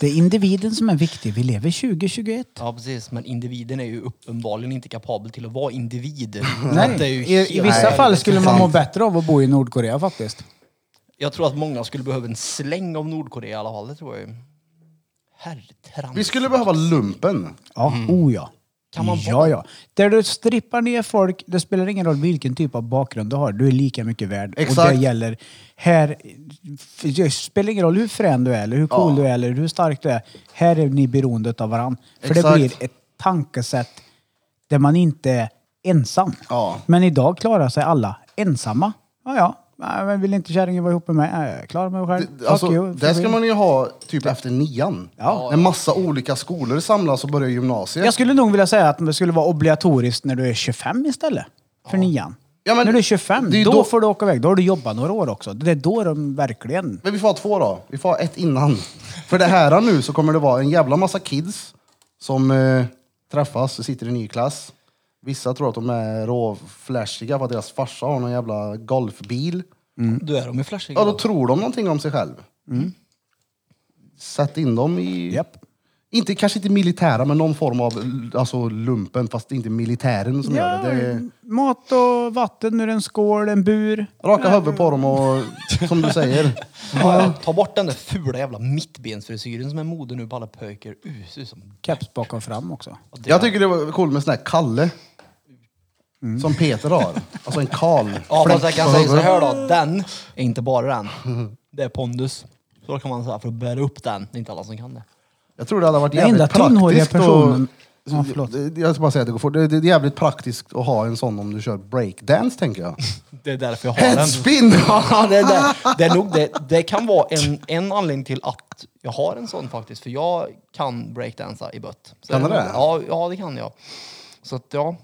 E: Det är individen som är viktig. Vi lever 2021.
G: Ja precis, men individen är ju uppenbarligen inte kapabel till att vara individ.
E: Nej.
G: Det är ju
E: I, I
G: helt-
E: vissa
G: Nej.
E: fall skulle man må bättre av att bo i Nordkorea faktiskt.
G: Jag tror att många skulle behöva en släng av Nordkorea i alla fall, det tror jag ju. Herrtrans.
C: Vi skulle behöva lumpen.
E: Ja, oh ja.
G: Kan man
E: ja,
G: vara-
E: ja. Där du strippar ner folk, det spelar ingen roll vilken typ av bakgrund du har. Du är lika mycket värd. Och det
C: Exakt.
E: gäller här. f- Det spelar ingen roll hur frän du är, eller hur cool du är, eller hur stark du är. Här är ni beroende av varandra. För det
C: Exakt.
E: blir ett tankesätt där man inte är ensam.
C: Ja.
E: Men idag klarar sig alla ensamma. Ja, ja. Nej, men vill inte kärringen vara ihop med mig? Nej, jag klarar mig själv. Fuck
C: Alltså,
E: you.
C: där ska man ju ha typ efter nian.
E: Ja.
C: När massa olika skolor samlas och börjar gymnasiet.
E: Jag skulle nog vilja säga att det skulle vara obligatoriskt när du är 25 istället. För nian.
C: Ja, men
E: när du är 25,
C: det är ju
E: då,
C: då-
E: får du åka iväg. Då har du jobbat några år också. Det är då de verkligen...
C: Men vi får ha två då. Vi får ha ett innan. För det här nu så kommer det vara en jävla massa kids som eh, träffas och sitter i ny klass. Vissa tror att de är råflashiga för att deras farsa har någon jävla golfbil.
G: Du är de ju flashiga.
C: Ja, då tror de någonting om sig själv. Sätt in dem i...
E: Japp.
C: Inte, kanske inte militära, men någon form av alltså, lumpen. Fast det är inte militären som gör det. det är,
E: Mat och vatten ur en skål, en bur.
C: raka huvudet på dem och som du säger.
G: Ja, ja, Ta bort den där fula jävla mittbensfrisyren som är mode nu på alla pojkar. Uh, ser ut som...
E: Keps bak och fram också.
C: Jag tycker det var coolt med sån här Kalle.
E: Mm.
C: Som Peter har. Alltså en Karl.
G: Ja
C: Fläck
G: fast jag
C: på
G: kan säga så
C: huvudet.
G: här då, den är inte bara den. Det är pondus. Så kan man säga för att bära upp den. Det är inte alla som kan det.
C: Jag tror det hade varit
E: Den enda
C: jävligt
E: tunnhåriga
C: praktiskt.
E: personen...
C: Och,
E: Ja, förlåt.
C: jag ska bara säga att det går fort. Det det är jävligt praktiskt att ha en sån om du kör breakdance tänker jag.
G: Det är därför jag har den.
C: Headspin!
G: Ja, det, är där. det, är nog det, det kan vara en, en anledning till att jag har en sån faktiskt. För jag kan breakdansa i bött. Så
C: Kan
G: är
C: du det?
G: Ja, ja, det kan jag. Så att ja,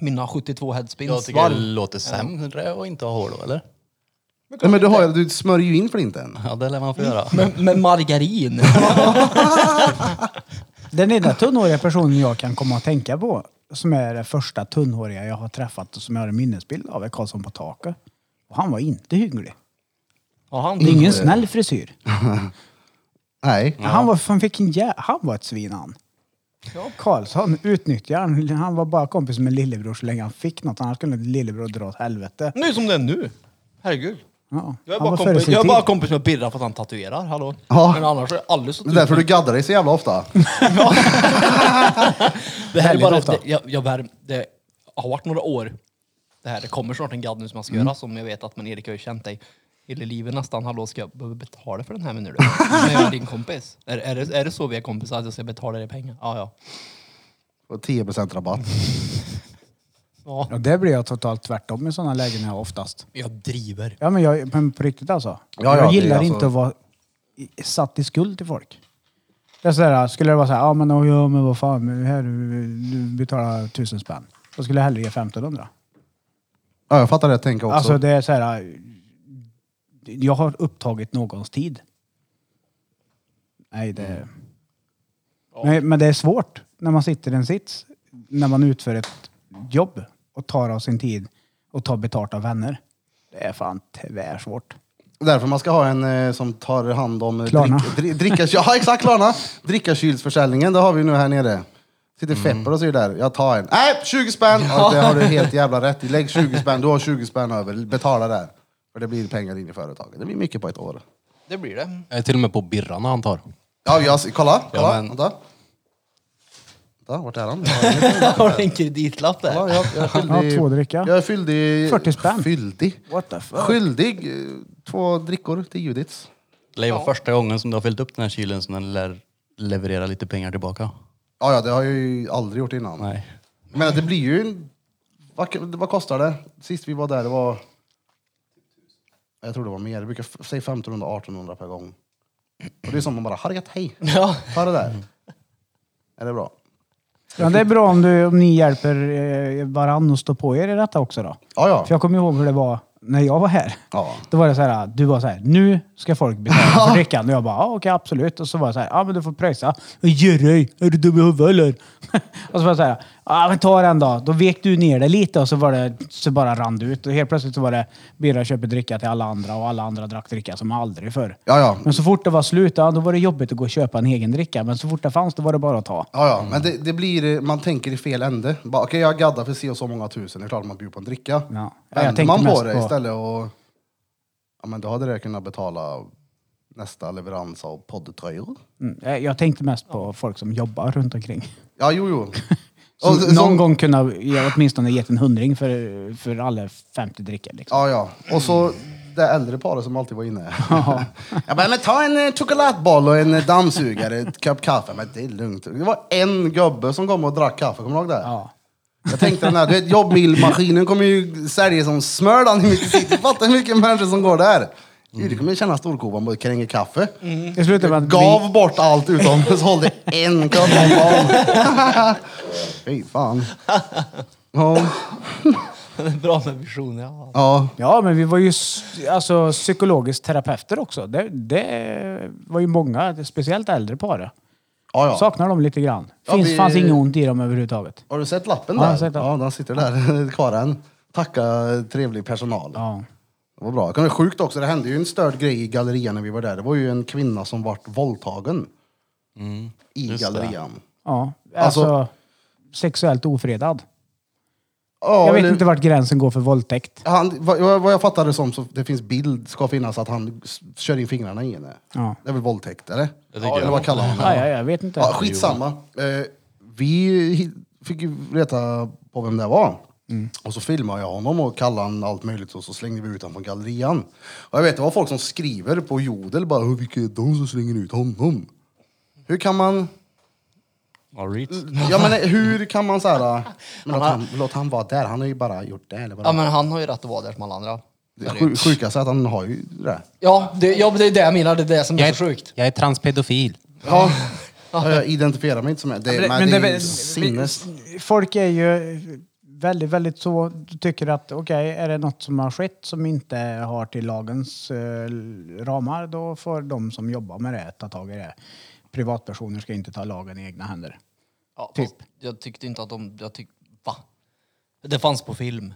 G: mina 72
A: Jag
G: headspins.
A: tycker det
G: Varv.
A: låter sämre att inte ha hår då, eller?
C: Nej, men du, har, ju- du smörjer ju in flinten.
A: Ja, det lär man få göra.
G: Med, med margarin.
E: Den enda tunnhåriga personen jag kan komma att tänka på, som är den första tunnhåriga jag har träffat och som jag har en minnesbild av, är Karlsson på taket. Och han var inte hygglig.
G: Ja, han
E: Det är
C: Mm.
E: ingen snäll frisyr.
C: Nej.
E: Han, var, han, fick en jä- han var ett svin han. Karlsson utnyttjade han. Han var bara kompis med lillebror så länge han fick något. Annars kunde lillebror dra åt helvete.
G: Nu som det är nu. Herregud.
E: Ja.
G: Jag är,
E: han
G: bara
E: var före
G: kompis,
E: sin
G: jag är
E: tid.
G: bara kompis med Birra för att han tatuerar, hallå.
C: Ja.
G: Men annars är jag alldeles så
C: Det är därför du gaddar dig så jävla ofta.
G: Det här är
E: Väldigt
G: bara,
E: ofta.
G: det, jag, jag bär, det har varit några år. Det här, det kommer snart en gadd nu som jag ska göra som jag vet att, men Erik jag har ju känt dig hela livet nästan. Hallå, ska jag behöva betala för den här menar du? Men jag är din kompis. Är, är, det, är det så vi är kompisar, att jag ska betala dig pengar? Ja, ja.
C: Och 10% rabatt.
E: Ja, det blir jag totalt tvärtom i sådana lägen jag har oftast.
G: Jag driver.
E: Ja men, jag, men på riktigt alltså.
C: ja, det är
E: jag gillar
C: alltså-
E: inte att vara i- satt i skuld till folk. Det är sådär, skulle det vara såhär, ja men, oh, ja, men vad fan, men här, du betalar tusen spänn. Då skulle jag hellre ge 1500.
C: Ja, jag fattar det jag tänker också.
E: Alltså det är så här. Jag har upptagit någons tid. Nej, det... Men, men det är svårt när man sitter i en sits, när man utför ett jobb och tar av sin tid och tar betalt av vänner. Det är fan tvärsvårt.
C: Därför man ska ha en eh, som tar hand om eh,
E: Klarna.
C: Drick, dri, dricka, ja, exakt, Klarna. Drickarkylsförsäljningen, det har vi nu här nere. Sitter Fepper och säger där, jag tar en. Nej, 20 spänn! Mm. Ja. det har du helt jävla rätt i. Lägg 20 spänn, du har 20 spänn över. Betala där. För det blir pengar in i företaget. Det blir mycket på ett år.
G: Det blir det.
F: Jag är till och med på birrarna han tar.
C: Ja, jag, kolla, kolla.
A: men-
C: Vänta. Vänta, vart är han? Jag har ingen-
G: Har du en kreditlapp där?
C: Kolla, jag, jag är
E: Ja,
C: skyldig...
E: två dricka.
C: Jag är skyldig...
E: 40 spänn.
C: Skyldig?
E: What the fuck?
C: Skyldig eh, två drickor till Judits.
A: Det var första gången som du har fyllt upp den här kylen så den lär leverera lite pengar tillbaka.
C: Ja, ja, det har jag ju aldrig gjort innan.
A: Nej.
C: Men det blir ju... en- Vad, vad kostar det? Sist vi var där, det var... Jag tror det var mer. Det brukar f- säga 1500-1800 per gång. Och det är som man bara, hargat hej.
G: Ja.
C: Ta det där. Är det bra?
E: Ja, det är bra om, du, om ni hjälper eh, varann och står på er i detta också då.
C: Ja, ja.
E: För jag kommer ihåg hur det var när jag var här.
C: Ja.
E: Då var det så här, du var så här, nu ska folk betala för drickan. Och jag bara, ah, okej absolut. Och så var det så här, ja ah, men du får pröjsa. Jerry, är du dum i huvudet eller? och så var det så här, ah, men ta den då. Då vek du ner det lite och så, var det, så bara rann det ut. Och helt plötsligt så var det, Birra köper dricka till alla andra och alla andra drack dricka som aldrig förr.
C: Ja, ja.
E: Men så fort det var slut, ja, då var det jobbigt att gå och köpa en egen dricka. Men så fort det fanns, då var det bara att ta.
C: Ja, ja, men det, det blir, eh, man tänker i fel ände. Bara, Okej, jag gaddar för si och så många tusen, det är klart man bjuder på en dricka.
E: Ja, jag
C: Vänder
E: tänkte
C: man på
E: mest
C: det
E: på-
C: istället och... Ja, men då hade jag kunnat betala nästa leverans av poddtröjor.
E: Mm, eh, Jag tänkte mest på folk som jobbar runt omkring.
C: Ja, jo, jo.
E: Som
C: Och så-
E: någon
C: så-
E: gång kunna ge, åtminstone gett en hundring för, för alla 50 drickor. Liksom.
C: Ja, ja. Och så det äldre paret som alltid var inne. jag bara, men ta en eh, chokladboll och en eh, dammsugare, ett kopp kaffe. Men det är lugnt. Det var en gubbe som kom och drack kaffe, kommer du ihåg det?
E: Ja.
C: Jag tänkte den här, du vet jobbmilmaskinen kommer ju sälja som smör där i mitt i city. Fattar hur mycket människor som går där. Det kommer ju känna storkovan bara kränger kaffe.
E: Det slutade med att vi,
C: Gav bort allt utom så sålde en kopp om dagen. Fy fan. Ja,
G: Det är bra med visioner. Ja.
C: ja,
E: Ja, men vi var ju s- alltså, psykologiskt terapeuter också. Det, det var ju många, speciellt äldre par.
C: ja. ja.
E: Saknar dem lite grann. Finns,
C: Ja, vi-
E: Fanns inget ont i dem överhuvudtaget.
C: Har du sett lappen
E: Ja,
C: där?
E: jag har sett lappen.
C: Ja, den sitter där, kvar än. Tacka trevlig personal.
E: Ja.
C: Det var bra. Det var sjukt också, det hände ju en störd grej i gallerian när vi var där. Det var ju en kvinna som vart våldtagen. I
A: Mm, just det.
C: gallerian.
E: ja. Alltså,
C: Alltså-
E: sexuellt ofredad.
C: Ja,
E: Jag vet
C: eller-
E: inte vart gränsen går för våldtäkt.
C: Han, vad, vad jag fattade som, så det finns bild, ska finnas, att han s- kör in fingrarna i henne.
E: Ja.
C: Det är väl våldtäkt, eller?
A: tycker jag.
C: eller vad kallar man det?
E: Ja, ja, jag vet inte.
C: Ja, skitsamma. Eh, vi hi- fick ju reta på vem det var. Och så filmade jag honom och kallade han allt möjligt och så slängde vi ut honom från gallerian. Och jag vet, det var folk som skriver på jodel bara "Hur, vilka är de som slänger ut honom? Hur kan man... Ja men eh, hur kan man såhär... Men låt, han, låt han vara där, han har ju bara gjort det. Eller vad
G: ja,
C: det
G: men han har ju rätt att vara där som alla andra.
C: är. Det sju- sjukaste är att han har ju det.
G: Ja, det, ja, men det är det jag menar. Det är det som är så sjukt.
F: Jag är transpedofil.
C: Ja. Ja, Jag identifierar mig inte som det. det men,
E: men
C: det,
E: det-
C: är ju sinnes...
E: folk är ju väldigt, väldigt så, tycker att okej, är det något som har skett som inte har till lagens eh, ramar, då får de som jobbar med det ta tag i det. Privatpersoner ska inte ta lagen i egna händer.
G: Ja,
E: Typ.
G: fast Jag tyckte inte att de... Jag tyck, va? Det fanns på film.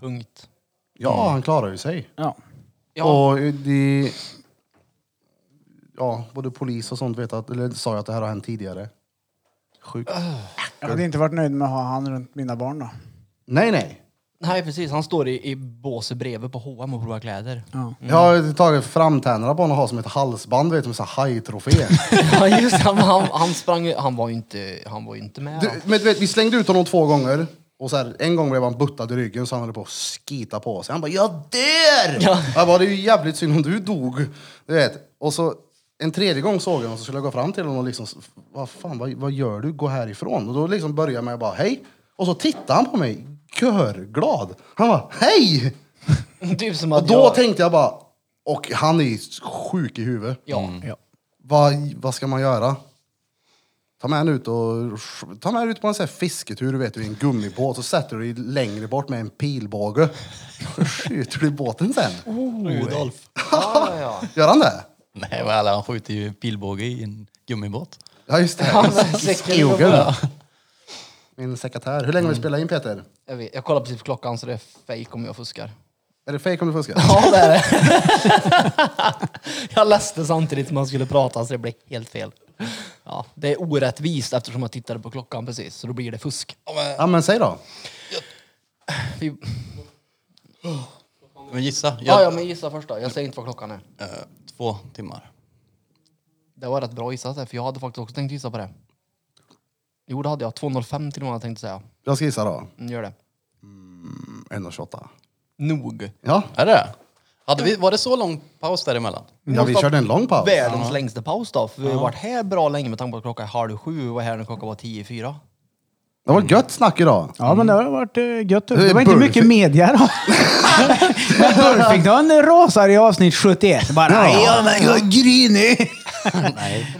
G: Punkt.
C: Ja, han klarar ju sig.
E: Ja.
G: Ja.
C: Och det... Ja, både polis och sånt vet att, eller sa ju att det här har hänt tidigare. Sjukt.
E: Jag hade inte varit nöjd med att ha han runt mina barn då.
C: Nej, nej.
G: Nej, precis. Han står i, i båset bredvid på H&M och provar kläder.
C: Jag har tagit framtänderna på honom och har som ett halsband, vet du, med sån här hajtrofé.
G: Ja, just det. han, han, han sprang ju- Han var ju inte, han var ju inte med.
C: Du,
G: han.
C: men du vet, vi slängde ut honom två gånger. Och så här, en gång blev han buttad i ryggen så han höll på att skita på sig. Han bara “Jag dör!”
G: Ja.
C: Jag bara “Det är ju jävligt synd om du dog”. Du vet. Och så en tredje gång såg jag honom så skulle jag gå fram till honom och liksom “Vad fan, vad, vad gör du? Gå härifrån”. Och då liksom började jag med att bara “Hej!” Och så tittade han på mig, görglad. Han bara “Hej!”
G: typ som
C: Och
G: att
C: då
G: jag,
C: tänkte jag bara “Och han är ju sjuk i huvudet.
G: ja.
C: Vad, vad ska man göra? Ta med den ut, och, ta med den ut på en sån här fisketur du vet, i en gummibåt och sätter du dig längre bort med en pilbåge. Så skjuter du i båten sen.
A: Rudolf.
G: Ja, ja,
C: Gör han det?
A: Nej men alla, han skjuter ju pilbåge i en gummibåt.
C: Ja, just det.
G: ja. Säcken-
C: Skogen. Min sekretär. Hur länge har vi spelat in Peter?
G: Jag, vet, jag kollar precis på klockan så det är fake om jag fuskar.
C: Är det fake om du fuskar?
G: Ja, det är det. jag läste samtidigt som han skulle prata så det blev helt fel. Ja, det är orättvist eftersom jag tittade på klockan precis, så då blir det fusk. Ja, men
C: Ja men säg då.
G: vi-
A: Men gissa. Jag,
G: ja, ja, men gissa först då. Jag säger inte vad klockan är.
A: eh, två timmar.
G: Det var rätt bra gissat där, för jag hade faktiskt också tänkt gissa på det. Jo, det hade jag. 2.05 till och med hade jag tänkt säga.
C: Jag ska gissa då.
G: Mm, gör det.
C: 1.28.
G: Nog.
C: Ja.
A: Är det? Hade vi, var det så lång paus däremellan?
C: ja, vi körde en lång paus.
G: Världens längsta paus då, för vi har varit här bra länge med tanke på att klockan är halv sju och var här när klockan var tio i fyra.
C: Det var gött snack idag.
E: Ja, men det har varit eh, gött.
C: Det
E: Det
C: är
E: var inte
C: Burfing.
E: mycket media då. Men Burfington rasar i avsnitt 71. Bara,
C: Ja.
E: ja, men jag är grinig.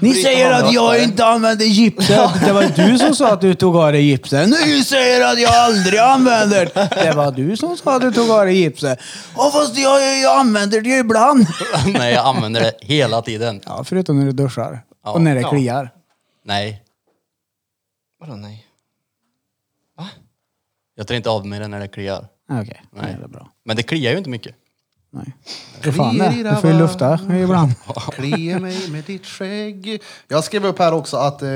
E: Ni säger att jag inte använder gipset. Det var du som sa att du tog av dig gipset. Ni säger att jag aldrig använder det. Det var du som sa att du tog av dig gipset. Ja, fast jag, jag använder det ju ibland.
A: Nej, jag använder det hela tiden.
E: Ja, förutom när du duschar.
A: Ja.
E: Och när det kliar.
A: Nej,
G: Vadå nej?
A: jag tar inte av mig den när det kliar.
E: Ja, Okej,
A: Nej.
E: Nej. det är bra.
A: Men det kliar ju inte mycket.
E: Nej. Vad fan det? Du får ju lufta ibland.
C: Klia mig med ditt skägg. Jag skrev upp här också att eh,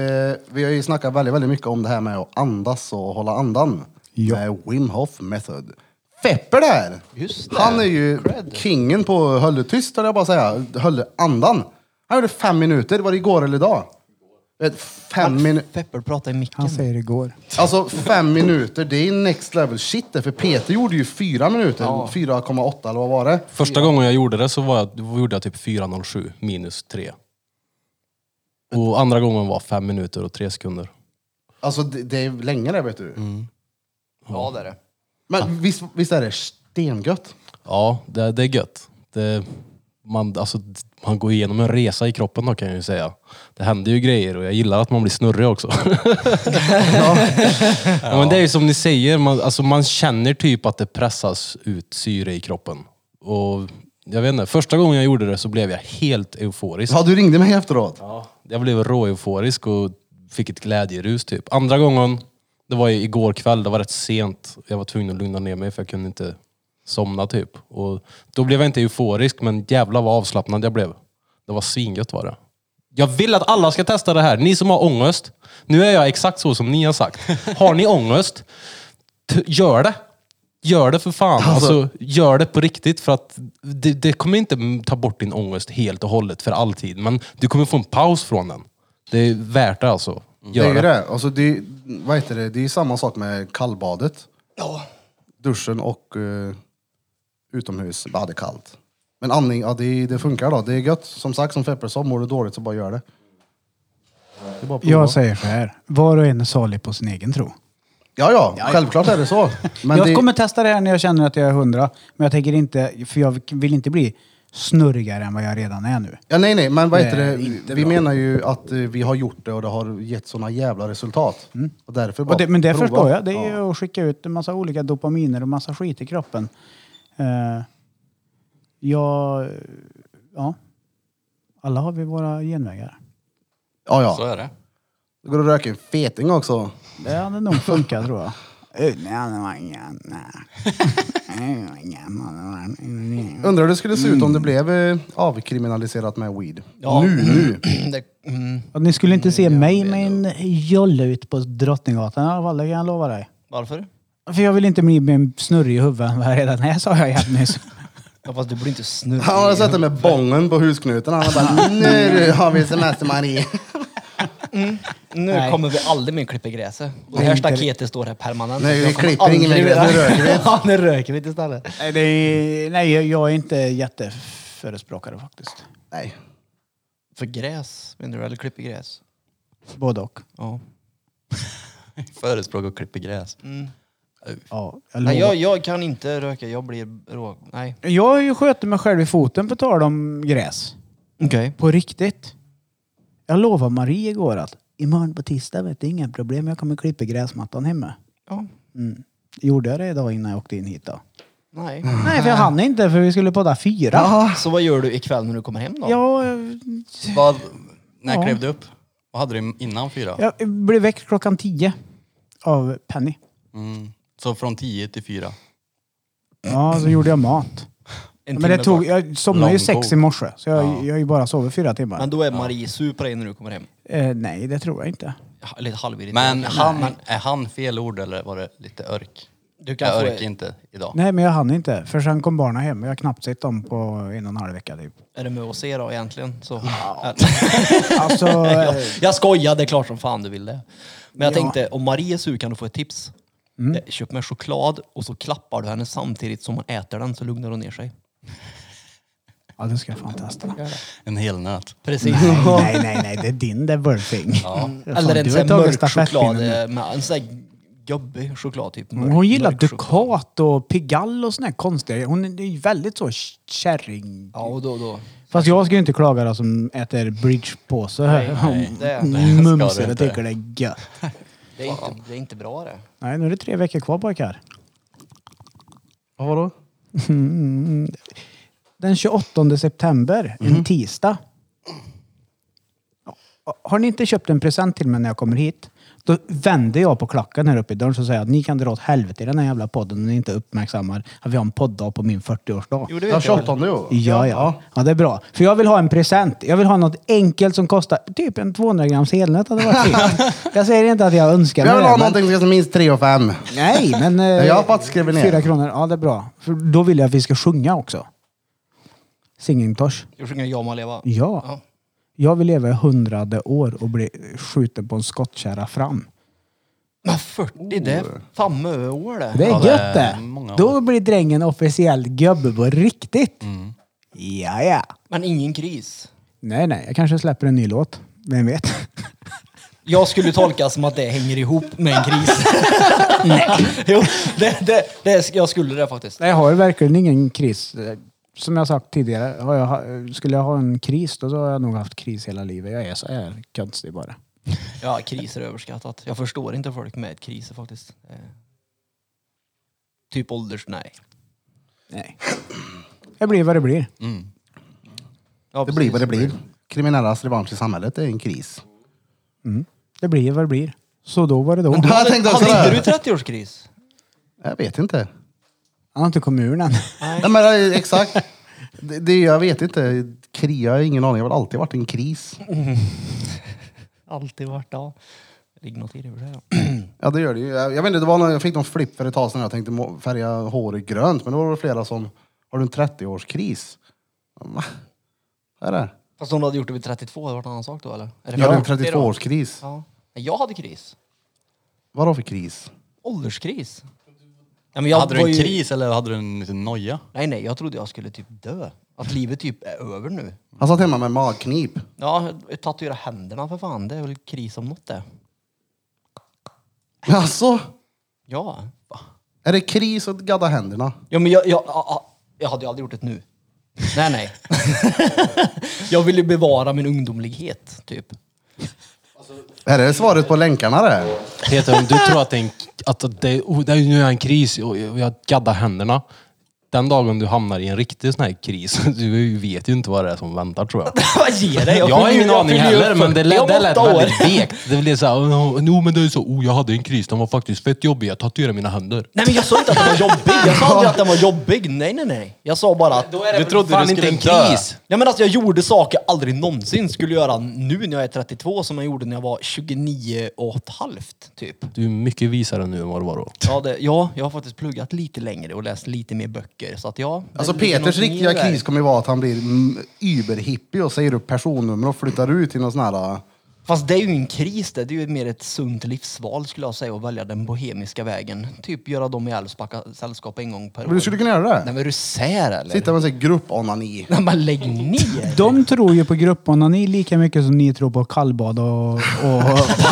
C: vi har ju snackat väldigt, väldigt mycket om det här med att andas och hålla andan.
E: Ja.
C: Med Wim Hof method. Fepper där!
G: Just det.
C: Han är ju kingen på höll tyst, höll jag bara säga. Höll andan. Han gjorde fem minuter, var det igår eller idag? Vet, Fem minuter.
G: Pepper pratar i micken.
E: Han säger det går.
C: Alltså fem minuter, det är next level shit det, för Peter gjorde ju fyra minuter, 4,8 eller vad var det?
F: Första gången jag gjorde det så var jag, då gjorde jag typ 4.07 minus 3. Och andra gången var 5 minuter och 3 sekunder.
C: Alltså det, det är länge det vet du.
G: Ja, det är det.
C: Men visst, visst är det stengött?
F: Ja, det, det är gött. Det, man, alltså, man går igenom en resa i kroppen då kan jag ju säga. Det händer ju grejer och jag gillar att man blir snurrig också. ja. Men det är ju som ni säger, man, alltså, man känner typ att det pressas ut syre i kroppen. Och jag vet inte, första gången jag gjorde det så blev jag helt euforisk.
C: Ja, du ringde mig efteråt.
F: Ja, jag blev råeuforisk och fick ett glädjerus typ. Andra gången, det var ju igår kväll, det var rätt sent. Jag var tvungen att lugna ner mig för jag kunde inte somna typ. Och då blev jag inte euforisk men jävla vad avslappnad jag blev. Det var svingött var det. Jag vill att alla ska testa det här. Ni som har ångest. Nu är jag exakt så som ni har sagt. Har ni ångest, t- gör det. Gör det för fan. Alltså, gör det på riktigt. För att det, det kommer inte m- ta bort din ångest helt och hållet för alltid. Men du kommer få en paus från den. Det är värt det alltså.
C: Det
F: Gör
C: är ju
F: det.
C: det. Alltså, det, är- vad heter det. Det är ju samma sak med kallbadet. Duschen och eh, utomhus, ja det är kallt. Men andning, ja det, det funkar då. Det är gött. Som sagt, som Feppe sa, mår du dåligt så bara gör det. det är bara att prova.
E: Jag säger så här. Var och en är salig på sin egen tro.
C: Ja, ja, självklart är det så. Men
E: jag
C: det,
E: kommer testa det här när jag känner att jag är hundra. Men jag tänker inte, för jag vill inte bli snurrigare än vad jag redan är nu.
C: ja, nej, nej, men vad heter
E: Nej,
C: det?
E: inte
C: Vi
E: bra.
C: menar ju att eh, vi har gjort det och det har gett såna jävla resultat. Och därför bara
E: Mm. Och det, men det
C: prova.
E: förstår jag. Det är
C: Ja.
E: ju att skicka ut en massa olika dopaminer och massa skit i kroppen. Eh, ja, ja. Alla har vi våra genvägar.
C: Ja,
A: Så
C: ja.
A: är det.
C: Det går att röka en feting också.
E: Det hade nog funkat tror jag. Eh, nej, nej, nej. Nej, nej, nej.
C: Undrar hur det skulle se ut om det blev eh, avkriminaliserat med weed. Nu, nu.
G: det mm,
E: Och ni skulle inte se mig med en jolle ut på Drottninggatan i alla fall, det kan jag lova dig.
G: varför?
E: För jag vill inte bli med en snurrig i huvudet än vad jag redan är, sa jag helt nyss.
G: Ja, fast du blir inte snurrig.
C: Han har suttit med bången på husknuten. Han har bara, nu har vi semester Marie.
G: Nu
E: Nej.
G: kommer vi aldrig mer klippa gräset. Och det
E: Nej,
G: här
E: inte det.
G: staketet står här permanent.
C: Nej, vi
G: Jag kommer
C: klipper
G: aldrig
C: ingen mer gräs,
G: vilja-
C: nu röker vi.
G: Ja, nu röker vi istället.
E: nej, det är, nej, jag är inte jätteförespråkare faktiskt.
C: Nej.
G: För gräs, menar du? Eller klipper gräs?
E: Både och.
G: Ja.
A: Förespråkar och klipper gräs.
G: Mm.
E: Ja, jag,
G: Nej,
E: lovar.
G: jag, jag kan inte röka, jag blir rå... Nej.
E: jag har ju sköter mig själv i foten på tal om gräs.
G: Okej.
E: På riktigt. Jag lovade Marie igår att imorgon på tisdag vet du, inga problem, jag kommer klippa gräsmattan hemma.
G: Ja.
E: Mm. Gjorde jag det idag innan jag åkte in hit då?
G: Nej.
E: Nej, för jag hann inte för vi skulle podda fyra.
G: Så vad gör du ikväll när du kommer hem då?
E: Ja,
A: Vad, när
E: Ja.
A: klev du upp? Vad hade du innan fyra?
E: jag blev väckt klockan tio av Penny.
A: Mm. Så från tio till fyra?
E: Ja, så gjorde jag mat.
G: En
E: Men det
G: timme
E: tog,
G: bort.
E: jag somnade ju sex i
A: Långbord.
E: morse, så jag,
A: Ja.
E: jag har ju bara sovit fyra timmar.
G: Men då är Marie sur på dig när du kommer hem.
E: Eh, nej, det tror jag inte.
G: Ha- Lite halvirriterad.
A: Men han, är han fel ord eller var det lite örk?
G: Du kan
A: Jag
G: få,
A: örk inte idag.
E: Nej, men jag hann inte. För sen kom barnen hem och jag har knappt sett dem på en och en halv vecka typ.
G: är det med oss er då egentligen? Så.
E: Alltså, eh,
G: jag skojar, det är klart som fan du vill det. Men jag
E: Ja. Mm.
G: tänkte, om Marie är sur kan du få ett tips. Eh, Köp med choklad och så klappar du henne samtidigt som hon äter den så lugnar hon ner sig.
E: ja, det ska jag fan testa.
A: En hel nöt.
G: Precis.
E: Nej, nej, nej, det är din där burfing. Ja.
G: Eller en sån här mörk choklad, eh, med en sån här gubbig choklad typ. Mörk,
E: Hon gillar
G: mörk choklad.
E: Ducat och Pigalle och såna här konstiga. Hon är ju väldigt så kärring.
G: Ja, och då, då.
E: Fast jag ska ju inte klaga då som äter bridgepåse.
G: nej, det- det
A: ska du
E: Mumsar och
A: inte.
E: tycker det är gött.
G: Det är, inte, det är inte bra det.
E: Nej, nu är det tre veckor kvar pojkar.
C: Ja, vadå?
E: Den 28 september, en tisdag. Har ni inte köpt en present till mig när jag kommer hit, då vänder jag på klacken här uppe i dörren och säger jag att ni kan dra åt helvete i den här jävla podden om ni inte uppmärksammar att vi har en podddag på min 40-årsdag.
G: Jo, det
C: Den
G: vet jag.
C: 28 ju.
E: Ja, ja. Ja, det är bra. För jag vill ha en present. Jag vill ha något enkelt som kostar typ en 200 grams helnöt hade varit fint. Jag säger inte att jag önskar mig
C: Jag vill
E: det,
C: ha
E: men-
C: någonting som kostar minst 3 och 5.
E: Nej, men... eh,
C: Jag har faktiskt skrivit ner.
E: Fyra kronor, ja det är bra. För då vill jag att vi ska sjunga också. Singingtosh.
G: Jag sjunger Ja må leva.
E: Ja.
G: Ja.
E: Jag vill leva i hundrade år och bli skjuten på en skottkärra fram.
G: Men 40, det är fan mycket år det.
E: Oh. Det är
A: Ja, det
E: gött
A: är
E: det!
A: många år. Mm.
E: Då blir drängen officiellt gubbe på riktigt. Ja, ja.
G: Men ingen kris.
E: Nej, nej, jag kanske släpper en ny låt. Vem vet?
G: Jag skulle tolka som att det hänger ihop med en kris. Nej. Jo, det, det, det, är- jag skulle det faktiskt.
E: Nej, Jag har verkligen ingen kris. Eh, Som jag sagt tidigare, har jag, ha- skulle jag ha en kris då, så har jag nog haft kris hela livet. Jag är så här konstig bara.
G: Ja, kriser är överskattat. Jag förstår inte folk med kriser faktiskt. Eh, Typ ålders... Nej.
E: Nej. Det blir vad det blir.
G: Ja,
C: Det blir
G: precis.
C: vad det blir. Kriminellas revansch i samhället är en kris.
E: Det blir vad det blir. Så då var det då.
C: du- Jag tänkte också
G: Hade
C: det.
G: inte du 30-årskris?
C: Jag vet inte.
E: Han har inte kommit ur den.
C: Nej, men eh, exakt. Det, det, jag vet inte. Kri, jag har ingen aning. Jag har väl alltid varit i en kris.
G: Alltid varit ja. Det ligger något i det i och för sig. ja.
C: Ja, det gör det ju. Jag, jag vet inte, det var någon, jag fick någon flipp för ett tag sedan. Jag tänkte må- färga håret grönt. Men då var det flera som, har du en 30-årskris? Ja, Va? Vad är det?
G: Fast om du hade gjort det vid 32 hade det varit en annan sak då eller? Är det
C: Jag hade en
G: 40 då?
C: 32-årskris.
G: Ja. Nej, Jag hade kris.
C: Vadå för kris?
G: Ålderskris. Ja, men jag
A: hade du
G: var
A: en
G: ju-
A: kris eller hade du en liten noja?
G: Nej, nej, jag trodde jag skulle typ dö. Att livet typ är över nu.
C: Han satt hemma med magknip.
G: Ja, tatuera händerna för fan. Det är väl kris om något det.
C: Alltså,
G: Ja.
C: är det kris att gadda händerna?
G: Ja, men jag, jag, jag, jag hade ju aldrig gjort det nu. Nej, nej. jag vill ju bevara min ungdomlighet, typ.
C: Är det svaret på länkarna det?
F: Peter, om du tror att det är en, att det, oh, det är, nu är jag en kris och jag jag gaddar händerna. Den dagen du hamnar i en riktig sån här kris, du vet ju inte vad det är som väntar tror jag.
G: Vad ger det?
F: Jag, har
G: fyller-
F: ingen aning
G: fyller ju
F: heller,
G: upp
F: men det
G: 40 om
F: lät, det lät
G: åtta år.
F: väldigt vekt. Det blev såhär, oh, no, men det är så, oh, jag hade en kris, den var faktiskt fett jobbig, jag tatuerade mina händer.
G: Nej, men jag sa inte att den var jobbig. Jag sa aldrig att den var jobbig. Nej, nej, nej. Jag sa bara att...
F: Du trodde du skulle inte en kris.
G: Ja, men alltså, jag gjorde saker jag aldrig någonsin skulle göra nu när jag är 32 som jag gjorde när jag var 29 och ett halvt, typ.
F: Du är mycket visare nu än vad du var då.
G: Ja, det, ja, jag har faktiskt pluggat lite längre och läst lite mer böcker. Så att ja, det
C: Alltså
G: ligger
C: Peters
G: någonting i
C: riktiga
G: det där.
C: kris kommer ju vara att han blir mm, überhippie och säger upp personnummer och flyttar ut till någon sån här...
G: Fast det är ju ingen kris det. Det är ju mer ett sunt livsval skulle jag säga att välja den bohemiska vägen. Typ göra dem i Älvsbacka sällskap en gång per år.
C: Men du skulle kunna göra
G: Nej
C: det.
G: men är du sär eller?
C: Sitta med en sån här grupponani.
G: Nej men lägg ner!
E: De tror ju på grupponani lika mycket som ni tror på kallbad och, och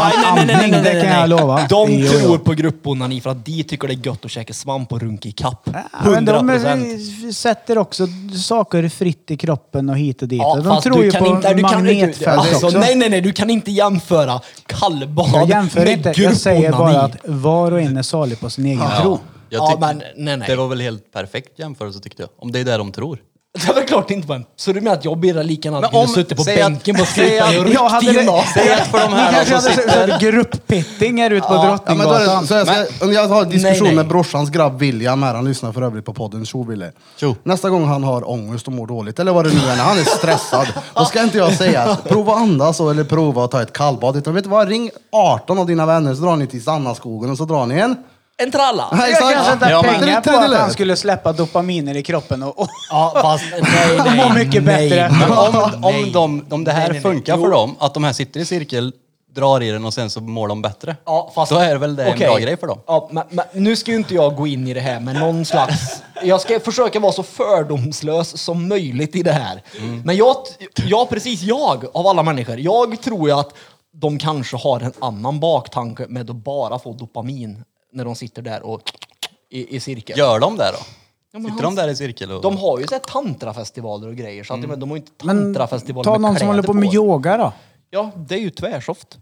E: det kan jag lova.
G: De
E: Jo, jo.
G: tror på grupponani för att de tycker det är gött att käka svamp och runka i kapp.
E: Ja, men
G: 100
E: de
G: procent.
E: eh, sätter också saker fritt i kroppen och hit och dit.
G: Ja,
E: de
G: fast
E: tror
G: du
E: ju
G: kan
E: på
G: inte, du kan, du,
E: magnetfält
G: alltså,
E: också.
G: nej, nej, nej, du kan inte jämföra kallbad
E: jag jämför
G: med
E: inte. Jag säger bara
G: grupponani.
E: att var och en är salig på sin egen tro.
A: Jag
G: Ja,
A: tyck-
G: men nej, nej.
A: Det var väl helt perfekt jämförelse tyckte jag. Om det är det de tror.
G: Det var klart det inte var en. Så du menar att jag blir likadan?
A: Men
G: Men om...
A: om-
G: Suttit på
A: säg att-
G: bänken och
A: säg
G: skrivit
A: att-
G: en
E: Jag hade
G: riktig gymnasium.
E: det.
A: Säg att för de
E: Ni
A: här
E: kanske
A: som
E: hade
A: sitter...
E: sett grupppetting här ute på
C: Ja, men då är det,
E: Drottninggatan.
C: så jag, ska, jag har en diskussion
G: nej.
C: med brorsans grabb William här, han lyssnar för övrigt på podden. Tjo Wille.
A: Tjo.
C: Nästa gång han har ångest och mår dåligt, eller vad det nu är, när han är stressad, då ska inte jag säga att prova att andas och- eller prova att ta ett kallbad. Utan vet du vad, ring 18 av dina vänner så drar ni till Sannaskogen och så drar ni en.
G: En tralla!
C: Nej,
E: Jag
C: exakt.
E: kanske inte
A: Ja, men-
E: pengar på
C: Tredje
E: att han
C: läget.
E: skulle släppa dopaminer i kroppen och, och
G: Ja, fast nej, nej,
E: må mycket
G: nej.
E: bättre.
A: Men om, om,
G: Nej.
A: de, om det här
G: Nej, nej, nej.
A: funkar
G: Jo.
A: för dem, att de här sitter i cirkel, drar i den och sen så mår de bättre.
G: Ja, fast,
A: Då är väl det en
G: Okej.
A: bra grej för dem.
G: Ja, men, men, nu ska ju inte jag gå in i det här med någon slags... Jag ska försöka vara så fördomslös som möjligt i det här. Men jag, jag, precis jag, av alla människor, jag tror ju att de kanske har en annan baktanke med att bara få dopamin när de sitter där och i, i cirkel.
A: Gör de det då?
G: men
A: Sitter
G: han-
A: de Mm. där i cirkel och...
G: De har ju så här tantrafestivaler och grejer, så att, men de har ju inte
E: Men
G: tantrafestivaler
E: ta
G: med
E: någon som
G: kläder
E: håller på med yoga då.
G: Ja, det är ju tvärsoft.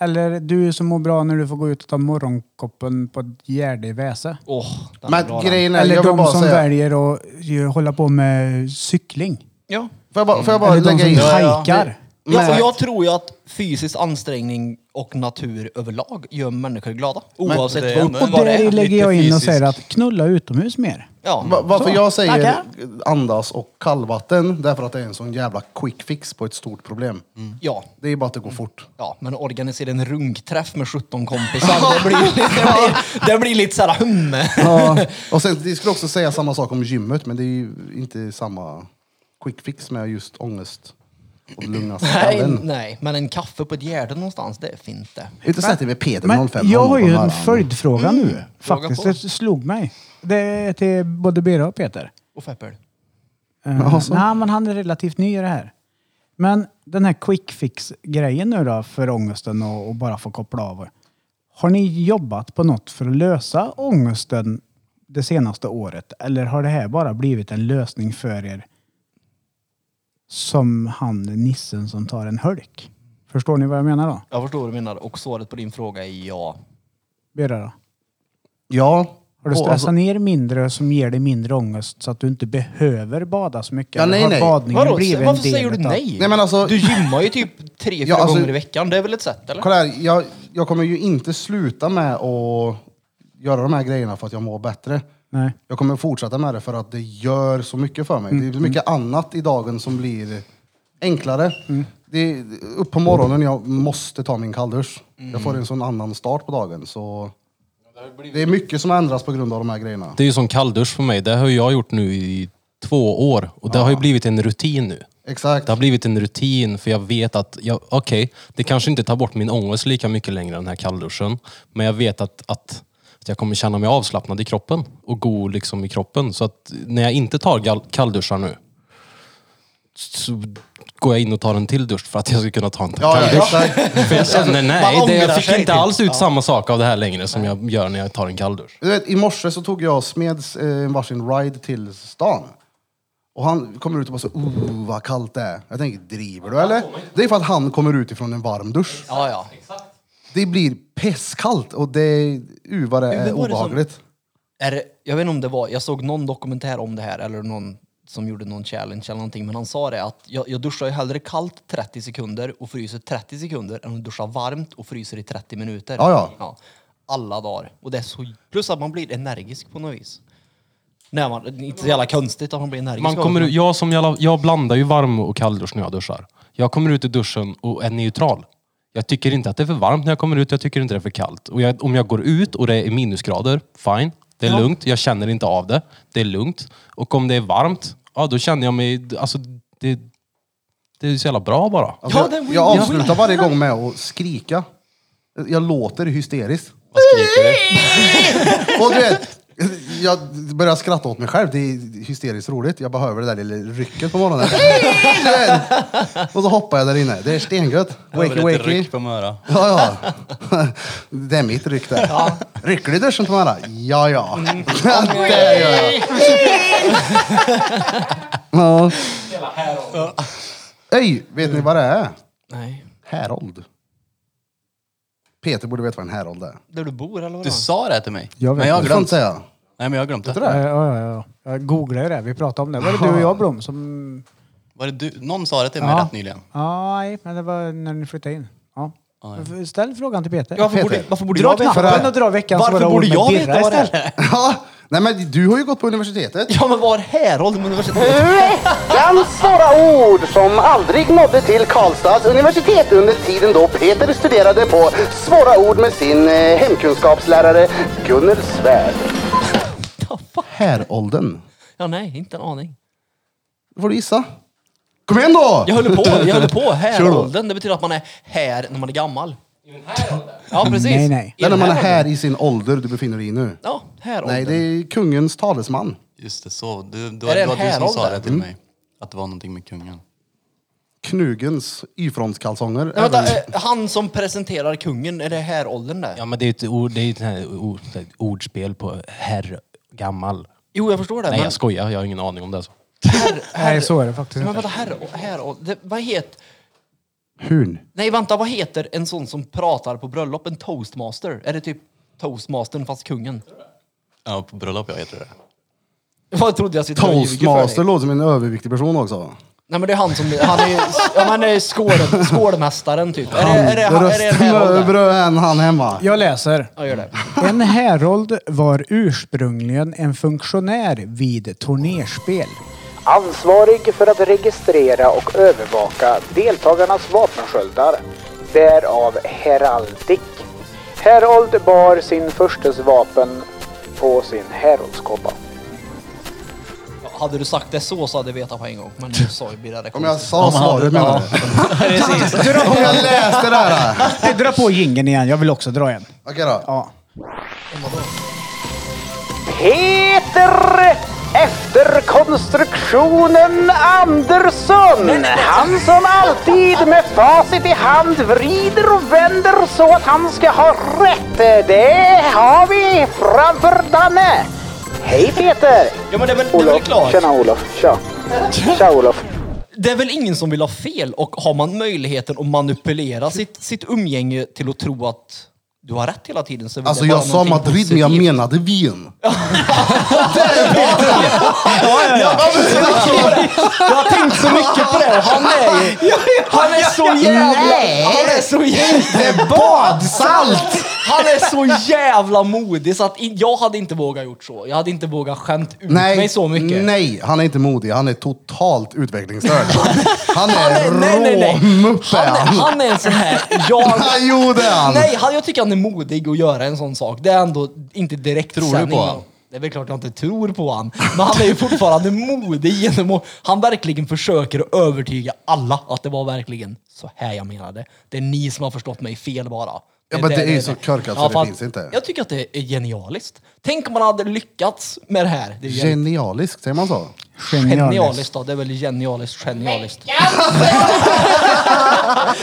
E: Eller du som mår bra när du får gå ut och ta morgonkoppen på ett gärde i Väse.
G: Åh, den är bra
C: Men
G: den.
C: grejen är,
E: Eller
C: jag vill
E: de
C: bara
E: som
C: säga,
E: väljer att ju, hålla på med cykling.
G: Ja.
C: får jag bara, får jag bara
E: Eller de
C: lägga
E: som
C: in?
E: hajkar.
G: Ja, och
C: Men-
G: jag tror ju att fysisk ansträngning och natur överlag gör människor glada. Oavsett
A: det är
G: vad,
A: ändå en-
G: vad det
E: Där
G: är.
E: lägger
A: lite
E: jag in och
A: fysiskt.
E: säger att knulla utomhus mer.
C: Va-
G: Ja.
C: Varför
E: Så,
C: jag säger
E: tackar.
C: andas och kallvatten, därför att det är en sån jävla quick fix på ett stort problem.
E: Mm.
G: Ja.
C: Det är bara att det går fort.
G: Ja, men organisera en runkträff med 17 kompisar, det blir, det blir, det blir lite såhär hum.
C: Ja. Och sen, det skulle också säga samma sak om gymmet, men det är ju inte samma quick fix med just ångest och lugna
G: Nej,
C: skallen.
G: nej, men en kaffe på ett gärde någonstans, det är fint det.
C: Inte sätter vi Peter
E: Men
C: 05
E: jag har ju
C: honom
E: en
C: här.
E: följdfråga nu. Faktiskt,
G: på.
E: det slog mig. Det är till både Birra och Peter.
G: Och feppel.
E: Eh, Nej, men han är relativt ny i det här. Men den här quick fix-grejen nu då för ångesten och, och bara få koppla av. Har ni jobbat på något för att lösa ångesten det senaste året? Eller har det här bara blivit en lösning för er? Som han nissen som tar en hölk. Förstår ni vad jag menar då?
G: Jag förstår vad du menar och svaret på din fråga är ja.
E: Birra då?
C: Ja.
E: Har du
C: Och,
E: stressat
C: alltså,
E: ner mindre som ger dig mindre ångest så att du inte behöver bada så mycket?
C: Ja,
E: Eller
C: nej,
E: har
C: nej.
E: badningen
G: Vadå,
E: blivit en
G: varför
E: del
G: säger du
E: utav-
G: nej?
C: Nej, men alltså-
G: Du gymmar ju typ tre, fyra
C: alltså-
G: gånger i veckan, det är väl ett sätt eller?
C: kolla här, jag, jag kommer ju inte sluta med att göra de här grejerna för att jag mår bättre.
E: Nej.
C: Jag kommer fortsätta med det för att det gör så mycket för mig. Det är mycket annat i dagen som blir enklare. Det är upp på morgonen, jag måste ta min kalldusch. Jag får en sån annan start på dagen. Så det är mycket som ändras på grund av de här grejerna.
F: Det är ju som kalldusch för mig. Det har jag gjort nu i två år. Och det har ju blivit en rutin nu.
C: Exakt.
F: Det har blivit en rutin för jag vet att, jag- okej, det kanske inte tar bort min ångest lika mycket längre den här kallduschen. Men jag vet att, att, att jag kommer känna mig avslappnad i kroppen och god liksom i kroppen. Så att när jag inte tar gal- kallduschar nu så går jag in och tar en till dusch för att jag ska kunna ta en till
C: Ja,
F: kalldusch.
C: ja, exakt.
F: För jag känner nej,
G: man
F: det,
G: ångrar
F: jag fick
G: sig
F: inte
G: typ.
F: alls ut samma sak av det här längre som jag gör när jag tar en kalldusch.
C: Du vet, I morse så tog jag och Smeds eh, varsin ride till stan. Och han kommer ut och bara så, oh vad kallt det är. Jag tänker, driver du eller? Det är för att han kommer ut ifrån en varm dusch.
G: Ja, ja.
C: Det blir pisskallt och det, uh, vad det
G: Men
C: är
G: vad var det som-
C: obehagligt.
G: Är det, jag vet inte om det var, jag såg någon dokumentär om det här eller någon som gjorde någon challenge eller någonting, men han sa det att jag, jag duschar ju hellre kallt 30 sekunder och fryser 30 sekunder än att duscha varmt och fryser i 30 minuter.
C: Ja, ja.
G: Alla dagar. Och det är så, plus att man blir energisk på något vis. Nej, man, det är inte så jävla konstigt att man blir energisk.
F: Man
G: av
F: kommer,
G: det,
F: ut- jag, som jag, jag blandar ju varm och kalldusch när jag duschar. Jag kommer ut i duschen och är neutral. Jag tycker inte att det är för varmt när jag kommer ut, jag tycker inte det är för kallt. Och jag, om jag går ut och det är minusgrader, fine. Det är lugnt, jag känner inte av det. Det är lugnt. Och om det är varmt, ja då känner jag mig... Alltså, det, det är så jävla bra bara.
C: Alltså,
G: Ja,
C: jag-
G: det är win-
C: jag
G: ja.
C: avslutar varje gång med att skrika. Jag låter hysteriskt.
A: Vad skriker du?
C: Och du vet, jag börjar skratta åt mig själv. Det är hysteriskt roligt. Jag behöver det där lilla rycket på morgonen. Du vet. och så hoppar jag där inne. Det är stengött. Wakey
A: Över ett
C: wakey.
A: ryck på möra.
C: Ja, ja. Det är mitt ryck där. Rycker du i duschen på morgonen? Ja, ja.
A: Mm.
C: det gör jag. ja. Öj, vet ni vad det är?
G: Nej.
C: Härold. Peter borde veta vad en härold är.
G: Där du bor eller vad?
A: Du sa det till mig.
E: Jag vet
A: men jag har
C: Du får inte
A: glömt.
C: säga.
A: Nej men jag har glömt det.
E: Ja, ja, ja. Jag googlade ju det. Vi pratade om det. Var det du och jag Blom som...
A: Var det du? Någon sa det till mig
E: Ja.
A: rätt nyligen.
E: Ja, nej, men det var när ni flyttade in. Ja. Ställ frågan till Peter.
G: Varför borde, varför borde
E: Dra
G: jag veta?
E: knappen och dra veckans
G: Varför
E: svåra
G: borde
E: ord med
G: jag
E: birra
G: veta vad det är?
E: istället.
C: Ja, nej men du har ju gått på universitetet.
G: Ja men var härold med universitetet?
H: Veckans svåra ord som aldrig nådde till Karlstads universitet under tiden då Peter studerade på svåra ord med sin eh, hemkunskapslärare Gunnel Svärd.
C: Häråldern.
G: Ja nej, inte en aning.
C: Då får du gissa. Kom igen då!
G: Jag höll på, jag höll på.
C: Kör då.
G: Häråldern, det betyder att man är här när man är gammal. Ja precis.
E: Nej, nej.
G: I
C: Det är när
G: den
C: man är här
G: åldern.
C: i sin ålder du befinner dig i nu.
G: Ja, häråldern.
C: Nej, det är kungens talesman.
A: Just det, så. Du, du,
G: Är det
A: det
G: en
A: var du som sa
G: härålder?
A: det till mig. Att det var någonting med kungen.
C: Knugens Y-frontskalsonger.
G: Nej,
C: Även-
G: vänta, eh, han som presenterar kungen, är det häråldern där?
F: Ja, men det är ju ett, ord, det är ju ett, här ord, ett ordspel på herr gammal.
G: Jo jag förstår det.
F: Nej,
G: men
F: jag skojar. Jag har ingen aning om det. Alltså, Så.
G: herr,
E: Nej,
G: herr,
E: så är det faktiskt
G: men
E: inte.
G: vänta, herr, häråldern. det- Vad heter... eh,
C: Hurn.
G: Nej vänta, vad heter en sån som pratar på bröllop? En toastmaster? Är det typ toastmastern fast kungen?
A: Ja, på bröllop jag heter det.
G: Vad trodde jag sitter och ljuger för dig?
C: Toastmaster låter som en överviktig person också.
G: Nej men det är han som, han är ju, ja, han är skål, skålmästaren typ. Är det, är det, är det, är det en
C: Rösten
G: häråldern?
C: över än han hemma.
E: Jag läser.
G: Ja, gör det.
E: En härold var ursprungligen en funktionär vid turnerspel.
J: Ansvarig för att registrera och övervaka deltagarnas vapensköldar. Därav heraldik. Herold bar sin förstes vapen på sin heroldskåpa.
G: Hade du sagt det så så hade jag vetat på en gång. Men nu sa ju Birra det
C: Om jag
G: konstigt.
C: sa svaret menar du? Om jag läste det här.
E: Nej, dra på jingeln igen. Jag vill också dra en.
C: Okej då.
E: Ja.
J: Peter efter konstruktionen Andersson. Han som alltid med facit i hand vrider och vänder så att han ska ha rätt. Det har vi framför Danne. Hej Peter!
G: Ja men det är väl, det är väl
J: Olof.
G: klart.
J: Tjena Olof. Tja. Tja Olof.
G: Det är väl ingen som vill ha fel och har man möjligheten att manipulera sitt, sitt umgänge till att tro att du har rätt hela tiden så vill
C: Alltså
G: det vara
C: jag sa
G: någonting
C: Madrid men jag
G: positivt.
C: menade Wien.
G: Jag har tänkt så mycket på det och han är ju... Han är så jävla... Han är så jävla... Badsalt! Han är så jävla modig så att in- jag hade inte vågat gjort så. Jag hade inte vågat skämt ut mig
C: Nej,
G: så mycket.
C: nej, han är inte modig. Han är totalt utvecklingsstörd. Han
G: Han
C: är
G: är, nej, nej, nej.
C: råmuppe
G: Han är,
C: han.
G: han är en sån här... Jag,
C: Ja, Jo det är han.
G: nej, han, jag tycker han är modig att göra en sån sak. Det är ändå inte direkt
A: Tror du på han?
G: Det är väl klart jag inte tror på han. Men han är ju fortfarande modig genom att han verkligen försöker att övertyga alla att det var verkligen så här jag menade. Det är ni som har förstått mig fel bara.
C: Ja, men det är ju så korkat så det
G: fast
C: finns inte.
G: Jag tycker att det är genialiskt. Tänk om man hade lyckats med det här. Det är ju
C: Genialisk, säger man så?
G: Genialiskt då, det är väl genialiskt, genialiskt.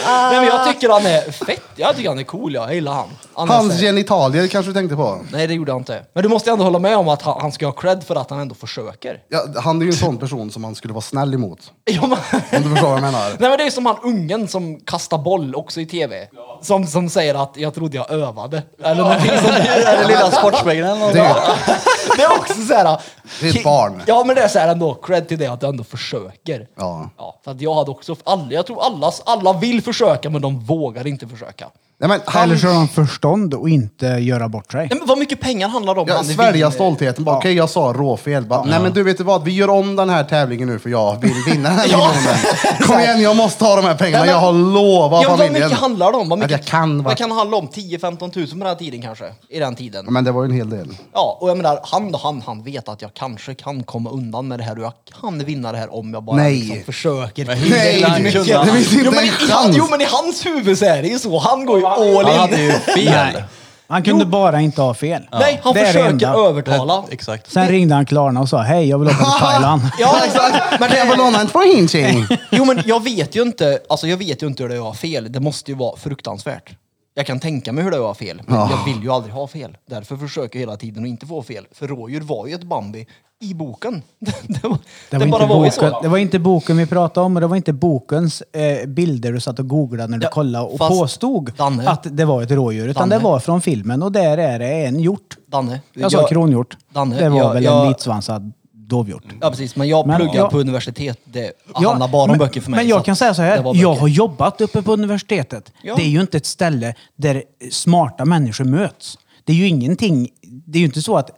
G: Nej men jag tycker han är fett, jag tycker han är cool, jag gillar han. han är
C: Hans
G: så-
C: genitalier kanske du tänkte på?
G: Nej det gjorde han inte. Men du måste ändå hålla med om att han, han ska ha cred för att han ändå försöker.
C: Ja, han är ju en sån person som man skulle vara snäll emot.
G: Ja, men...
C: Om du förstår vad jag menar.
G: Nej men det är som han ungen som kastar boll också i tv. Som, som säger att jag trodde jag övade. Eller någonting sånt där.
D: Den lilla sportspegeln eller något.
C: Det är,
G: Det är också så här.
C: Det är ett barn.
G: Ja men det är så här ändå, cred till det att du ändå försöker.
C: ja.
G: Ja, för att jag hade också, alla, jag tror alla, alla vill försöka men de vågar inte försöka.
C: Nej, men
E: Eller
C: han,
E: så har de förstånd och inte göra bort sig.
G: Nej, men vad mycket pengar handlar det om?
C: Ja,
G: Han är
C: svälja
G: vin-
C: stoltheten. Bara, Okej, jag sa råfel. Bara, Nej, men du vet du vad? Vi gör om den här tävlingen nu för jag vill vinna den här miljonen. Kom igen, jag måste ha de här pengarna.
G: Nej,
C: Jag
G: men-
C: har lovat
G: Ja, men vad
C: familjen.
G: mycket handlar det om? Vad
C: Att
G: mycket,
C: jag kan vara-
G: vad kan det handla om? 10-15 tusen på den här tiden kanske? I den tiden.
C: Men det var ju en hel del.
G: Ja, och jag menar, han då, han, han vet att jag kanske kan komma undan med det här och jag kan vinna det här om jag bara
C: Nej.
G: liksom försöker.
C: Nej,
G: tillräckligt
C: det
G: mycket.
C: finns
G: jo,
C: inte
G: men, i,
C: en
G: han,
C: chans.
G: jo, men i hans huvud så är det ju så. Han går ju all
A: Han
G: in.
A: hade ju fel.
E: Han kunde bara inte ha fel.
G: Nej, han
E: Det är det
G: försöker
E: enda.
G: övertala.
A: Exakt.
E: Sen ringde han Klarna och sa hej, jag vill åka till Thailand.
G: Ja, exakt. Men
C: Kan jag få låna en twinching?
G: Jo men jag vet ju inte, alltså jag vet ju inte hur det var fel. Det måste ju vara fruktansvärt. Jag kan tänka mig hur det var fel, men
C: Ja.
G: jag vill ju aldrig ha fel. Därför försöker jag hela tiden att inte få fel. För rådjur var ju ett Bambi i boken. det, var, det,
E: Det
G: bara
E: var, inte
G: var ju
E: boken,
G: så.
E: det var inte boken vi pratade om och det var inte bokens eh, bilder du satt och googlade när du
G: Ja,
E: kollade och
G: fast-
E: påstod
G: Danne.
E: att det var ett rådjur. Utan
G: Danne.
E: det var från filmen och där är det en hjort.
G: Danne,
E: Jag sa kronhjort.
G: Danne,
E: det var
G: jag-
E: väl
G: jag-
E: en vitsvansad dovhjort.
G: Ja precis, men jag
E: Men-
G: pluggar
E: ja.
G: på universitet. Det handlar bara om
E: men,
G: böcker för mig.
E: Men
G: så
E: jag
G: att
E: kan säga så här,
G: det var
E: jag
G: böcker.
E: har jobbat uppe på universitetet.
G: Ja.
E: Det är ju inte ett ställe där smarta människor möts. Det är ju ingenting, det är ju inte så att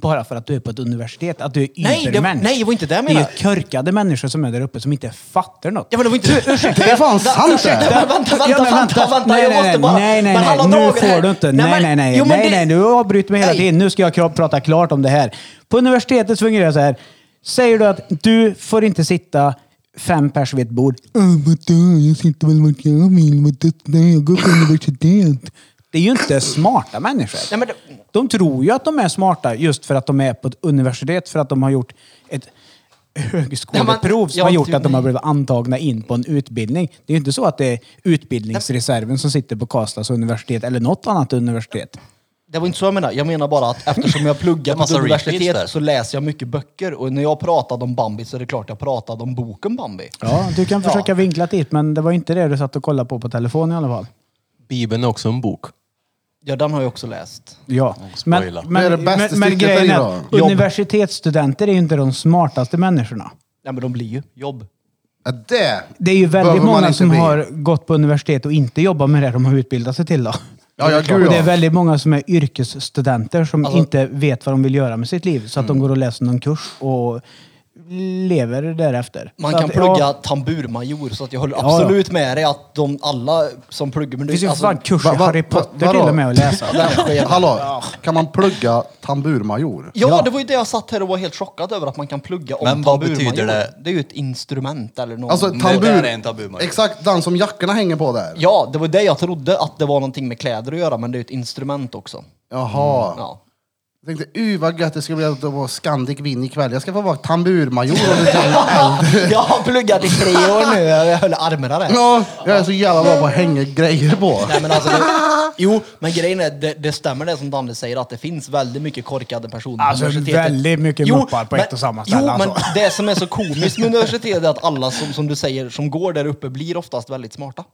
E: bara för att du är på ett universitet, att du är
G: Nej, det-
E: ybermensch.
G: nej, det var inte det jag
E: Det är
G: menade.
E: ju körkade människor som är där uppe som inte fattar något.
G: Ja men det var inte... Ursäkta!
C: Det är fan sant det!
G: Vänta, vänta,
E: Ja,
G: vänta,
E: men
G: vänta, vänta,
E: nej,
G: jag
E: nej,
G: måste bara...
E: Nej, nej,
G: men
E: nej,
G: alla
E: nu
G: droger här.
E: får du inte. Nej,
G: men-
E: nej, nej.
G: Jo, men
E: nej,
G: det-
E: nej, du avbryter mig hela
G: Nej.
E: tiden. Nu ska jag kra- prata klart om det här. På universitetet så fungerar det så här. Säger du att du får inte sitta fem pers vid ett bord. "Åh, vadå? Jag sitter väl vart jag vill. vadå? Nej, Jag går på universitet. Det är ju inte smarta människor.
G: Nej, men det-
E: De tror ju att de är smarta just för att de är på ett universitet, för att de har gjort ett högskoleprov som
G: Ja,
E: har gjort
G: typ,
E: att de har
G: nej.
E: blivit antagna in på en utbildning. Det är ju inte så att det är utbildningsreserven som sitter på Karlstads universitet eller något annat universitet.
G: Det var inte så jag menade. Jag menar bara att eftersom jag pluggar på ett
A: Massa repeats där.
G: universitet så läser jag mycket böcker. Och när jag pratade om Bambi så är det klart jag pratade om boken Bambi.
E: Ja, du kan försöka vinkla dit, men det var inte det du satt och kollade på på telefon i alla fall.
F: Bibeln är också en bok.
G: Ja, den har jag också läst.
E: Ja, men,
A: spoila.
C: Det är det
E: men,
C: bästa
E: men, men
C: stycket
E: grejen
C: där
E: är
C: idag.
E: att universitetsstudenter är ju inte de smartaste människorna.
G: Nej, men de blir ju jobb.
C: Ja, det
E: Det är ju väldigt
C: behöver man
E: många
C: inte
E: som
C: bli.
E: har gått på universitet och inte jobbar med det de har utbildat sig till. Då.
C: Ja, ja, gud
E: och det är
C: ja.
E: väldigt många som är yrkesstudenter som
G: Alltså-
E: inte vet vad de vill göra med sitt liv. Så att
C: Mm.
E: de går och läser någon kurs och lever därefter.
G: Man
E: så
G: kan
E: att,
G: plugga
E: Ja,
G: tamburmajor så att jag håller
E: Ja,
G: absolut med dig att de alla som pluggar... Men
E: det finns ju för
G: alltså,
E: fan kurser
C: Va-
E: i
C: va-
E: Harry
C: va-
E: Potter
C: vadå?
E: till och med att läsa.
G: Ja.
C: Hallå, kan man plugga tamburmajor?
G: Ja, det var ju det jag satt här och var helt chockad över att man kan plugga om
A: Men vad
G: tamburmajor.
A: betyder det?
G: Det är ju ett instrument eller något.
C: Alltså
A: där
C: tambur...
A: är en tamburmajor.
C: Exakt, den som jackorna hänger på där.
G: Ja, det var det jag trodde att det var någonting med kläder att göra, men det är ju ett instrument också.
C: Jaha.
G: Ja.
C: Jag tänkte, uh vad gött det ska bli att vara Scandic Vinn ikväll. Jag ska få vara tamburmajor om det är äldre.
G: Jag har pluggat i tre år nu, jag höll armarna där.
C: Ja, jag är så jävla bra på att hänga grejer på.
G: Nej, men alltså, det, jo, men grejen är, det, det stämmer det som Danne säger att det finns väldigt mycket korkade personer på
E: Alltså,
G: universitetet.
E: väldigt mycket muppar på ett och samma ställe,
G: Jo, men
E: alltså.
G: det som är så komiskt med universitetet är att alla som, som du säger, som går där uppe blir oftast väldigt smarta.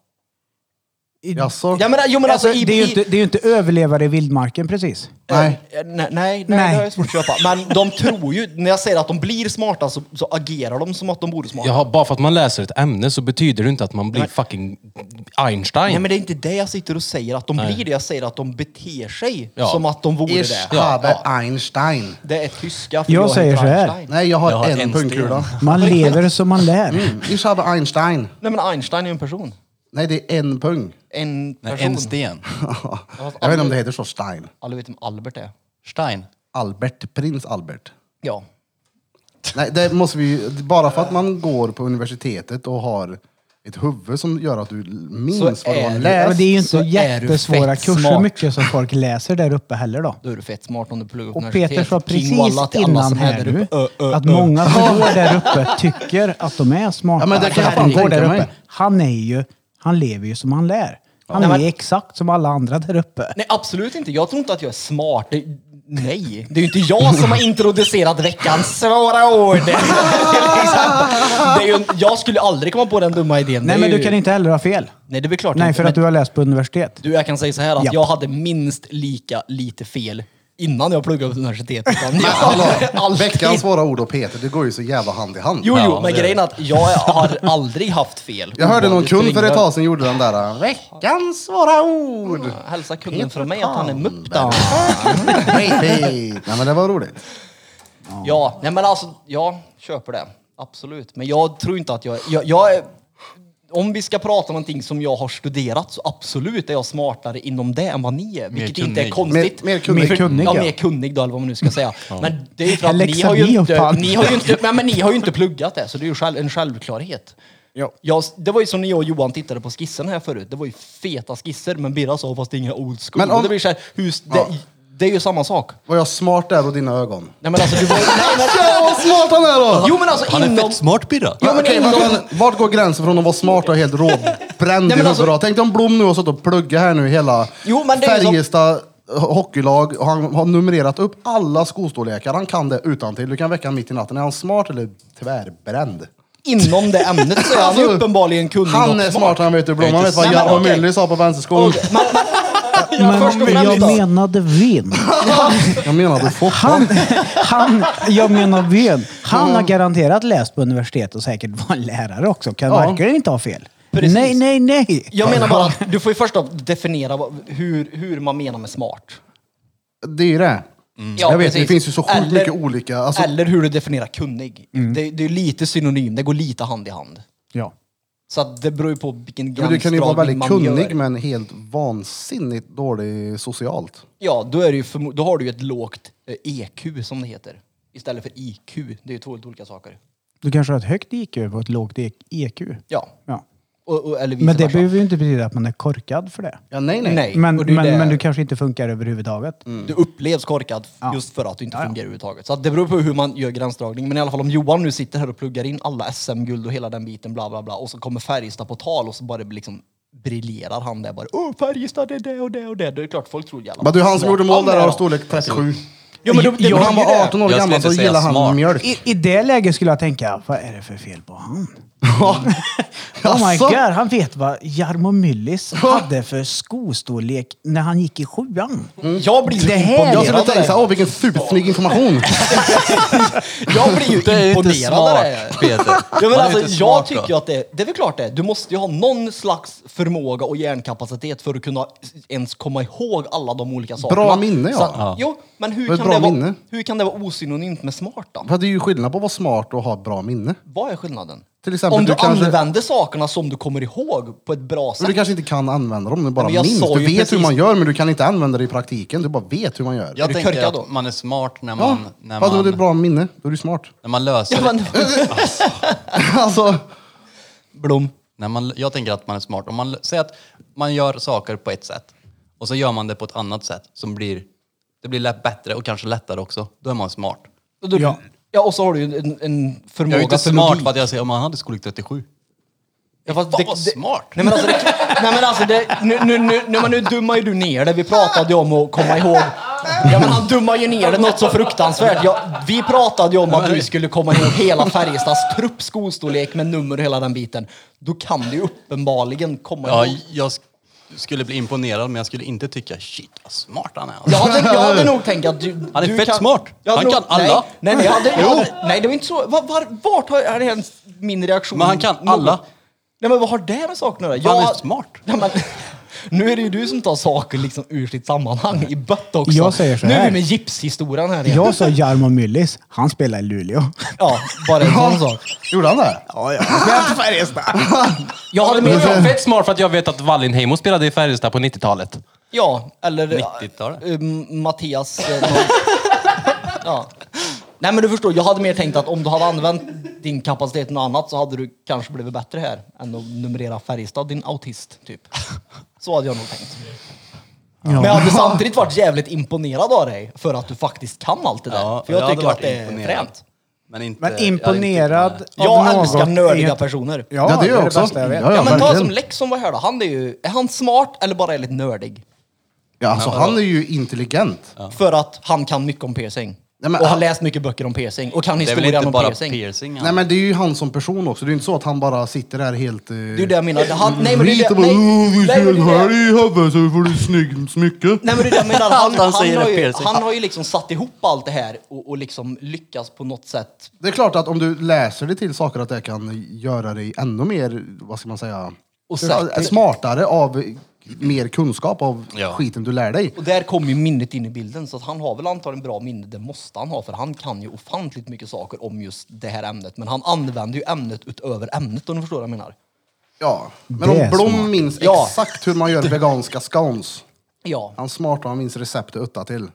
C: Jaså?
G: Ja, men, jo, men alltså, i,
E: det, är ju
G: i-
E: inte, det är ju inte överlevare i vildmarken precis.
C: Nej.
G: Eh, Nej, nej, nej,
E: Nej.
G: det har jag svårt att köpa. Men de tror ju, när jag säger att de blir smarta så, så agerar de som att de borde smarta.
F: Jaha, bara för att man läser ett ämne så betyder det inte att man blir fucking Einstein.
G: Nej men det är inte det jag sitter och säger att de blir det. Jag säger att de beter sig
F: Ja.
G: som att de vore
C: Ich
G: det.
C: habe Einstein.
G: Det är tyska för
E: Jag
G: heter
E: säger så här.
G: Einstein.
C: Nej, jag har,
A: Jag har
C: en,
A: en
C: pungkula.
E: Man lever som man lär.
C: Ich habe Einstein.
G: Nej men Einstein är ju en person.
C: Nej, det är en pung.
G: En person.
A: Nej, en sten.
C: Jag vet inte om det heter så, Stein.
G: Alla vet vem Albert är.
A: Stein.
C: Albert, prins Albert.
G: Ja.
C: Nej, det måste vi ju- Bara för att man går på universitetet och har ett huvud som gör att du minns
G: Så
C: vad du
G: är
C: har
G: det.
C: lärt.
E: Men det är ju inte
G: Så är du
E: jättesvåra
G: fett
E: kurser
G: smart.
E: mycket som folk läser där uppe heller då.
G: Då är du fett smart om du pluggar på
E: Och Peter sa
G: universitet. King
E: precis
G: Walla till alla
E: innan
G: som är
E: här
G: där
E: nu
G: uppe. Ö, ö,
E: att
G: ö.
E: många som går där uppe tycker att de är smarta.
C: Ja, men det kan jag
E: För att
C: fan
E: går där
C: tänka
E: uppe.
C: mig.
E: Han är ju, han lever ju som han lär. Han
G: Nej,
E: är
G: men-
E: exakt som alla andra där uppe.
G: Nej, absolut inte. Jag tror inte att jag är smart. Det, nej, det är ju inte jag som har introducerat veckans svåra ord. Till exempel. det är ju, jag skulle aldrig komma på den dumma idén.
E: Nej,
G: Det är
E: men du
G: ju-
E: kan inte heller ha fel.
G: Nej, det är väl klart
E: Nej,
G: inte.
E: för att
G: Men
E: du har läst på universitet.
G: du, jag kan säga så här att
E: Ja.
G: jag hade minst lika lite fel innan jag pluggade på universitetet. som jag hade
C: Hallå,
G: alltid.
C: veckans svåra ord och Peter, det går ju så jävla hand i hand.
G: Jo, jo, men
A: det är
G: grejen är att jag har aldrig haft fel.
C: Jag hörde någon
G: Ovanligt
C: kund för ett
G: ringdörr.
C: tag sedan gjorde den där äh, veckans svåra ord.
G: Hälsa kunden
C: Peter
G: från mig att han är mupp då.
C: Hej, hej. Nej men det var roligt.
G: Ja, nej men alltså, jag köper det. Absolut. Men jag tror inte att jag, jag, jag är... Om vi ska prata om någonting som jag har studerat så absolut är jag smartare inom det än vad ni är. Vilket inte är
A: kunnig.
G: konstigt.
C: Mer- mer kunnig.
G: För-
E: Mer kunnig,
G: ja.
E: ja.
G: mer kunnig då, eller vad man nu ska säga. Men det är ju för att ni
E: Läxa
G: har ju,
E: ni upp
G: inte,
E: han.
G: ni, har ju inte, nej, men ni har ju inte pluggat det, så det är ju själv, en självklarhet.
E: Ja.
G: Jag, det var ju som när jag och Johan tittade på skissen här förut. Det var ju feta skisser, men Birra sa fast det är inga old school.
C: Men om-
G: Och det blir så här, hur, det, Det är ju samma sak.
C: Var jag smart där och dina ögon?
G: Nej men alltså du var... Nej, men...
C: Ja, vad smart han är då!
G: Jo men alltså
A: Han är
G: inom...
A: fett smart Birra.
G: Jo men
C: Okej,
G: inom...
C: men, men, vart går gränsen från att vara smart och helt råbränd i
G: men alltså-
C: huvudet? då? Tänk dig om Blom nu har suttit och pluggat här nu hela
G: Jo, men det är ju som-
C: Färjestad eh, hockeylag och han har numrerat upp alla skostorlekar. Han kan det utan till. Du kan väcka honom mitt i natten. Är han smart eller tvärbränd?
G: inom det ämnet så är han
C: Alltså,
G: ju uppenbarligen kunnig
C: Han
G: och
C: är smart han vet du Blom. Han vet vad
G: Nej, men
C: Jarmo
G: okej.
C: Myllys sa på vänsterskolan.
G: Man, man,
E: Men
G: först och
E: jag
G: främst då.
E: menade vin.
C: Jag menar du får
E: Han, han, jag menar vin. Han har garanterat läst på universitet och säkert var en lärare också. Kan
C: Ja.
E: verkligen inte ha fel.
G: Precis.
E: Nej, nej, nej.
G: Jag menar bara att du får ju först av- definiera vad- hur, hur man menar med smart.
C: Det är ju det.
G: Ja,
C: Mm. jag vet,
G: precis.
C: det finns ju så sjukt
G: Eller-
C: mycket olika. Alltså, Mm.
G: Eller hur du definierar kunnig. Det, det är lite synonym, det går lite hand i hand.
E: Ja.
G: Så att det beror ju på vilken
C: men du kan ju
G: gränsdragning
C: vara väldigt
G: man
C: kunnig
G: gör.
C: men helt vansinnigt dålig socialt.
G: Ja, då, är det ju förmo- då har du ju ett lågt eh, EQ som det heter. Istället för IQ. Det är ju två helt olika saker.
E: Du kanske har ett högt IQ och ett lågt EQ.
G: Ja.
E: Ja.
G: Och, och, eller vice
E: Men det
G: versa.
E: behöver ju inte betyda att man är korkad för det.
C: Ja, nej, nej.
G: Nej,
E: Men,
G: och det är
E: men,
G: det- Mm.
E: men du kanske inte funkar överhuvudtaget.
G: Du upplevs korkad just för att du inte fungerar överhuvudtaget. Så att det beror på hur man gör gränsdragning. Men i alla fall om Johan nu sitter här och pluggar in alla SM-guld och hela den biten bla bla bla och så kommer Färjestad på tal och så bara liksom briljerar han där bara Åh Färjestad det är det och det och det. Då är det klart folk tror jävla
C: Men du, han som
G: smart
C: gjorde mål
G: han
C: där
G: är
C: har
G: då.
C: storlek 37.
G: Jo men då, det
C: När
G: blir
C: han
G: ju
C: var
G: det.
C: 18 år
A: Jag skulle
C: gammal så
A: inte säga
C: gillade han
A: smart.
C: mjölk.
E: I, I det läget skulle jag tänka, vad är det för fel på han? Oh my
G: Alltså.
C: Jaså?
E: god, han vet vad Jarmo Myllys hade för skostorlek när han gick i sjuan.
G: Jag blir
E: Det
G: ju
E: här-
G: imponerad.
C: Jag skulle
G: av det.
C: tänka såhär, åh vilken supersnygg information.
G: Jag blir ju
A: Det är inte
G: imponerad av
A: smart
G: det.
A: Peter.
G: Ja, men
A: Han är
G: alltså,
A: inte
G: jag
A: smart,
G: tycker
A: då.
G: ju att det, det är väl klart det. Du måste ju ha någon slags förmåga och hjärnkapacitet för att kunna ens komma ihåg alla de olika sakerna.
C: Bra minne, ja.
G: Så att- Jo, men
C: Det är
G: hur
C: ett
G: kan,
C: bra
G: det vara,
C: minne.
G: hur kan det vara osynonymt med smart då?
C: För det är ju skillnad på att vara smart och ha ett bra minne.
G: Vad är skillnaden?
C: Till exempel,
G: Om du,
C: du kanske-
G: använder sakerna som du kommer ihåg på ett bra
C: Men
G: sätt.
C: du kanske inte kan använda dem, du bara
G: Nej, men jag
C: minns.
G: sa
C: Du
G: ju
C: vet
G: precis-
C: hur man gör men du kan inte använda det i praktiken. Du bara vet hur man gör.
A: Jag
G: du
A: tänker
G: korkad
A: att
G: då?
A: man är smart när
C: Ja,
A: man, när
C: vadå det är
A: man,
C: ett bra minne? Då är du smart.
A: när man löser
G: Ja, men,
C: Alltså,
G: Blom.
A: När man, jag tänker att man är smart. Om man säger att man gör saker på ett sätt och så gör man det på ett annat sätt som blir, det blir lätt bättre och kanske lättare också. Då är man smart.
G: Och Du, ja. och så har du ju en, en
A: Jag är
G: förmåga
A: ju inte
G: för
A: smart
G: logik.
A: för att jag säger om man hade skolik 37.
G: Ja, fast
A: Fan, vad smart.
G: Nej men alltså, det, nej, men alltså det, nu, nu, nu, nu, men nu dummar ju du ner det. Vi pratade ju om att komma ihåg. Ja, men han dummar ju ner det något så fruktansvärt. Ja, vi pratade ju om att du skulle komma ihåg hela Färjestads trupp, skolstorlek med nummer och hela den biten. Då kan du ju uppenbarligen komma
A: Ja,
G: ihåg.
A: jag sk- skulle bli imponerad men jag skulle inte tycka shit vad smart han är.
G: Jag hade, jag hade nog tänkt att du...
A: Han är
G: du
A: fett smart.
G: jag hade
A: Han kan alla.
G: Nej, nej, nej, jag hade, jag hade, nej det var inte så. Var, var, vart har är det ens min reaktion?
A: Men han kan alla.
G: Någon- Nej men vad har det med saken att göra?
A: Han är
G: Jag-
A: smart.
G: Nej, men, nu är det ju du som tar saker liksom ur sitt sammanhang i bött också.
E: Jag säger så
G: nu är
E: här.
G: vi med gipshistorien här igen.
E: Jag sa Jarmo Myllys, han spelar i Luleå.
G: Ja, bara en sån sak.
C: gjorde han det?
E: Ja, ja. Men Färjestad.
G: Jag hade
F: Men jag är
G: med
F: fett smart för att jag vet att Wallenheimo spelade i Färjestad på 90-talet.
G: Ja, eller...
A: 90-talet.
G: eh, M- Mattias... eh, någon- ja. Nej men du förstår, jag hade mer tänkt att om du hade använt din kapacitet till något annat så hade du kanske blivit bättre här än att numrera Färjestad, din autist, typ. Så hade jag nog tänkt. Men jag hade samtidigt varit jävligt imponerad av dig för att du faktiskt kan allt det där.
A: Ja,
G: för jag,
A: jag hade
G: tycker att
A: varit
G: det är
A: imponerad.
G: fränt.
A: Men, inte, jag
E: Men
A: är inte
E: imponerad
A: imponerad.
E: av
G: Jag
E: något
G: älskar
E: är
G: nördiga
E: ju-
G: personer. Ja,
E: Ja,
C: Ja, det
E: det
C: gör
E: är
C: jag
E: det
C: också.
E: bästa jag vet.
C: Ja, ja,
G: men ta som
C: verkligen.
G: Lex som var här då, han är ju... Är han smart eller bara väldigt nördig?
C: Ja, alltså han är ju intelligent.
G: För att han kan mycket om piercing.
C: Nej, men
G: och har
C: han-
G: läst mycket böcker om piercing. Och kan
A: Det är väl
G: historien
A: inte
G: om
A: bara
G: piercing.
A: piercing?
C: Nej
A: han-
C: men det är ju han som person också. Det är ju inte så att han bara sitter där helt... eh,
G: det är ju det jag menar. Han, nej, men det är
C: vit
G: det,
C: och bara,
G: nej,
C: "Åh, vi
G: nej,
C: ser
G: men
C: en
G: det är
C: här
G: det.
C: i huvudet så får du snygg smycke.
G: Nej men det är det jag menar. Han,
A: Allt han
G: han,
A: säger
G: har
A: är
G: ju,
A: piercing.
G: han har ju liksom satt ihop allt det här och, och liksom lyckats på något sätt.
C: Det är klart att om du läser dig till saker att det kan göra dig ännu mer, vad ska man säga, eh,
G: Och säker.
C: smartare av mer kunskap av
A: Ja.
C: skiten du lär dig.
G: Och där kommer ju minnet in i bilden. Så att han har väl antagligen bra minne, det måste han ha. För han kan ju ofantligt mycket saker om just det här ämnet. Men han använder ju ämnet utöver ämnet om du förstår vad jag menar.
C: Ja. Men
E: Det är
C: om
E: smart.
C: Blom minns
G: Ja.
C: exakt hur man gör veganska scones.
G: Ja.
C: Han är smart och han minns receptet utta till.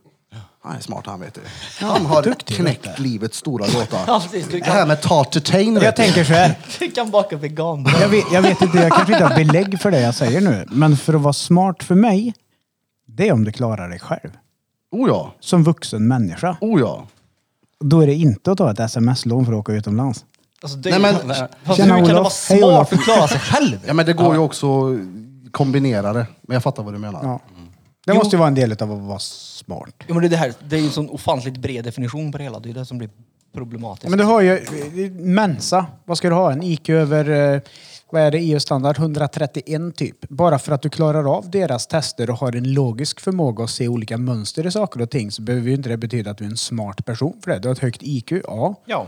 C: Han är smart han vet du. Han har knäckt livets stora
G: Ja,
C: gåta.
G: precis. Du
C: Det
G: kan-
C: här med tartertain
E: Jag
C: vet du.
E: tänker så här.
G: Du kan baka vegan.
E: Jag vet, jag vet inte, jag kanske inte har belägg för det jag säger nu. Men för att vara smart för mig, det är om du klarar dig själv.
C: Oh ja,
E: som vuxen människa.
C: oh ja.
E: Då är det inte att ta ett sms-lån för att åka utomlands.
G: Alltså, det,
C: Nej, men-
G: fast hur
E: Tjena,
G: kan det
E: Olof.
G: vara
E: Hej, Olof.
G: smart för att klara sig själv?
C: Ja men det går ju också att kombinera det. Men jag fattar vad du menar.
E: Ja. Det måste ju vara en del av att vara smart.
G: Jo, men det, är det, här, det är ju en sån ofantligt bred definition på det hela. Det är det som blir problematiskt.
E: Men du har ju eh, Mensa. Vad ska du ha? En IQ över, eh, vad är det, EU-standard? 131 typ. Bara för att du klarar av deras tester och har en logisk förmåga att se olika mönster i saker och ting så behöver ju inte det betyda att du är en smart person för det. Du har ett högt IQ, ja.
G: Ja.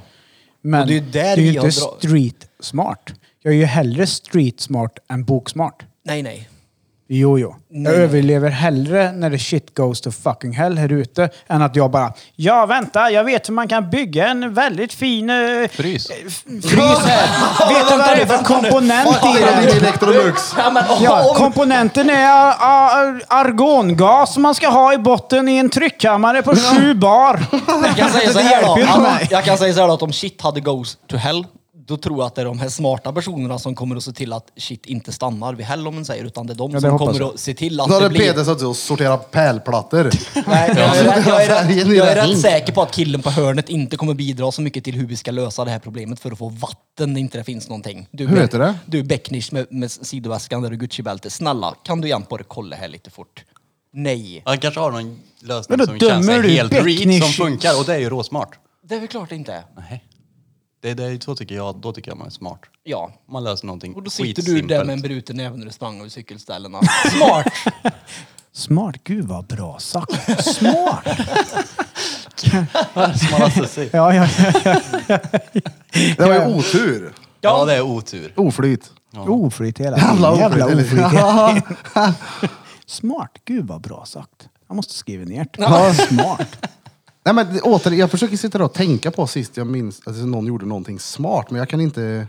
E: Men
G: Och
E: det är ju,
G: där
E: ju
G: jag
E: inte
G: drar-
E: street smart. Jag är ju hellre street smart än boksmart.
G: Nej, nej.
E: Jo, jo. Jag
G: Nej.
E: överlever hellre när det shit goes to fucking hell här ute än att jag bara Ja, vänta, jag vet hur man kan bygga en väldigt fin eh, frys
A: Frys.
E: här. vet du vad det är för komponent i
C: Det blir
E: den?
C: Electrolux.
G: Ja, men,
E: Ja,
G: om-
E: komponenten är ah, ah, argongas som man ska ha i botten i en tryckkammare på sju bar.
G: Jag kan säga
E: Det
G: så här
E: hjälper ju
G: då.
E: inte mig.
G: Att, jag kan säga så här då, att om shit hade goes to hell, då tror jag att det är de här smarta personerna som kommer att se till att shit inte stannar vid hell om man säger, utan det är de
E: Ja, det
G: som
E: hoppas
G: kommer
E: jag.
G: att se till
C: Nu
G: att
C: har
G: det
C: det
G: blir...
C: Peter suttit och sorterat pärlplattor.
G: Nej, jag, är, jag, är, jag,
C: Färgen
G: är,
C: i
G: jag är
C: den.
G: rätt säker på att killen på hörnet inte kommer bidra så mycket till hur vi ska lösa det här problemet för att få vatten när inte det finns någonting. Du,
C: Hur heter det?
G: Du Becknish med, med sidoväskan där och Gucci-bälte. Snälla, kan du igen på det kolla här lite fort? Nej,
A: Han kanske har någon
E: Men
A: lösning
E: då
A: som känns
E: dömer
A: så här
E: du
A: helt reet som
E: Becknish.
A: funkar och det är ju råsmart.
G: det är väl klart det inte är.
A: Nej. Det, det, är- så tycker jag, då tycker jag man är smart.
G: Ja.
A: Man löser någonting
G: Och då sitter du där med en
A: skit
G: bruten näve när du sprang över cykelställena. Smart!
E: Smart, gud vad bra sagt. Smart!
A: simpelt.
E: Ja, ja, ja.
C: Det var ju otur.
A: Ja, det är otur.
C: Oflyt.
E: Oflyt hela
C: Jävla
E: tiden. Jävla
C: oflyt.
E: oflyt. hela tiden. Smart, gud vad bra sagt. Jag måste skriva ner det. Smart.
C: Nej men åter, jag försöker sitta där och tänka på sist jag minns att alltså, någon gjorde någonting smart. Men jag kan inte...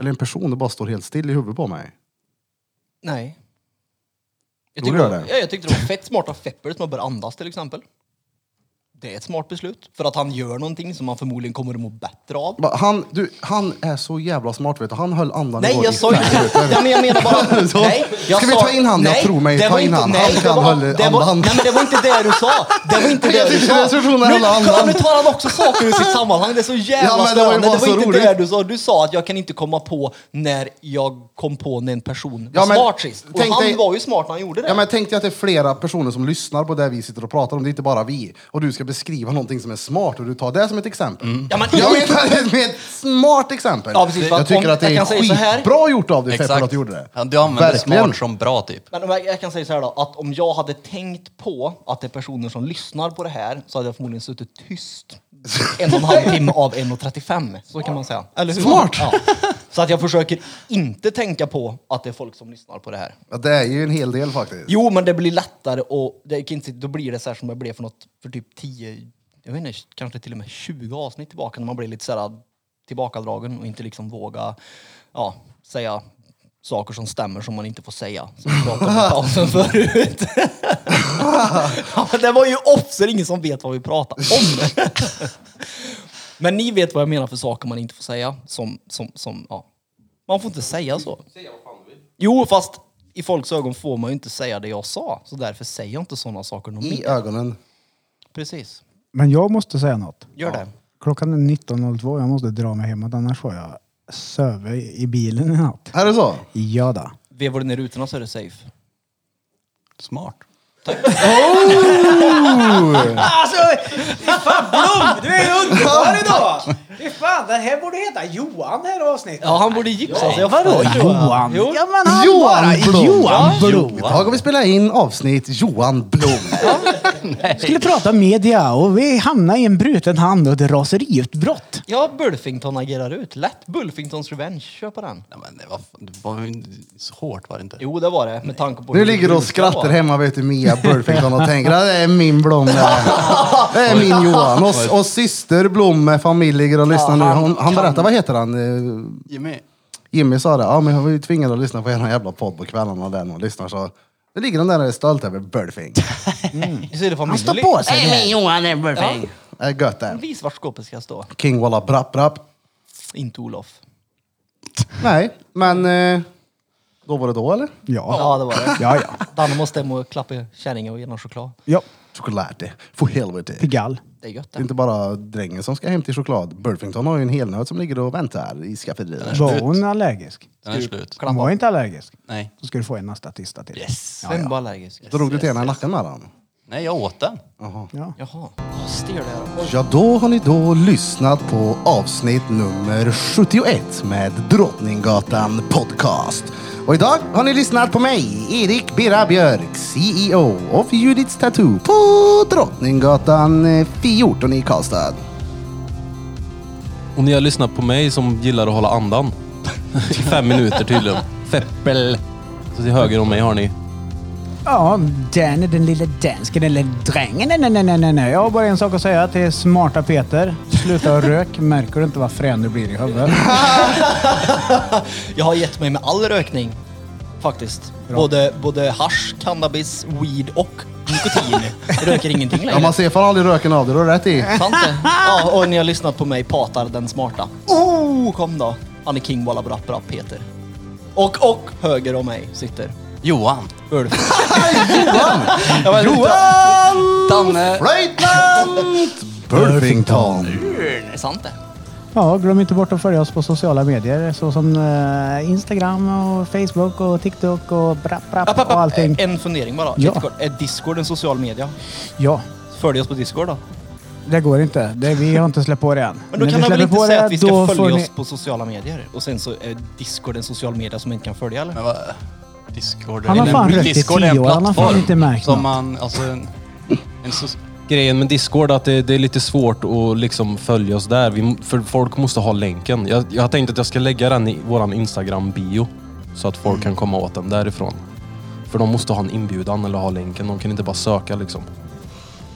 C: Eller en person, det bara står helt still i huvudet på mig.
G: Nej. Jag
C: Jo,
G: tyckte,
C: det gör
G: det.
C: det.
G: Ja, jag tyckte det var fett smart av Feppel som har börjat andas till exempel. Det är ett smart beslut. För att han gör någonting som han förmodligen kommer att må bättre av.
C: Bara, Han, du, han är så jävla smart vet du. Han höll andan
G: Nej,
C: igår
G: jag
C: i
G: sa ju
C: fem
G: inte...
C: minuter.
G: Ja, men jag menar bara...
C: Så,
G: Nej, jag
C: ska vi
G: sa-
C: ta in han? Jag
G: Nej,
C: tror mig,
G: det
C: ta
G: var
C: in
G: inte-
C: han.
G: Nej,
C: Han
G: det
C: kan
G: var-
C: hålla
G: det var-
C: andan.
G: Nej, men det var inte det du sa. Det var inte
C: Jag
G: det du
C: tyckte
G: sa.
C: det skulle hålla
G: Nu-
C: andan.
G: Nu tar han också saker ur sitt sammanhang. Det är så
C: Ja,
G: jävla
C: men det var ju
G: störande.
C: bara
G: Det var
C: så
G: inte
C: roligt.
G: det du sa. Du sa att jag kan inte komma på när jag kom på när en person var
C: Ja, men
G: smart sist. Och
C: tänk
G: han
C: dig-
G: var ju smart när han gjorde det.
C: Ja, men tänk dig att det är flera personer som lyssnar på det vi sitter och pratar om, det är inte bara vi. Och du ska beskriva någonting som är smart och du tar det som ett exempel.
G: Ja, men-
C: Jag menar med ett smart exempel.
G: Ja, precis, för
C: jag
G: att
C: tycker
G: om-
C: att det
G: jag
C: är
G: kan säga så här.
C: skitbra gjort av dig Feppel att
A: Exakt.
C: du gjorde det.
A: Han- Du använder
C: Verkligen.
A: smart som bra typ.
G: Men om jag, jag kan säga så här då, att om jag hade tänkt på att det är personer som lyssnar på det här så hade jag förmodligen suttit tyst en och en halv timme av 1.35. Så kan man säga. Eller hur?
C: Smart!
G: Ja. Så att jag försöker inte tänka på att det är folk som lyssnar på det här.
C: Ja, det är ju en hel del faktiskt.
G: Jo, men det blir lättare och det, kan inte- då blir det så här som jag blev för något, för typ 10, jag vet inte, kanske till och med 20 avsnitt tillbaka när man blir lite så här tillbakadragen och inte liksom våga ja, säga saker som stämmer som man inte får säga. Som vi pratade om i pausen förut. ja, men det var ju off, så det är ingen som vet vad vi pratar om. men ni vet vad jag menar för saker man inte får säga. Som, som, som, ja. Man får inte säga så. Jo, fast i folks ögon får man ju inte säga det jag sa. Så därför säger jag inte sådana saker någon
C: I
G: mer.
C: ögonen.
G: Precis.
E: Men jag måste säga något.
G: Gör det.
E: Klockan är 19.02, jag måste dra mig hemåt annars får jag söva i bilen i natt.
C: Är det så?
E: Ja då.
G: Vevar du ner rutorna så är det safe.
A: Smart.
G: Oh!
E: Alltså, fan Blom! Du är underbar idag! Fy fan, den här borde heta Johan det här avsnittet.
G: Ja, han borde gipsa sig. Jag
E: Vadå
G: fattar.
E: Johan?
G: Jo.
E: Ja men han
C: Johan
E: bara,
C: Blom.
E: Johan Blom!
C: Idag har vi spelat in avsnitt Johan Blom.
E: Skulle prata media och vi hamnade i en bruten hand och ett raseriutbrott.
G: Ja, Bulfington agerar ut. Lätt. Bulfingtons Revenge. Kör på den.
A: Nej, men det var, det var ju inte- så hårt var det inte.
G: Jo, det var det. Med tanke på
C: Nu
G: hur
C: ligger du och
G: brukar
C: skrattar
G: vara.
C: hemma vet du, Mia Burfington och tänker att det är min Blom det här. Det är min Johan. Och, och syster Blom med familj ligger och lyssnar nu. Hon, han berättar, vad heter han? Eh,
A: Jimmy.
C: Jimmy sa det, ja men jag var ju tvingad att lyssna på er jävla podd på kvällarna där när hon lyssnar så. Det ligger den där och är stolt över Burfing.
G: Så är det familj.
E: sig
C: Det är gött det.
G: Vis vart skåpet ska stå.
C: King Walla Brapp Brapp.
G: Inte Olof.
C: Nej, men eh, då var det då eller?
E: Ja.
G: Ja, det var det.
E: Ja, ja.
G: Danne måste hem och klappa kärringen och ge honom choklad.
E: ja.
C: Choklad. För helvete.
E: Till gall.
G: Det är gött
C: Det är
G: det.
C: inte bara drängen som ska hem till choklad. Burfington har ju en helnöt som ligger och väntar i skafferiet.
E: Var hon allergisk?
A: Den är slut.
E: Hon var inte allergisk.
A: Nej.
E: Då ska du få en statista till.
A: Yes.
G: Vem var allergisk?
C: Drog du till henne i nacken med den?
A: Nej, jag åt den.
G: Jaha. Åh, Stel det här. Oj.
C: Ja, då har ni då lyssnat på avsnitt nummer 71 med Drottninggatan Podcast. Och idag har ni lyssnat på mig, Erik Birra Björk, CEO of Judiths Tattoo på Drottninggatan eh, 14 i Karlstad.
F: Och ni har lyssnat på mig som gillar att hålla andan. I fem minuter tydligen. Feppel. Så till höger om mig har ni.
E: Ja, den är den lilla dansken, den lilla drängen. Nej, nej, nej, nej, nej, nej. Jag har bara en sak att säga till smarta Peter. Sluta rök. Märker du inte vad frän du blir i huvudet?
G: Jag har gett mig med all rökning. Faktiskt. Både, både hasch, cannabis, weed och nikotin. Jag röker ingenting längre.
C: Ja, man ser fan aldrig röken av det, du har rätt i.
G: Sant det? Ja, och ni har lyssnat på mig, Patar den smarta. Oh, kom då! Han är king walla brapp brapp Peter. Och, och höger om mig sitter
A: Johan.
G: Ulf. Johan! Johan! Danne.
C: Löjtnant Burfington.
G: Det är sant det.
E: Ja, glöm inte bort att följa oss på sociala medier såsom eh, Instagram och Facebook och TikTok och brapp, brapp
G: App, app, Eh,
E: och
G: app.
E: allting.
G: En fundering bara.
E: Ja.
G: Jättekort. Är Discord en social media?
E: Ja,
G: Följ oss på Discord då.
E: det går inte. Det, vi har inte släppt på det än.
G: Men då
E: När
G: kan
E: vi
G: han väl
E: släpper
G: inte
E: på
G: säga
E: det,
G: att vi ska
E: då
G: följa
E: får ni-
G: oss på sociala medier? Och sen så är Discord en social media som man inte kan följa eller?
A: Men vad... Discord är
E: Han har
A: en-
E: fan rökt i
A: Discord är en
E: tio år. Han har fan
A: plattform
E: inte märkt
A: som
E: något.
A: man, alltså en, en so-
F: Grejen med Discord är att det, det är lite svårt att liksom följa oss där. Vi, för folk måste ha länken. Jag, jag har tänkt att jag ska lägga den i våran Instagram-bio. Så att folk
C: Mm.
F: kan komma åt den därifrån. För de måste ha en inbjudan eller ha länken. De kan inte bara söka liksom.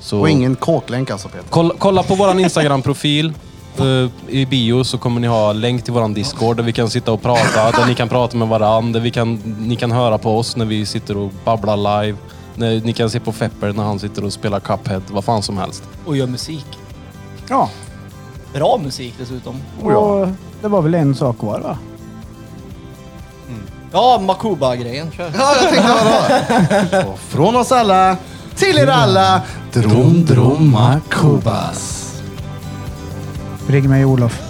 F: Så...
C: Och ingen kåklänk alltså Peter.
F: Kolla, kolla på våran Instagram-profil. eh, I bio så kommer ni ha länk till våran Discord där vi kan sitta och prata, där ni kan prata med varandra, där vi kan, ni kan höra på oss när vi sitter och babblar live. När, ni kan se på Fepper när han sitter och spelar Cuphead, vad fan som helst.
G: Och gör musik.
E: Ja,
G: Bra musik dessutom.
E: och det var väl en sak kvar va?
G: Ja, Makuba-grejen. Kör.
C: Ja, jag tänkte vadå? Och Från oss alla, till er alla, Drom Droma Kubas.
E: Ring mig Olof.